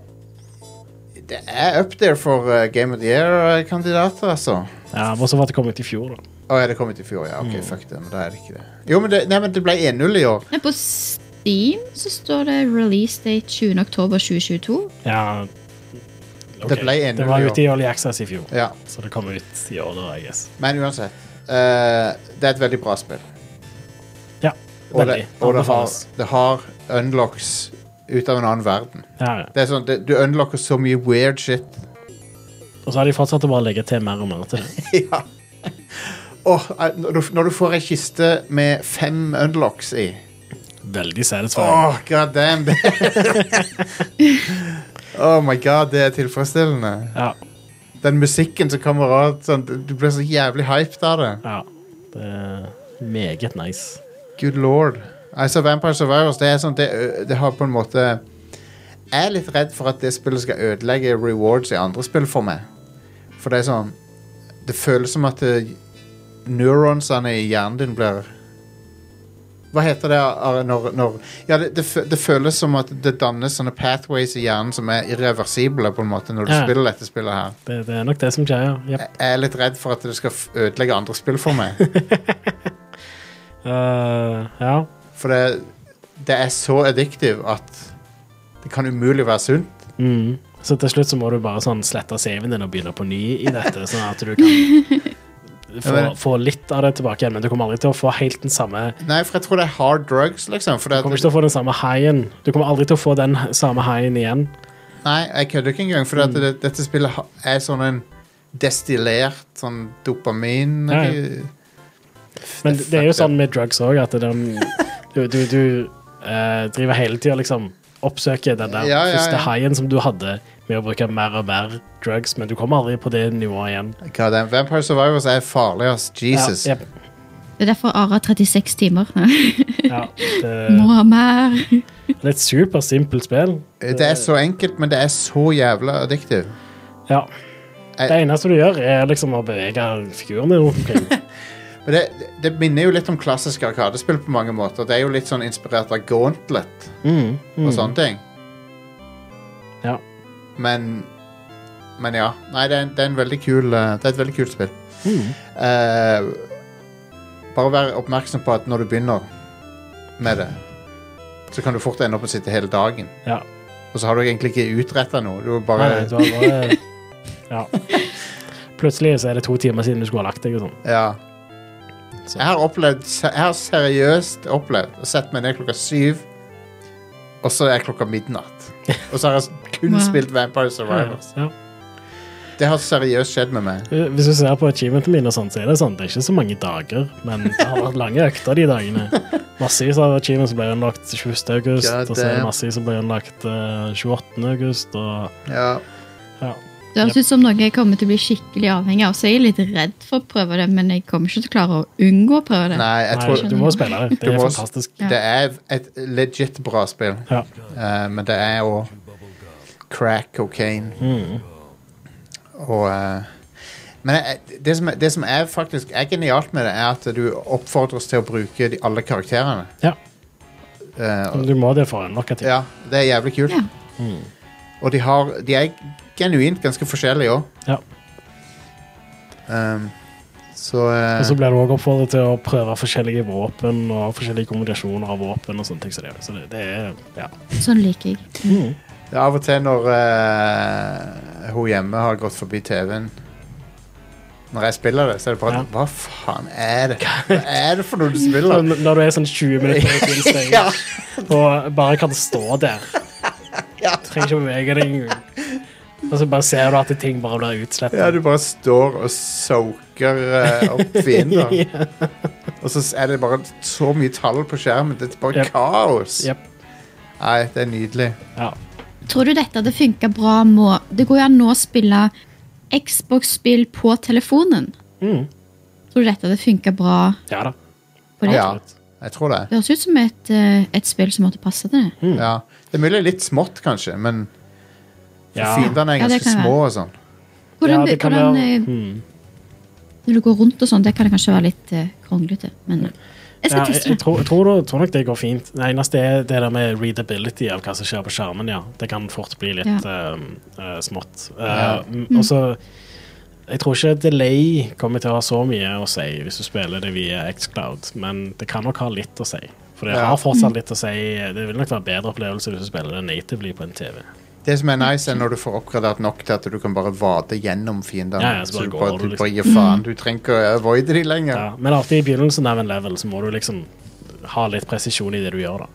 Det er up there for eh, Game of the Year-kandidater, altså.
ja og så var det kommet ut i fjor, da.
Å, er det kommet i fjor? Ja, ok,
Mm.
fuck det. Men da er det ikke det. Jo, men det, nei, men det ble 1-0 i år.
Men på Steam så står det release date 20. oktober 2022.
Ja.
Det ble 1-0
Det var
i år.
ute i Early Access i fjor,
Ja,
så det kom ut i år, da, I guess.
Men uansett. eh, det er et veldig bra spill.
Ja.
Og, det,
veldig.
og det, har,
Anbefales.
det har unlocks ut av en annen verden.
Ja, ja.
Det er sånn, det, Du unlocker så mye weird shit.
Og så har de fortsatt å bare legge til mer og mer til det.
ja. Åh, eh, når, du, når du får ei kiste med fem unlocks i
Veldig satisfying.
Åh, god damn det Oh my god, det er tilfredsstillende
Ja.
Den musikken som kommer av sånn, Du blir så jævlig hyped av det
ja. Det er meget nice.
Good lord Altså Vampire Survivors, det er sånn Det, ø- det har på en måte Jeg er litt redd for at det spillet skal ødelegge Rewards i andre spill for meg For det er sånn Det føles som at det, Neuronsene i hjernen din blir Hva heter det Are, når, når Ja, det, det, fø- det føles som at det dannes sånne pathways i hjernen Som er irreversible på en måte Når du
Ja.
spiller dette spillet her
Det, det er nok det som skjer, ja. Jep.
Jeg er litt redd for at det skal f- ødelegge andre spill for meg
Eh, ja.
For det, det er så addictive at det kan umulig være sunt.
Mm. Så til slutt så må du bare sånn slette CV-en din og begynne på ny i dette, sånn at du kan få, få litt av det tilbake igjen, men du kommer aldri til å få helt den samme
Nei, for jeg tror det er hard drugs, liksom. For det,
Du kommer ikke til å få den samme high-en. Du kommer aldri til å få den samme high-en igjen.
nei, jeg kødder ikke engang,
Mm.
for det, dette spillet ha- er sånn en destillert sånn dopamin
Ja, ja. Men det er jo
fucked
sånn med drugs òg, at den, du, du, du eh, driver hele tida liksom oppsøker den der
Ja, ja,
første
ja.
high-en som du hadde med å bruke mer og mer drugs, men du kommer aldri på det nivået igjen.
God damn, Vampire Survivors er farlig, ass. Jesus.
Ja, jep,
Det er derfor Ara 36 timer.
ja,
Må
det,
ha mer.
det er et supersimpelt spill.
Det er så enkelt, men det er så jævla addictive.
Ja. Det
Jeg-
eneste du gjør, er liksom å bevege figuren din rundt omkring.
Men det, det minner jo litt om klassiske arkadespill på mange måter. Det er jo litt sånn inspirert av Gauntlet
Mm,
og
mm,
sånne ting.
ja.
Men Men ja. Nei, det er, en- det er en veldig kul eh, Det er et veldig kult spill.
Mm.
Eh, bare vær oppmerksom på at når du begynner med det, så kan du fort ende opp med å sitte hele dagen.
ja.
Og så har du egentlig ikke utretta noe. Du er bare
Nei, nei, du har bare Ja. Plutselig så er det to timer siden du skulle ha lagt deg og sånn.
Ja.
Så-
Jeg har opplevd se- Jeg har seriøst opplevd å sette meg ned klokka syv, og så er klokka midnatt. Og så har jeg kun
Wow.
spilt Vampire Survivors.
Ja.
Det har seriøst skjedd med meg.
Hvis du ser på achievementene mine, og sånt, så er det sånn, det er ikke så mange dager, men det har vært lange økter de dagene. Massevis av achievements ble unnlagt 21. august,
God
og så er
damn.
det massevis som ble unnlagt eh, 28. august, og
Ja.
ja.
Det høres ut som noe jeg kommer til å bli skikkelig avhengig av, så jeg er litt redd for å prøve det, men jeg kommer ikke til å klare å unngå å prøve det.
Nei, jeg
Nei,
tror
du må spille det.
Du
Det er
må-
fantastisk.
Ja.
Det er et legit bra spill,
Ja.
eh, men det er jo crack cocaine.
Mm.
Og eh, Men jeg, det, som, er- det som er faktisk er genialt med det, er at du oppfordres til å bruke de, alle karakterene.
ja.
Eh, og-
Men Du må det for å unlocke ting.
ja, det er jævlig kult.
Ja.
Og de, har, de er genuint ganske forskjellige òg.
Ja.
så eh,
Og så blir du også oppfordret til å prøve forskjellige våpen og forskjellige kombinasjoner av våpen og sånne ting. som det er. Så det, det er ja.
Sånn liker jeg.
det er av og til når eh, hun hjemme har gått forbi TV-en Når jeg spiller det, så er det bare
Ja.
Hva faen er det? Hva er det for noe du
Når-
spiller?
Når du er sånn 20 minutter på en stage
ja,
og bare kan stå der. Trenger ikke å bevege deg. Og så bare ser du at ting bare blir
ja,
utslettet.
du bare står og soaker eh, opp fiender. Og så er det bare så mye tall på skjermen. Det er bare
Yep.
kaos.
Yep.
Nei, det er nydelig.
Ja.
Tror du dette hadde funka bra må Det går jo an nå å spille Xbox-spill på telefonen.
Mm.
Tror du dette hadde funka bra
ja da.
på det?
Ja, jeg tror det.
Det høres ut som et, eh, et spill som måtte passe til
Hmm.
det.
Ja. Det er mulig litt smått, kanskje, men
Ja.
fiendene er
Ja, det
ganske
kan
små og sånn.
Hvordan,
Ja, det kan
hvordan,
være- Hmm.
eh, Når du går rundt og sånn, det kan det kanskje være litt eh, kronglete, men eh, jeg skal
Ja, jeg,
teste
jeg
det.
tror, tror, du- tror nok det går fint. Det eneste er det der med readability av hva som skjer på skjermen. ja. Det kan fort bli litt ehm, eh, smått. Eh, m- Og så Jeg tror ikke delay kommer til å ha så mye å si hvis du spiller det via Xcloud, men det kan nok ha litt å si. For det
Ja.
har
Mm.
fortsatt litt å si. Det vil nok være bedre opplevelse hvis du spiller det natively på en TV.
Det som er nice, er når du får oppgradert nok til at du kan bare vade gjennom fiendene.
Ja, ja, så
så
bare
du
går du,
bare, du
liksom.
bare gir faen. Du trenger ikke å avoide de lenger.
Ja. Men alltid i begynnelsen av en level så må du liksom ha litt presisjon i det du gjør, da.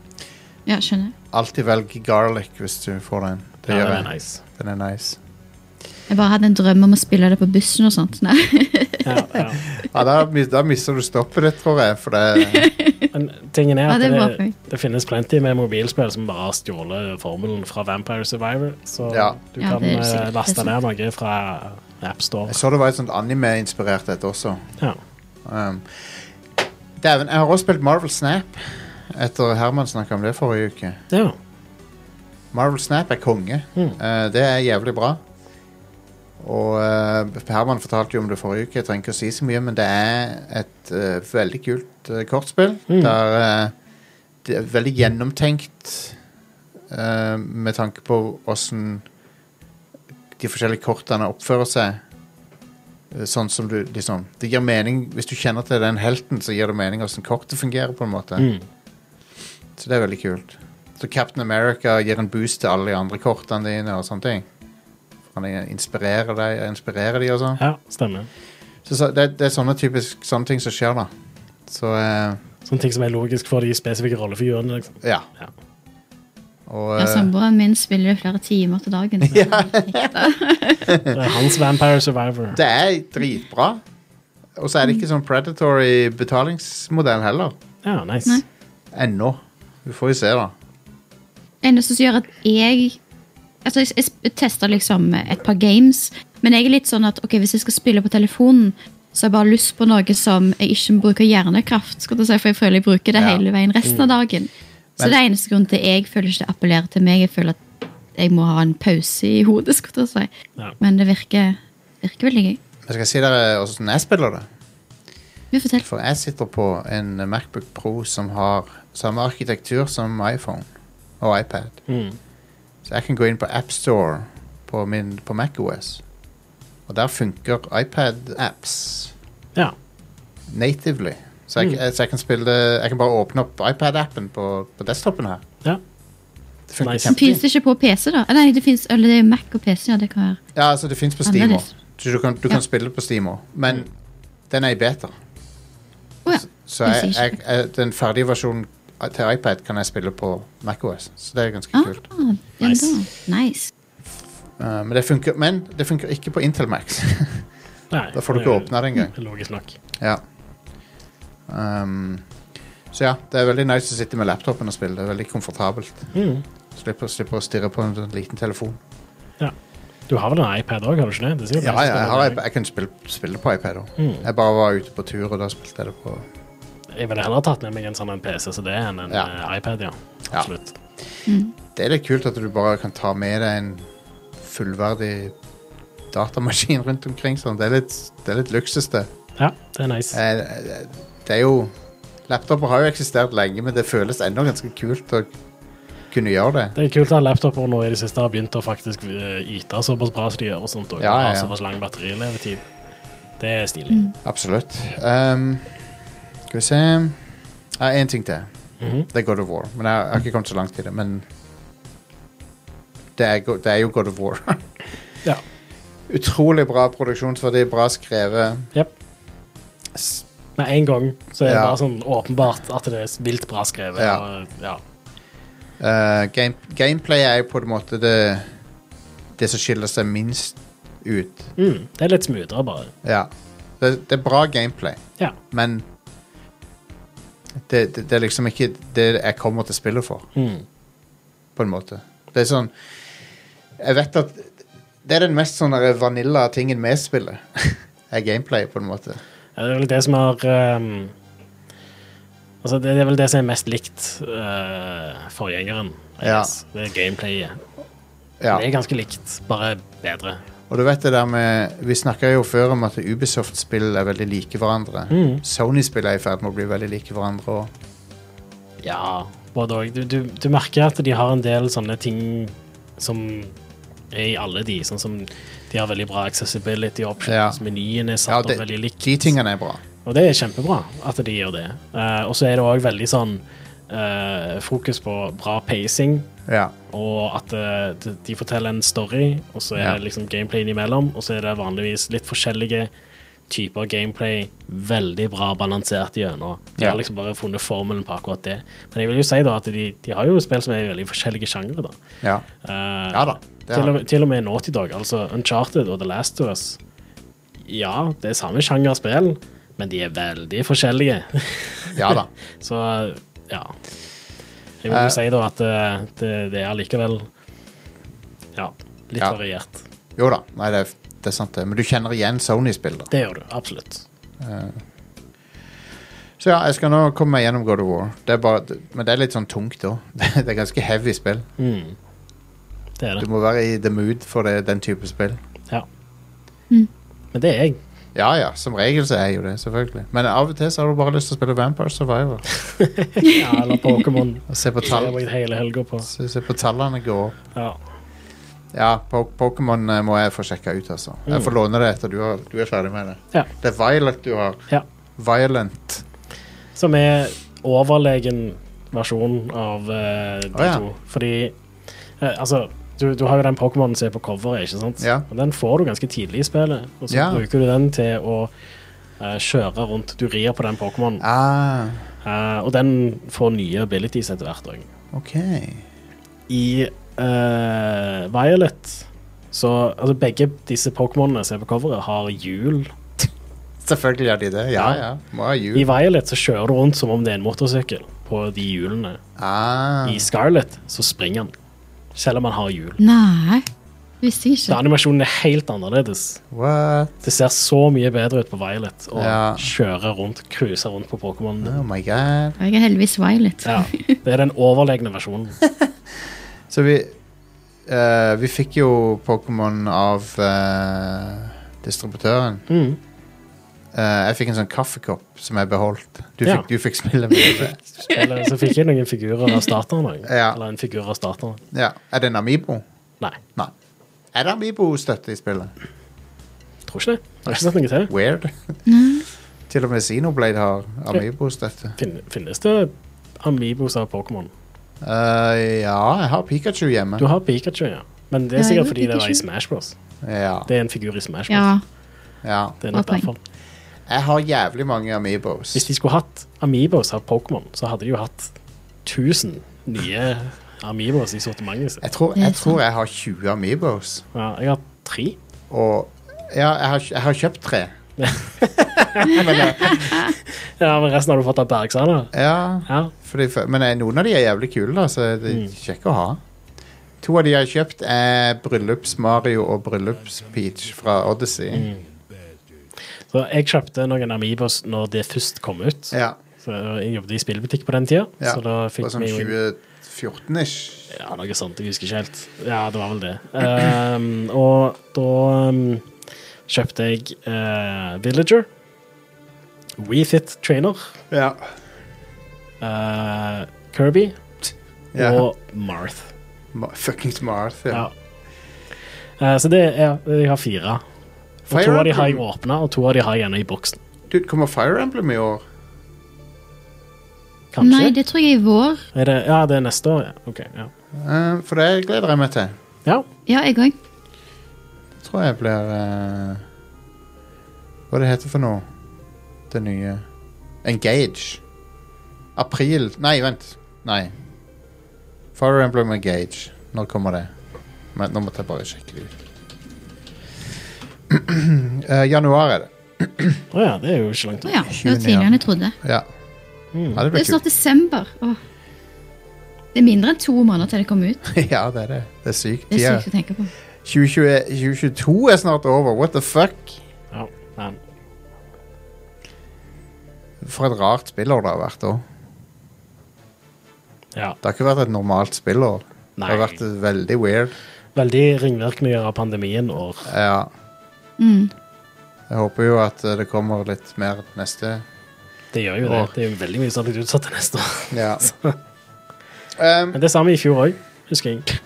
Ja, skjønner.
Alltid velg garlic hvis du får den. Det
Ja,
gjør
det
jeg.
er nice.
Den er nice.
Jeg bare hadde en drøm om å spille det på bussen og sånt. Nei.
Ja, ja.
Ja, da, mis- da mister du stoppet ditt, tror jeg. For det,
Men tingen er
Ja,
at
det er bra
det,
poeng.
det finnes plenty med mobilspill som bare har stjålet formelen fra Vampire Survivor, så
Ja.
du
Ja,
kan
det er
eh,
sikkert- det
laste
er
ned noe fra AppStore.
jeg så det var et sånt anime-inspirert et også.
Ja.
Um, Dæven, jeg har også spilt Marvel Snap. Etter Herman snakka om det forrige uke.
ja.
Marvel Snap er konge. Eh, det er jævlig bra. Og eh, Herman fortalte jo om det forrige uke, jeg trenger ikke å si så mye, men det er et eh, veldig kult eh, kortspill. Der eh, det er veldig gjennomtenkt eh, med tanke på åssen de forskjellige kortene oppfører seg. Eh, Sånn som du liksom Det gir mening Hvis du kjenner til den helten, så gir det mening åssen kortet fungerer, på en måte.
Mm.
Så det er veldig kult. Så Captain America gir en boost til alle de andre kortene dine og sånne ting. Han inspirerer deg, inspirerer de og sånn.
ja, stemmer.
Så, så det, det er sånne typisk sånne ting som skjer, da. Så eh,
Sånne ting som er logisk for de spesifikke rollefigurene. Liksom.
ja.
Ja.
Og
Ja,
eh,
Samboeren min spiller det flere timer til dagen. Så.
Det er hans Vampire Survivor.
det er dritbra. Og så er det ikke sånn predatory betalingsmodell heller.
Ja, nice.
Nei.
Ennå. Vi får jo se, da.
Det eneste som gjør at jeg Altså, jeg, jeg tester liksom et par games, men jeg er litt sånn at ok, hvis jeg skal spille på telefonen, så har jeg bare lyst på noe som jeg ikke bruker hjernekraft, skal du si, for jeg føler jeg bruker
Ja.
det
Mm.
hele veien resten av dagen. Så
Men-
det er eneste grunnen til jeg føler ikke det appellerer til meg. Jeg føler at jeg må ha en pause i hodet, skal du si.
Ja.
Men det virker, virker veldig gøy.
Men skal jeg si dere åssen jeg spiller det?
Vi forteller.
For jeg sitter på en Macbook Pro som har samme arkitektur som iPhone og iPad.
Mm.
Så jeg kan gå inn på AppStore på, min- på MacOS. Og der funker iPad-apps
Ja.
natively. Så jeg,
Mm.
så jeg kan spille det- Jeg kan bare åpne opp iPad-appen på, på desktopen her.
ja.
Det funker
Nice.
Men
kjempefint.
Fins det ikke på PC, da? Nei, det finnes, eller det er jo Mac og PC, ja, det kan være.
Ja, altså det fins på Steam òg.
Annerledes.
Så du kan, du
Ah, Ja.
kan spille det på Steam òg. Men den er i beta.
Å ja.
Så
Jeg
jeg,
sier
jeg,
ikke.
jeg, den ferdige versjonen til iPad kan jeg spille på macOS. Så det er ganske
Ah,
kult.
ja,
Nice.
nice. Da. nice.
Uh, men, det funker, men det funker ikke på Intel Max.
Nei,
da får du ikke åpna det engang.
det er Logisk nok.
Ja. Ehm, så ja, det er veldig nice å sitte med laptopen og spille. Det er veldig komfortabelt.
Mm.
Slipper, slipper å stirre på en sånn liten telefon.
Du har vel en iPad òg, har du ikke det? det? er sikkert
Ja,
nice å
ja, jeg,
spille
har,
med.
iPad- jeg kan spille, spille på iPad òg.
Mm.
Jeg bare var ute på tur, og da spilte jeg det på
Jeg ville heller tatt med meg en sånn en PC som det enn en
Ja.
eh, iPad, ja.
Ja.
Absolutt.
Det er litt kult at du bare kan ta med deg en fullverdig datamaskin rundt omkring. Sånn. Det er litt, det er litt luksus, det.
Ja, det er nice.
Eh, eh, Det er jo Laptoper har jo eksistert lenge, men det føles ennå ganske kult å kunne gjøre det.
Det er kult at laptoper nå i det siste har begynt å faktisk eh, yte såpass bra som de gjør. og sånt, og
Ja, ja,
har
ja.
såpass lang batterilevetid. Det er stilig.
Mm. Absolutt. Ehm, skal vi se Jeg har én ting til.
Mhm.
Det er God of War. Men jeg har jeg har ikke kommet så langt i det. Men det er, go- det er jo God of War.
Ja.
Utrolig bra produksjonsverdi, bra skrevet.
Jep. S- Med en gang så er det
Ja.
bare sånn åpenbart at det er vilt bra skrevet.
Ja.
Og, ja.
Eh, game, gameplay er jo på en måte det Det som skiller seg minst ut.
Mm, det er litt smoothere, bare.
Ja. Det, det er bra gameplay,
Ja.
men det, det, det er liksom ikke det jeg kommer til spillet for.
Mm.
på en måte. Det er sånn Jeg vet at det er den mest sånn der vanilla tingen med spillet. er gameplay, på en måte.
Ja, det er vel det som har ehm, Altså, det er vel det som er mest likt eh, forgjengeren. I
Ja.
guess. Det er gameplayet.
Ja.
Det er ganske likt, bare bedre.
Og du vet det der med Vi snakka jo før om at Ubisoft-spill er veldig like hverandre.
Mm.
Sony-spill er i ferd med å bli veldig like hverandre òg.
Ja, både òg. Du, du, du merker at de har en del sånne ting som er i alle de. Sånn som de har veldig bra accessibility options,
Ja.
menyen er
Ja,
satt
det-
opp veldig likt.
de tingene er bra.
Og det er kjempebra at de gjør det. Eh, og så er det òg veldig sånn eh, fokus på bra pacing,
Ja.
og at eh, de- de forteller en story, og så er
Ja.
det liksom gameplay innimellom, og så er det vanligvis litt forskjellige typer gameplay, veldig bra balansert gjennom. De
Ja.
har liksom bare funnet formelen på akkurat det. Men jeg vil jo si da at de, de har jo spill som er i veldig forskjellige sjangre, da.
ja.
Eh,
Ja da, det har
Til og,
de.
til og med Naughty Dog, altså Uncharted og The Last of Us. Ja, det er samme sjanger spill, men de er veldig forskjellige.
Ja da.
Så ja. Jeg vil jo si da at eh, det, det er allikevel ja, litt
Ja.
variert.
Jo da. Nei, det er, det er sant, det. Men du kjenner igjen Sony-spill, da.
Det gjør du, absolutt.
Så ja, jeg skal nå komme meg gjennom God of War. Det er bare, men det er litt sånn tungt òg. Det er ganske heavy spill.
Det er
Du
det.
må være i the mood for det, den type spill.
Ja. Men det er jeg.
Ja ja, som regel så er jeg jo det, selvfølgelig. Men av og til så har du bare lyst til å spille Vampire Survivor.
Ja, eller Pokémon.
Og se på,
Det har
tall,
jeg brukt hele helga på.
se se på tallene gå opp.
Ja.
Ja, Po- Pokémon eh, må jeg få sjekka ut, altså. Jeg får låne det etter du, har, du er ferdig med det.
Mm. Ja.
Det er Violet du har.
ja.
Violent.
Som er overlegen versjon av eh, de
Å, ja.
to. Fordi eh, Altså, du, du har jo den Pokémonen som er på coveret, ikke sant?
Ja.
Og den får du ganske tidlig i spillet, og så
Ja.
bruker du den til å eh, kjøre rundt. Du rir på den Pokémonen,
Ah,
eh, og den får nye abilities etter hvert òg.
OK.
I eh, Violet så Altså, begge disse Pokémonene som er på coveret, har hjul.
Selvfølgelig gjør de det. Ja
Ja.
ja. Må ha
I
jul.
Violet så kjører du rundt som om det er en motorsykkel på de hjulene.
Ah,
I Scarlet så springer han, selv om han har hjul.
Nei, visste jeg
Så
ikke.
animasjonen er helt annerledes.
what?
Det ser så mye bedre ut på Violet å
Ja.
kjøre rundt, cruise rundt på Pokémon.
Oh my god.
Jeg er heldigvis violet.
Ja, det er den overlegne versjonen.
Så vi eh, Vi fikk jo Pokémon av eh, distributøren. Eh, jeg fikk en sånn kaffekopp som jeg beholdt. Du fikk,
Ja.
du fikk spille med det.
Eller så fikk jeg noen figurer av starteren òg.
Ja.
Eller en figur av starteren.
Ja. Er det en Amibo?
Nei,
Nei. Er det Amibo-støtte i spillet?
tror ikke det. Jeg har ikke sett noe til.
Weird. Til og med Xenoblade har Amibo-støtte.
Fin- Finnes det Amibos av Pokémon?
Eh, ja, jeg har Pikachu hjemme.
Du har Pikachu, ja. Men det
Ja,
er
jeg
sikkert
har
fordi det var i
Pikachu.
Smash Bros.
Ja,
Det er en figur i Smash Bros.
Ja,
ja.
Det er nok
Godt poeng.
derfor.
Jeg har jævlig mange Amibos.
Hvis de skulle hatt Amibos av Pokémon, så hadde de jo hatt 1000 nye Amibos i sortimentet sitt.
Jeg tror,
Det er
jeg, tror jeg har 20 Amibos.
Ja, jeg har tre.
Og ja, jeg har, jeg har kjøpt tre.
Ja, men resten har du fått av Bergsala.
Ja,
Ja.
Fordi, for- men eh, noen av de er jævlig kule, da, så det
Mm.
er kjekke å ha. To av de jeg har kjøpt, er Bryllups-Mario og Bryllups-Peach fra Odyssey.
Mm. Så jeg kjøpte noen Amibos når det først kom ut.
Ja,
Så jeg jobbet i spillbutikk på den tida,
ja.
så da
Det
fikk
var sånn
vi jo
2014-ish.
ja, noe sånt. Jeg husker ikke helt. Ja, det var vel det. Ehm, og da ehm, kjøpte jeg eh, Villager, WeFit Trainer,
Ja.
eh, Kirby
ja.
og Marth.
Ma Fuckings Marth.
Ja.
Ja.
Eh, så det er, jeg har fire. Og to
Fire
av de har jeg
Emblem.
åpna, og to av de har jeg ennå i boksen.
Du, kommer Fire Emblem i år?
Kanskje?
Nei, det tror jeg er i vår.
Er det, ja, det er neste år, ja. Ok, ja.
Eh, for det gleder jeg meg til.
ja.
Ja, jeg òg.
Det tror jeg blir eh, Hva det heter for noe? Det nye Engage. April Nei, vent. Nei. Fire Emblem Engage. Når kommer det? Men nå måtte jeg bare sjekke det ut. Eh, januar er det.
Å ja, det er jo ikke langt
Å
unna.
ja, det var tidligere enn jeg trodde.
Ja. ja det
Det
blir
er snart
kult.
desember. Åh, Det er mindre enn to måneder til det kommer ut.
ja, det er det. Det er sykt.
Det
Ja.
er sykt å tenke på.
2020 2022 er snart over. What the fuck?
Ja, men
For et rart spillår det har vært òg.
ja.
Det har ikke vært et normalt spillår. Det har
Nei.
vært veldig weird.
Veldig ringvirkninger av pandemien og
Ja.
Mm.
Jeg håper jo at eh, det kommer litt mer neste
Det gjør jo det. Det er jo veldig mye som har blitt utsatt til neste år.
Ja.
Men det samme i fjor òg, husker jeg.
ehm,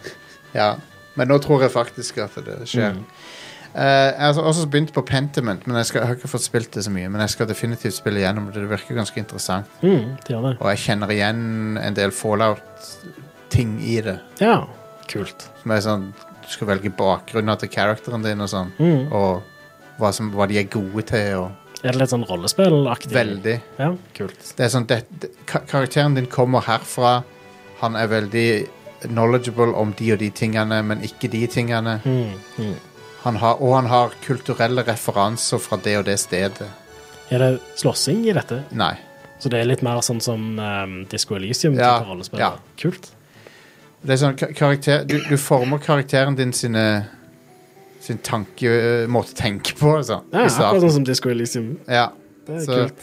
ja. Men nå tror jeg faktisk at det skjer.
Mm.
Eh, jeg har også begynt på Pentiment, men jeg, skal, jeg har ikke fått spilt det så mye. Men jeg skal definitivt spille gjennom det. Det virker ganske interessant.
Mm, det gjør det.
Og jeg kjenner igjen en del fallout-ting i det.
Ja, kult.
Som er sånn Du skal velge bakgrunnen til characteren din og sånn.
Mm.
Og hva, som, hva de er gode til, og
Er det litt sånn rollespillaktig?
Veldig.
Ja, kult.
Det er sånn, det, det, ka- Karakteren din kommer herfra. Han er veldig knowledgeable om de og de tingene, men ikke de tingene.
Mm, mm.
Han har, og han har kulturelle referanser fra det og det stedet.
Er det slåssing i dette?
Nei.
Så det er litt mer sånn som um, Disco Elysium?
Ja,
Ja, rollespill?
ja.
Kult.
Det er sånn, ka- karakter, du, du former karakteren din sine sin tanke, øh, måte å tenke på. Sånn,
Ja,
i starten.
akkurat sånn som Disco Elysium.
ja.
Det er
Så
kult.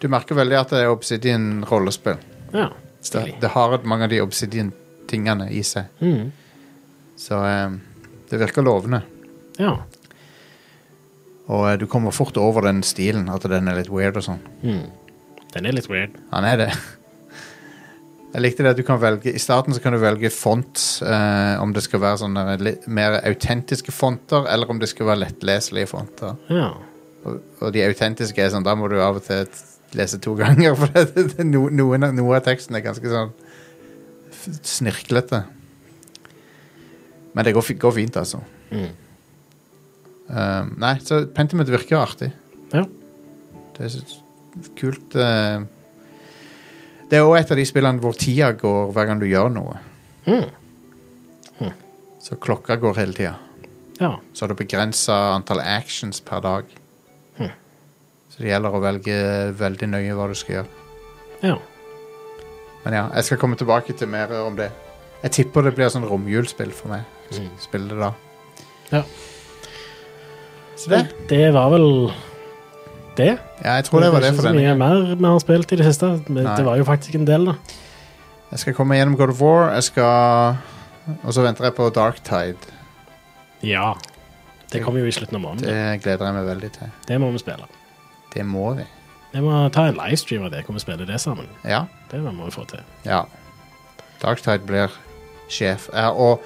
du merker veldig at det er Obsidian-rollespill.
Ja,
Det,
stilig.
det har mange av de Obsidian-tingene i seg.
Mm,
Så eh, det virker lovende.
ja.
Og eh, du kommer fort over den stilen, at den er litt weird og sånn.
Mm. Den er litt weird.
Han er det. Jeg likte det at du kan velge I starten så kan du velge font, eh, om det skal være sånne litt mer autentiske fonter, eller om det skal være lettleselige fonter.
Ja.
Og, og de autentiske er sånn, da må du av og til t- lese to ganger, for det, det, no, noen, av- noe av teksten er ganske sånn f- snirklete. Men det går, fi- går fint, altså.
Mm.
Um, nei, så Pentiment virker artig.
Ja.
Det er så kult eh. Det er òg et av de spillene hvor tida går hver gang du gjør noe.
Mm.
Så klokka går hele tida.
ja.
Så har du begrensa antall actions per dag.
Hm.
Så det gjelder å velge veldig nøye hva du skal gjøre.
Ja.
Men ja, jeg skal komme tilbake til mer om det. Jeg tipper det blir sånn romjulsspill for meg. Spille det da.
Hm. Ja.
Så det.
Det var vel det.
Ja, jeg tror det var det
ikke
for
så
denne.
mye mer vi har spilt i det siste. Men
Nei.
det var jo faktisk en del, da.
Jeg skal komme gjennom God of War. Jeg skal Og så venter jeg på Darktide.
Ja. Det kommer jo i slutten av måneden.
Det gleder jeg meg veldig til.
Det, det må vi spille.
Det må vi.
Vi må ta en livestream av det, hvor vi spiller det sammen.
Ja.
Det må vi få til.
ja. Darktide blir sjef. Ja, og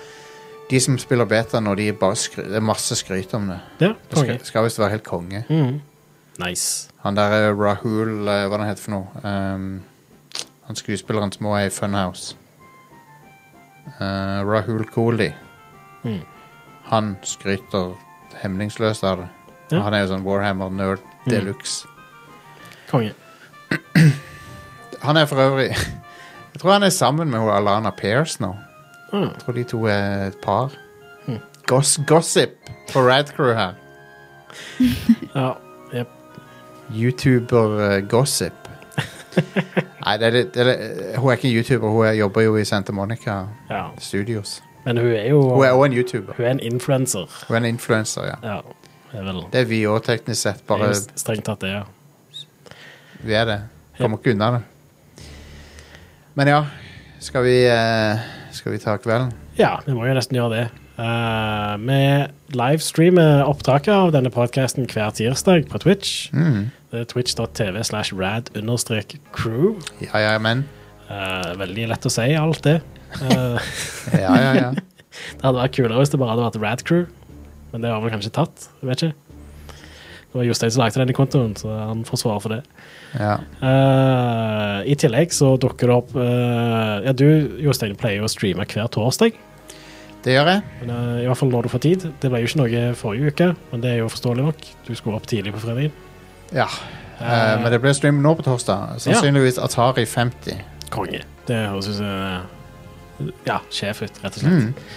de som spiller beta nå, de er bare skry det er masse skryt om det.
Ja,
Det
konge.
skal, skal visst være helt konge.
Mhm. Nice.
Han der eh, Rahul eh, Hva er det han heter for noe? Ehm, han skuespilleren som også er i Funhouse. Eh, Rahul Kohli.
Mhm.
Han skryter hemningsløst av det.
Ja.
Han er jo sånn Warhammer-nerd de luxe.
Konge.
Han er for øvrig Jeg tror han er sammen med hun Alana Pears nå.
Ah,
Jeg tror de to er et par. Goss, gossip på Radcrew her.
ja. Jep.
YouTuber-gossip. eh, Nei, det er litt, det er litt Hun er ikke en YouTuber, hun er, jobber jo i Santa Monica
ja.
Studios.
Men hun er jo
Hun er òg en YouTuber.
hun er en influenser.
Hun er en influenser, ja.
Ja. Det er vel
Det er vi òg, teknisk sett.
det er
Bare
jo strengt tatt det, ja.
vi er det. Kommer ikke unna det. Men ja, skal vi, eh, skal vi ta kvelden?
Ja, vi må jo nesten gjøre det. Eh, vi livestreamer opptaket av denne podkasten hver tirsdag på Twitch.
Mm.
Det er twitch.tv slash rad understrek crew.
Ja, ja, men.
Eh, veldig lett å si alt det. Eh,
Ja, ja, ja.
det hadde vært kulere hvis det bare hadde vært rad crew, men det har vel kanskje tatt. Jeg vet ikke. Det var Jostein som lagde denne kontoen, så han får svare for det.
ja.
Eh, I tillegg så dukker det opp eh, Ja, du, Jostein, pleier jo å streame hver torsdag.
Det gjør jeg.
Men, eh, I hvert fall når du får tid. Det ble jo ikke noe forrige uke, men det er jo forståelig nok. Du skulle opp tidlig på fredagen.
Ja. Eh, men det blir stream nå på torsdag. Sannsynligvis Atari 50.
Konge. Det høres ut som eh, Ja, sjef ut, rett og slett.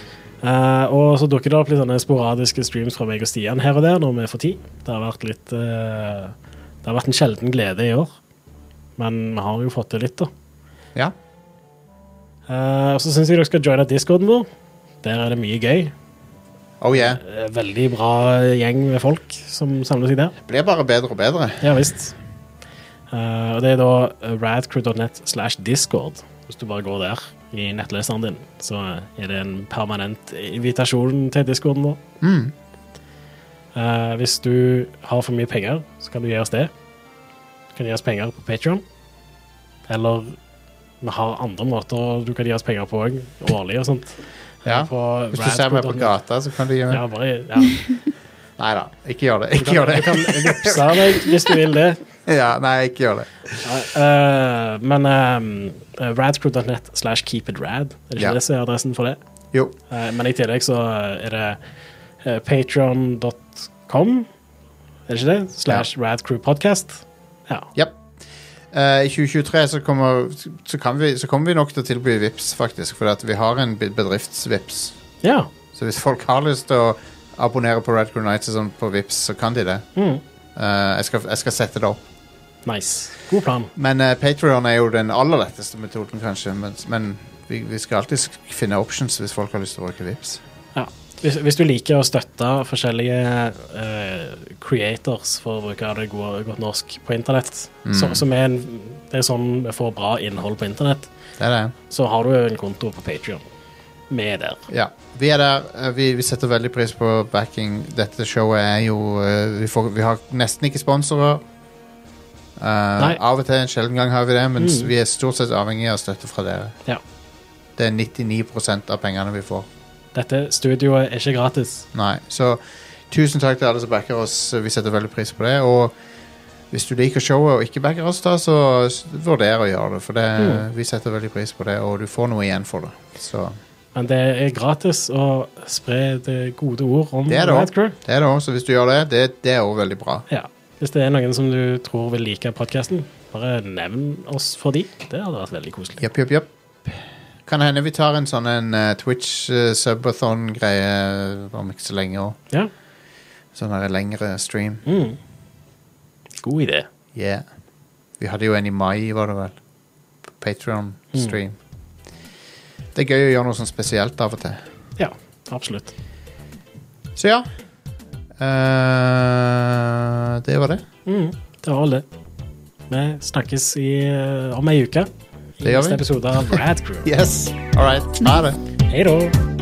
Eh, og så dukker det opp litt sånne sporadiske streams fra meg og Stian her og der når vi får tid. Det har vært litt eh, Det har vært en sjelden glede i år. Men vi har jo fått til litt, da.
Ja.
Eh, og så syns jeg dere skal joine discorden vår. Der er det mye gøy.
Oh yeah.
Eh, Veldig bra gjeng med folk som samler seg der.
Det blir bare bedre og bedre.
Ja visst. Eh, og det er da eh, radcrew.net slash discord. Hvis du bare går der i nettleseren din, så eh, er det en permanent invitasjon til discorden vår. Eh, hvis du har for mye penger, så kan du gi oss det. Du kan gi oss penger på Patreon Eller vi har andre måter du kan gi oss penger på òg, årlig og sånt.
Ja.
På
Hvis du ser meg på
radcrew.net.
gata, så kan du gi meg
Ja, bare, ja.
Nei da, ikke gjør det.
Du
Ikke
kan,
gjør
du kan
det.
vippse deg hvis du vil det.
Ja, nei, ikke gjør det.
Eh, men eh, radcrew.net slash keepitrad. Er det ikke
Ja.
det som er adressen for det?
Jo.
Eh, men i tillegg så er det uh, patron.com, er det ikke det? Slash radcrewpodcast. Ja.
Yep. Eh, I 2023 så kommer, så, kan vi, så kommer vi nok til å tilby VIPs faktisk. For at vi har en be- bedrifts-VIPs.
ja.
Så hvis folk har lyst til å abonnere på Radcrew Nights og sånn på VIPs, så kan de det.
Mm.
Eh, jeg, skal, jeg skal sette det opp.
Nice. God plan.
Men uh, Patrion er jo den aller letteste metoden, kanskje. Men, men vi, vi skal alltid sk- finne options hvis folk har lyst til å bruke VIPs.
Ja. Hvis, hvis du liker å støtte forskjellige eh, creators, for å bruke det gode, godt norsk, på internett, så, som er en, det er sånn vi får bra innhold på internett,
Det er det.
så har du en konto på Patreon Vi er der.
Ja, vi er der. Eh, Vi, vi setter veldig pris på backing. Dette showet er jo eh, Vi, får, vi har nesten ikke sponsorer. Eh, av og til en sjelden gang har vi det, men s- vi er stort sett avhengig av støtte fra dere.
Ja.
Det er 99 av pengene vi får.
Dette studioet er ikke gratis.
Nei, så tusen takk til alle som backer oss. Vi setter veldig pris på det. Og hvis du liker showet og ikke backer oss, da, så s- vurder å gjøre det. For det, vi setter veldig pris på det, og du får noe igjen for det. Så
Men det er gratis å spre det gode ord om
det er det
Riot
òg.
Crew.
Det er det også, så hvis du gjør det, det, det er òg veldig bra.
Ja. Hvis det er noen som du tror vil like podkasten, bare nevn oss for de. Det hadde vært veldig koselig.
Japp, japp, japp. Kan hende vi tar en sånn en eh, Twitch eh, subathon-greie eh, om ikke så lenge òg.
Ja.
Sånn her lengre stream.
Mm. God idé.
Yeah. Vi hadde jo en i mai, var det vel. Patrion-stream. Det er gøy å gjøre noe sånn spesielt av og til.
Ja, absolutt.
Så ja. Eh, det var det.
Mm. Det var vel det. Vi snakkes i, eh, om ei uke.
Det
I
gjør
neste
vi.
episode av Rad Crew.
Yes. All right. Ha det.
Hei da.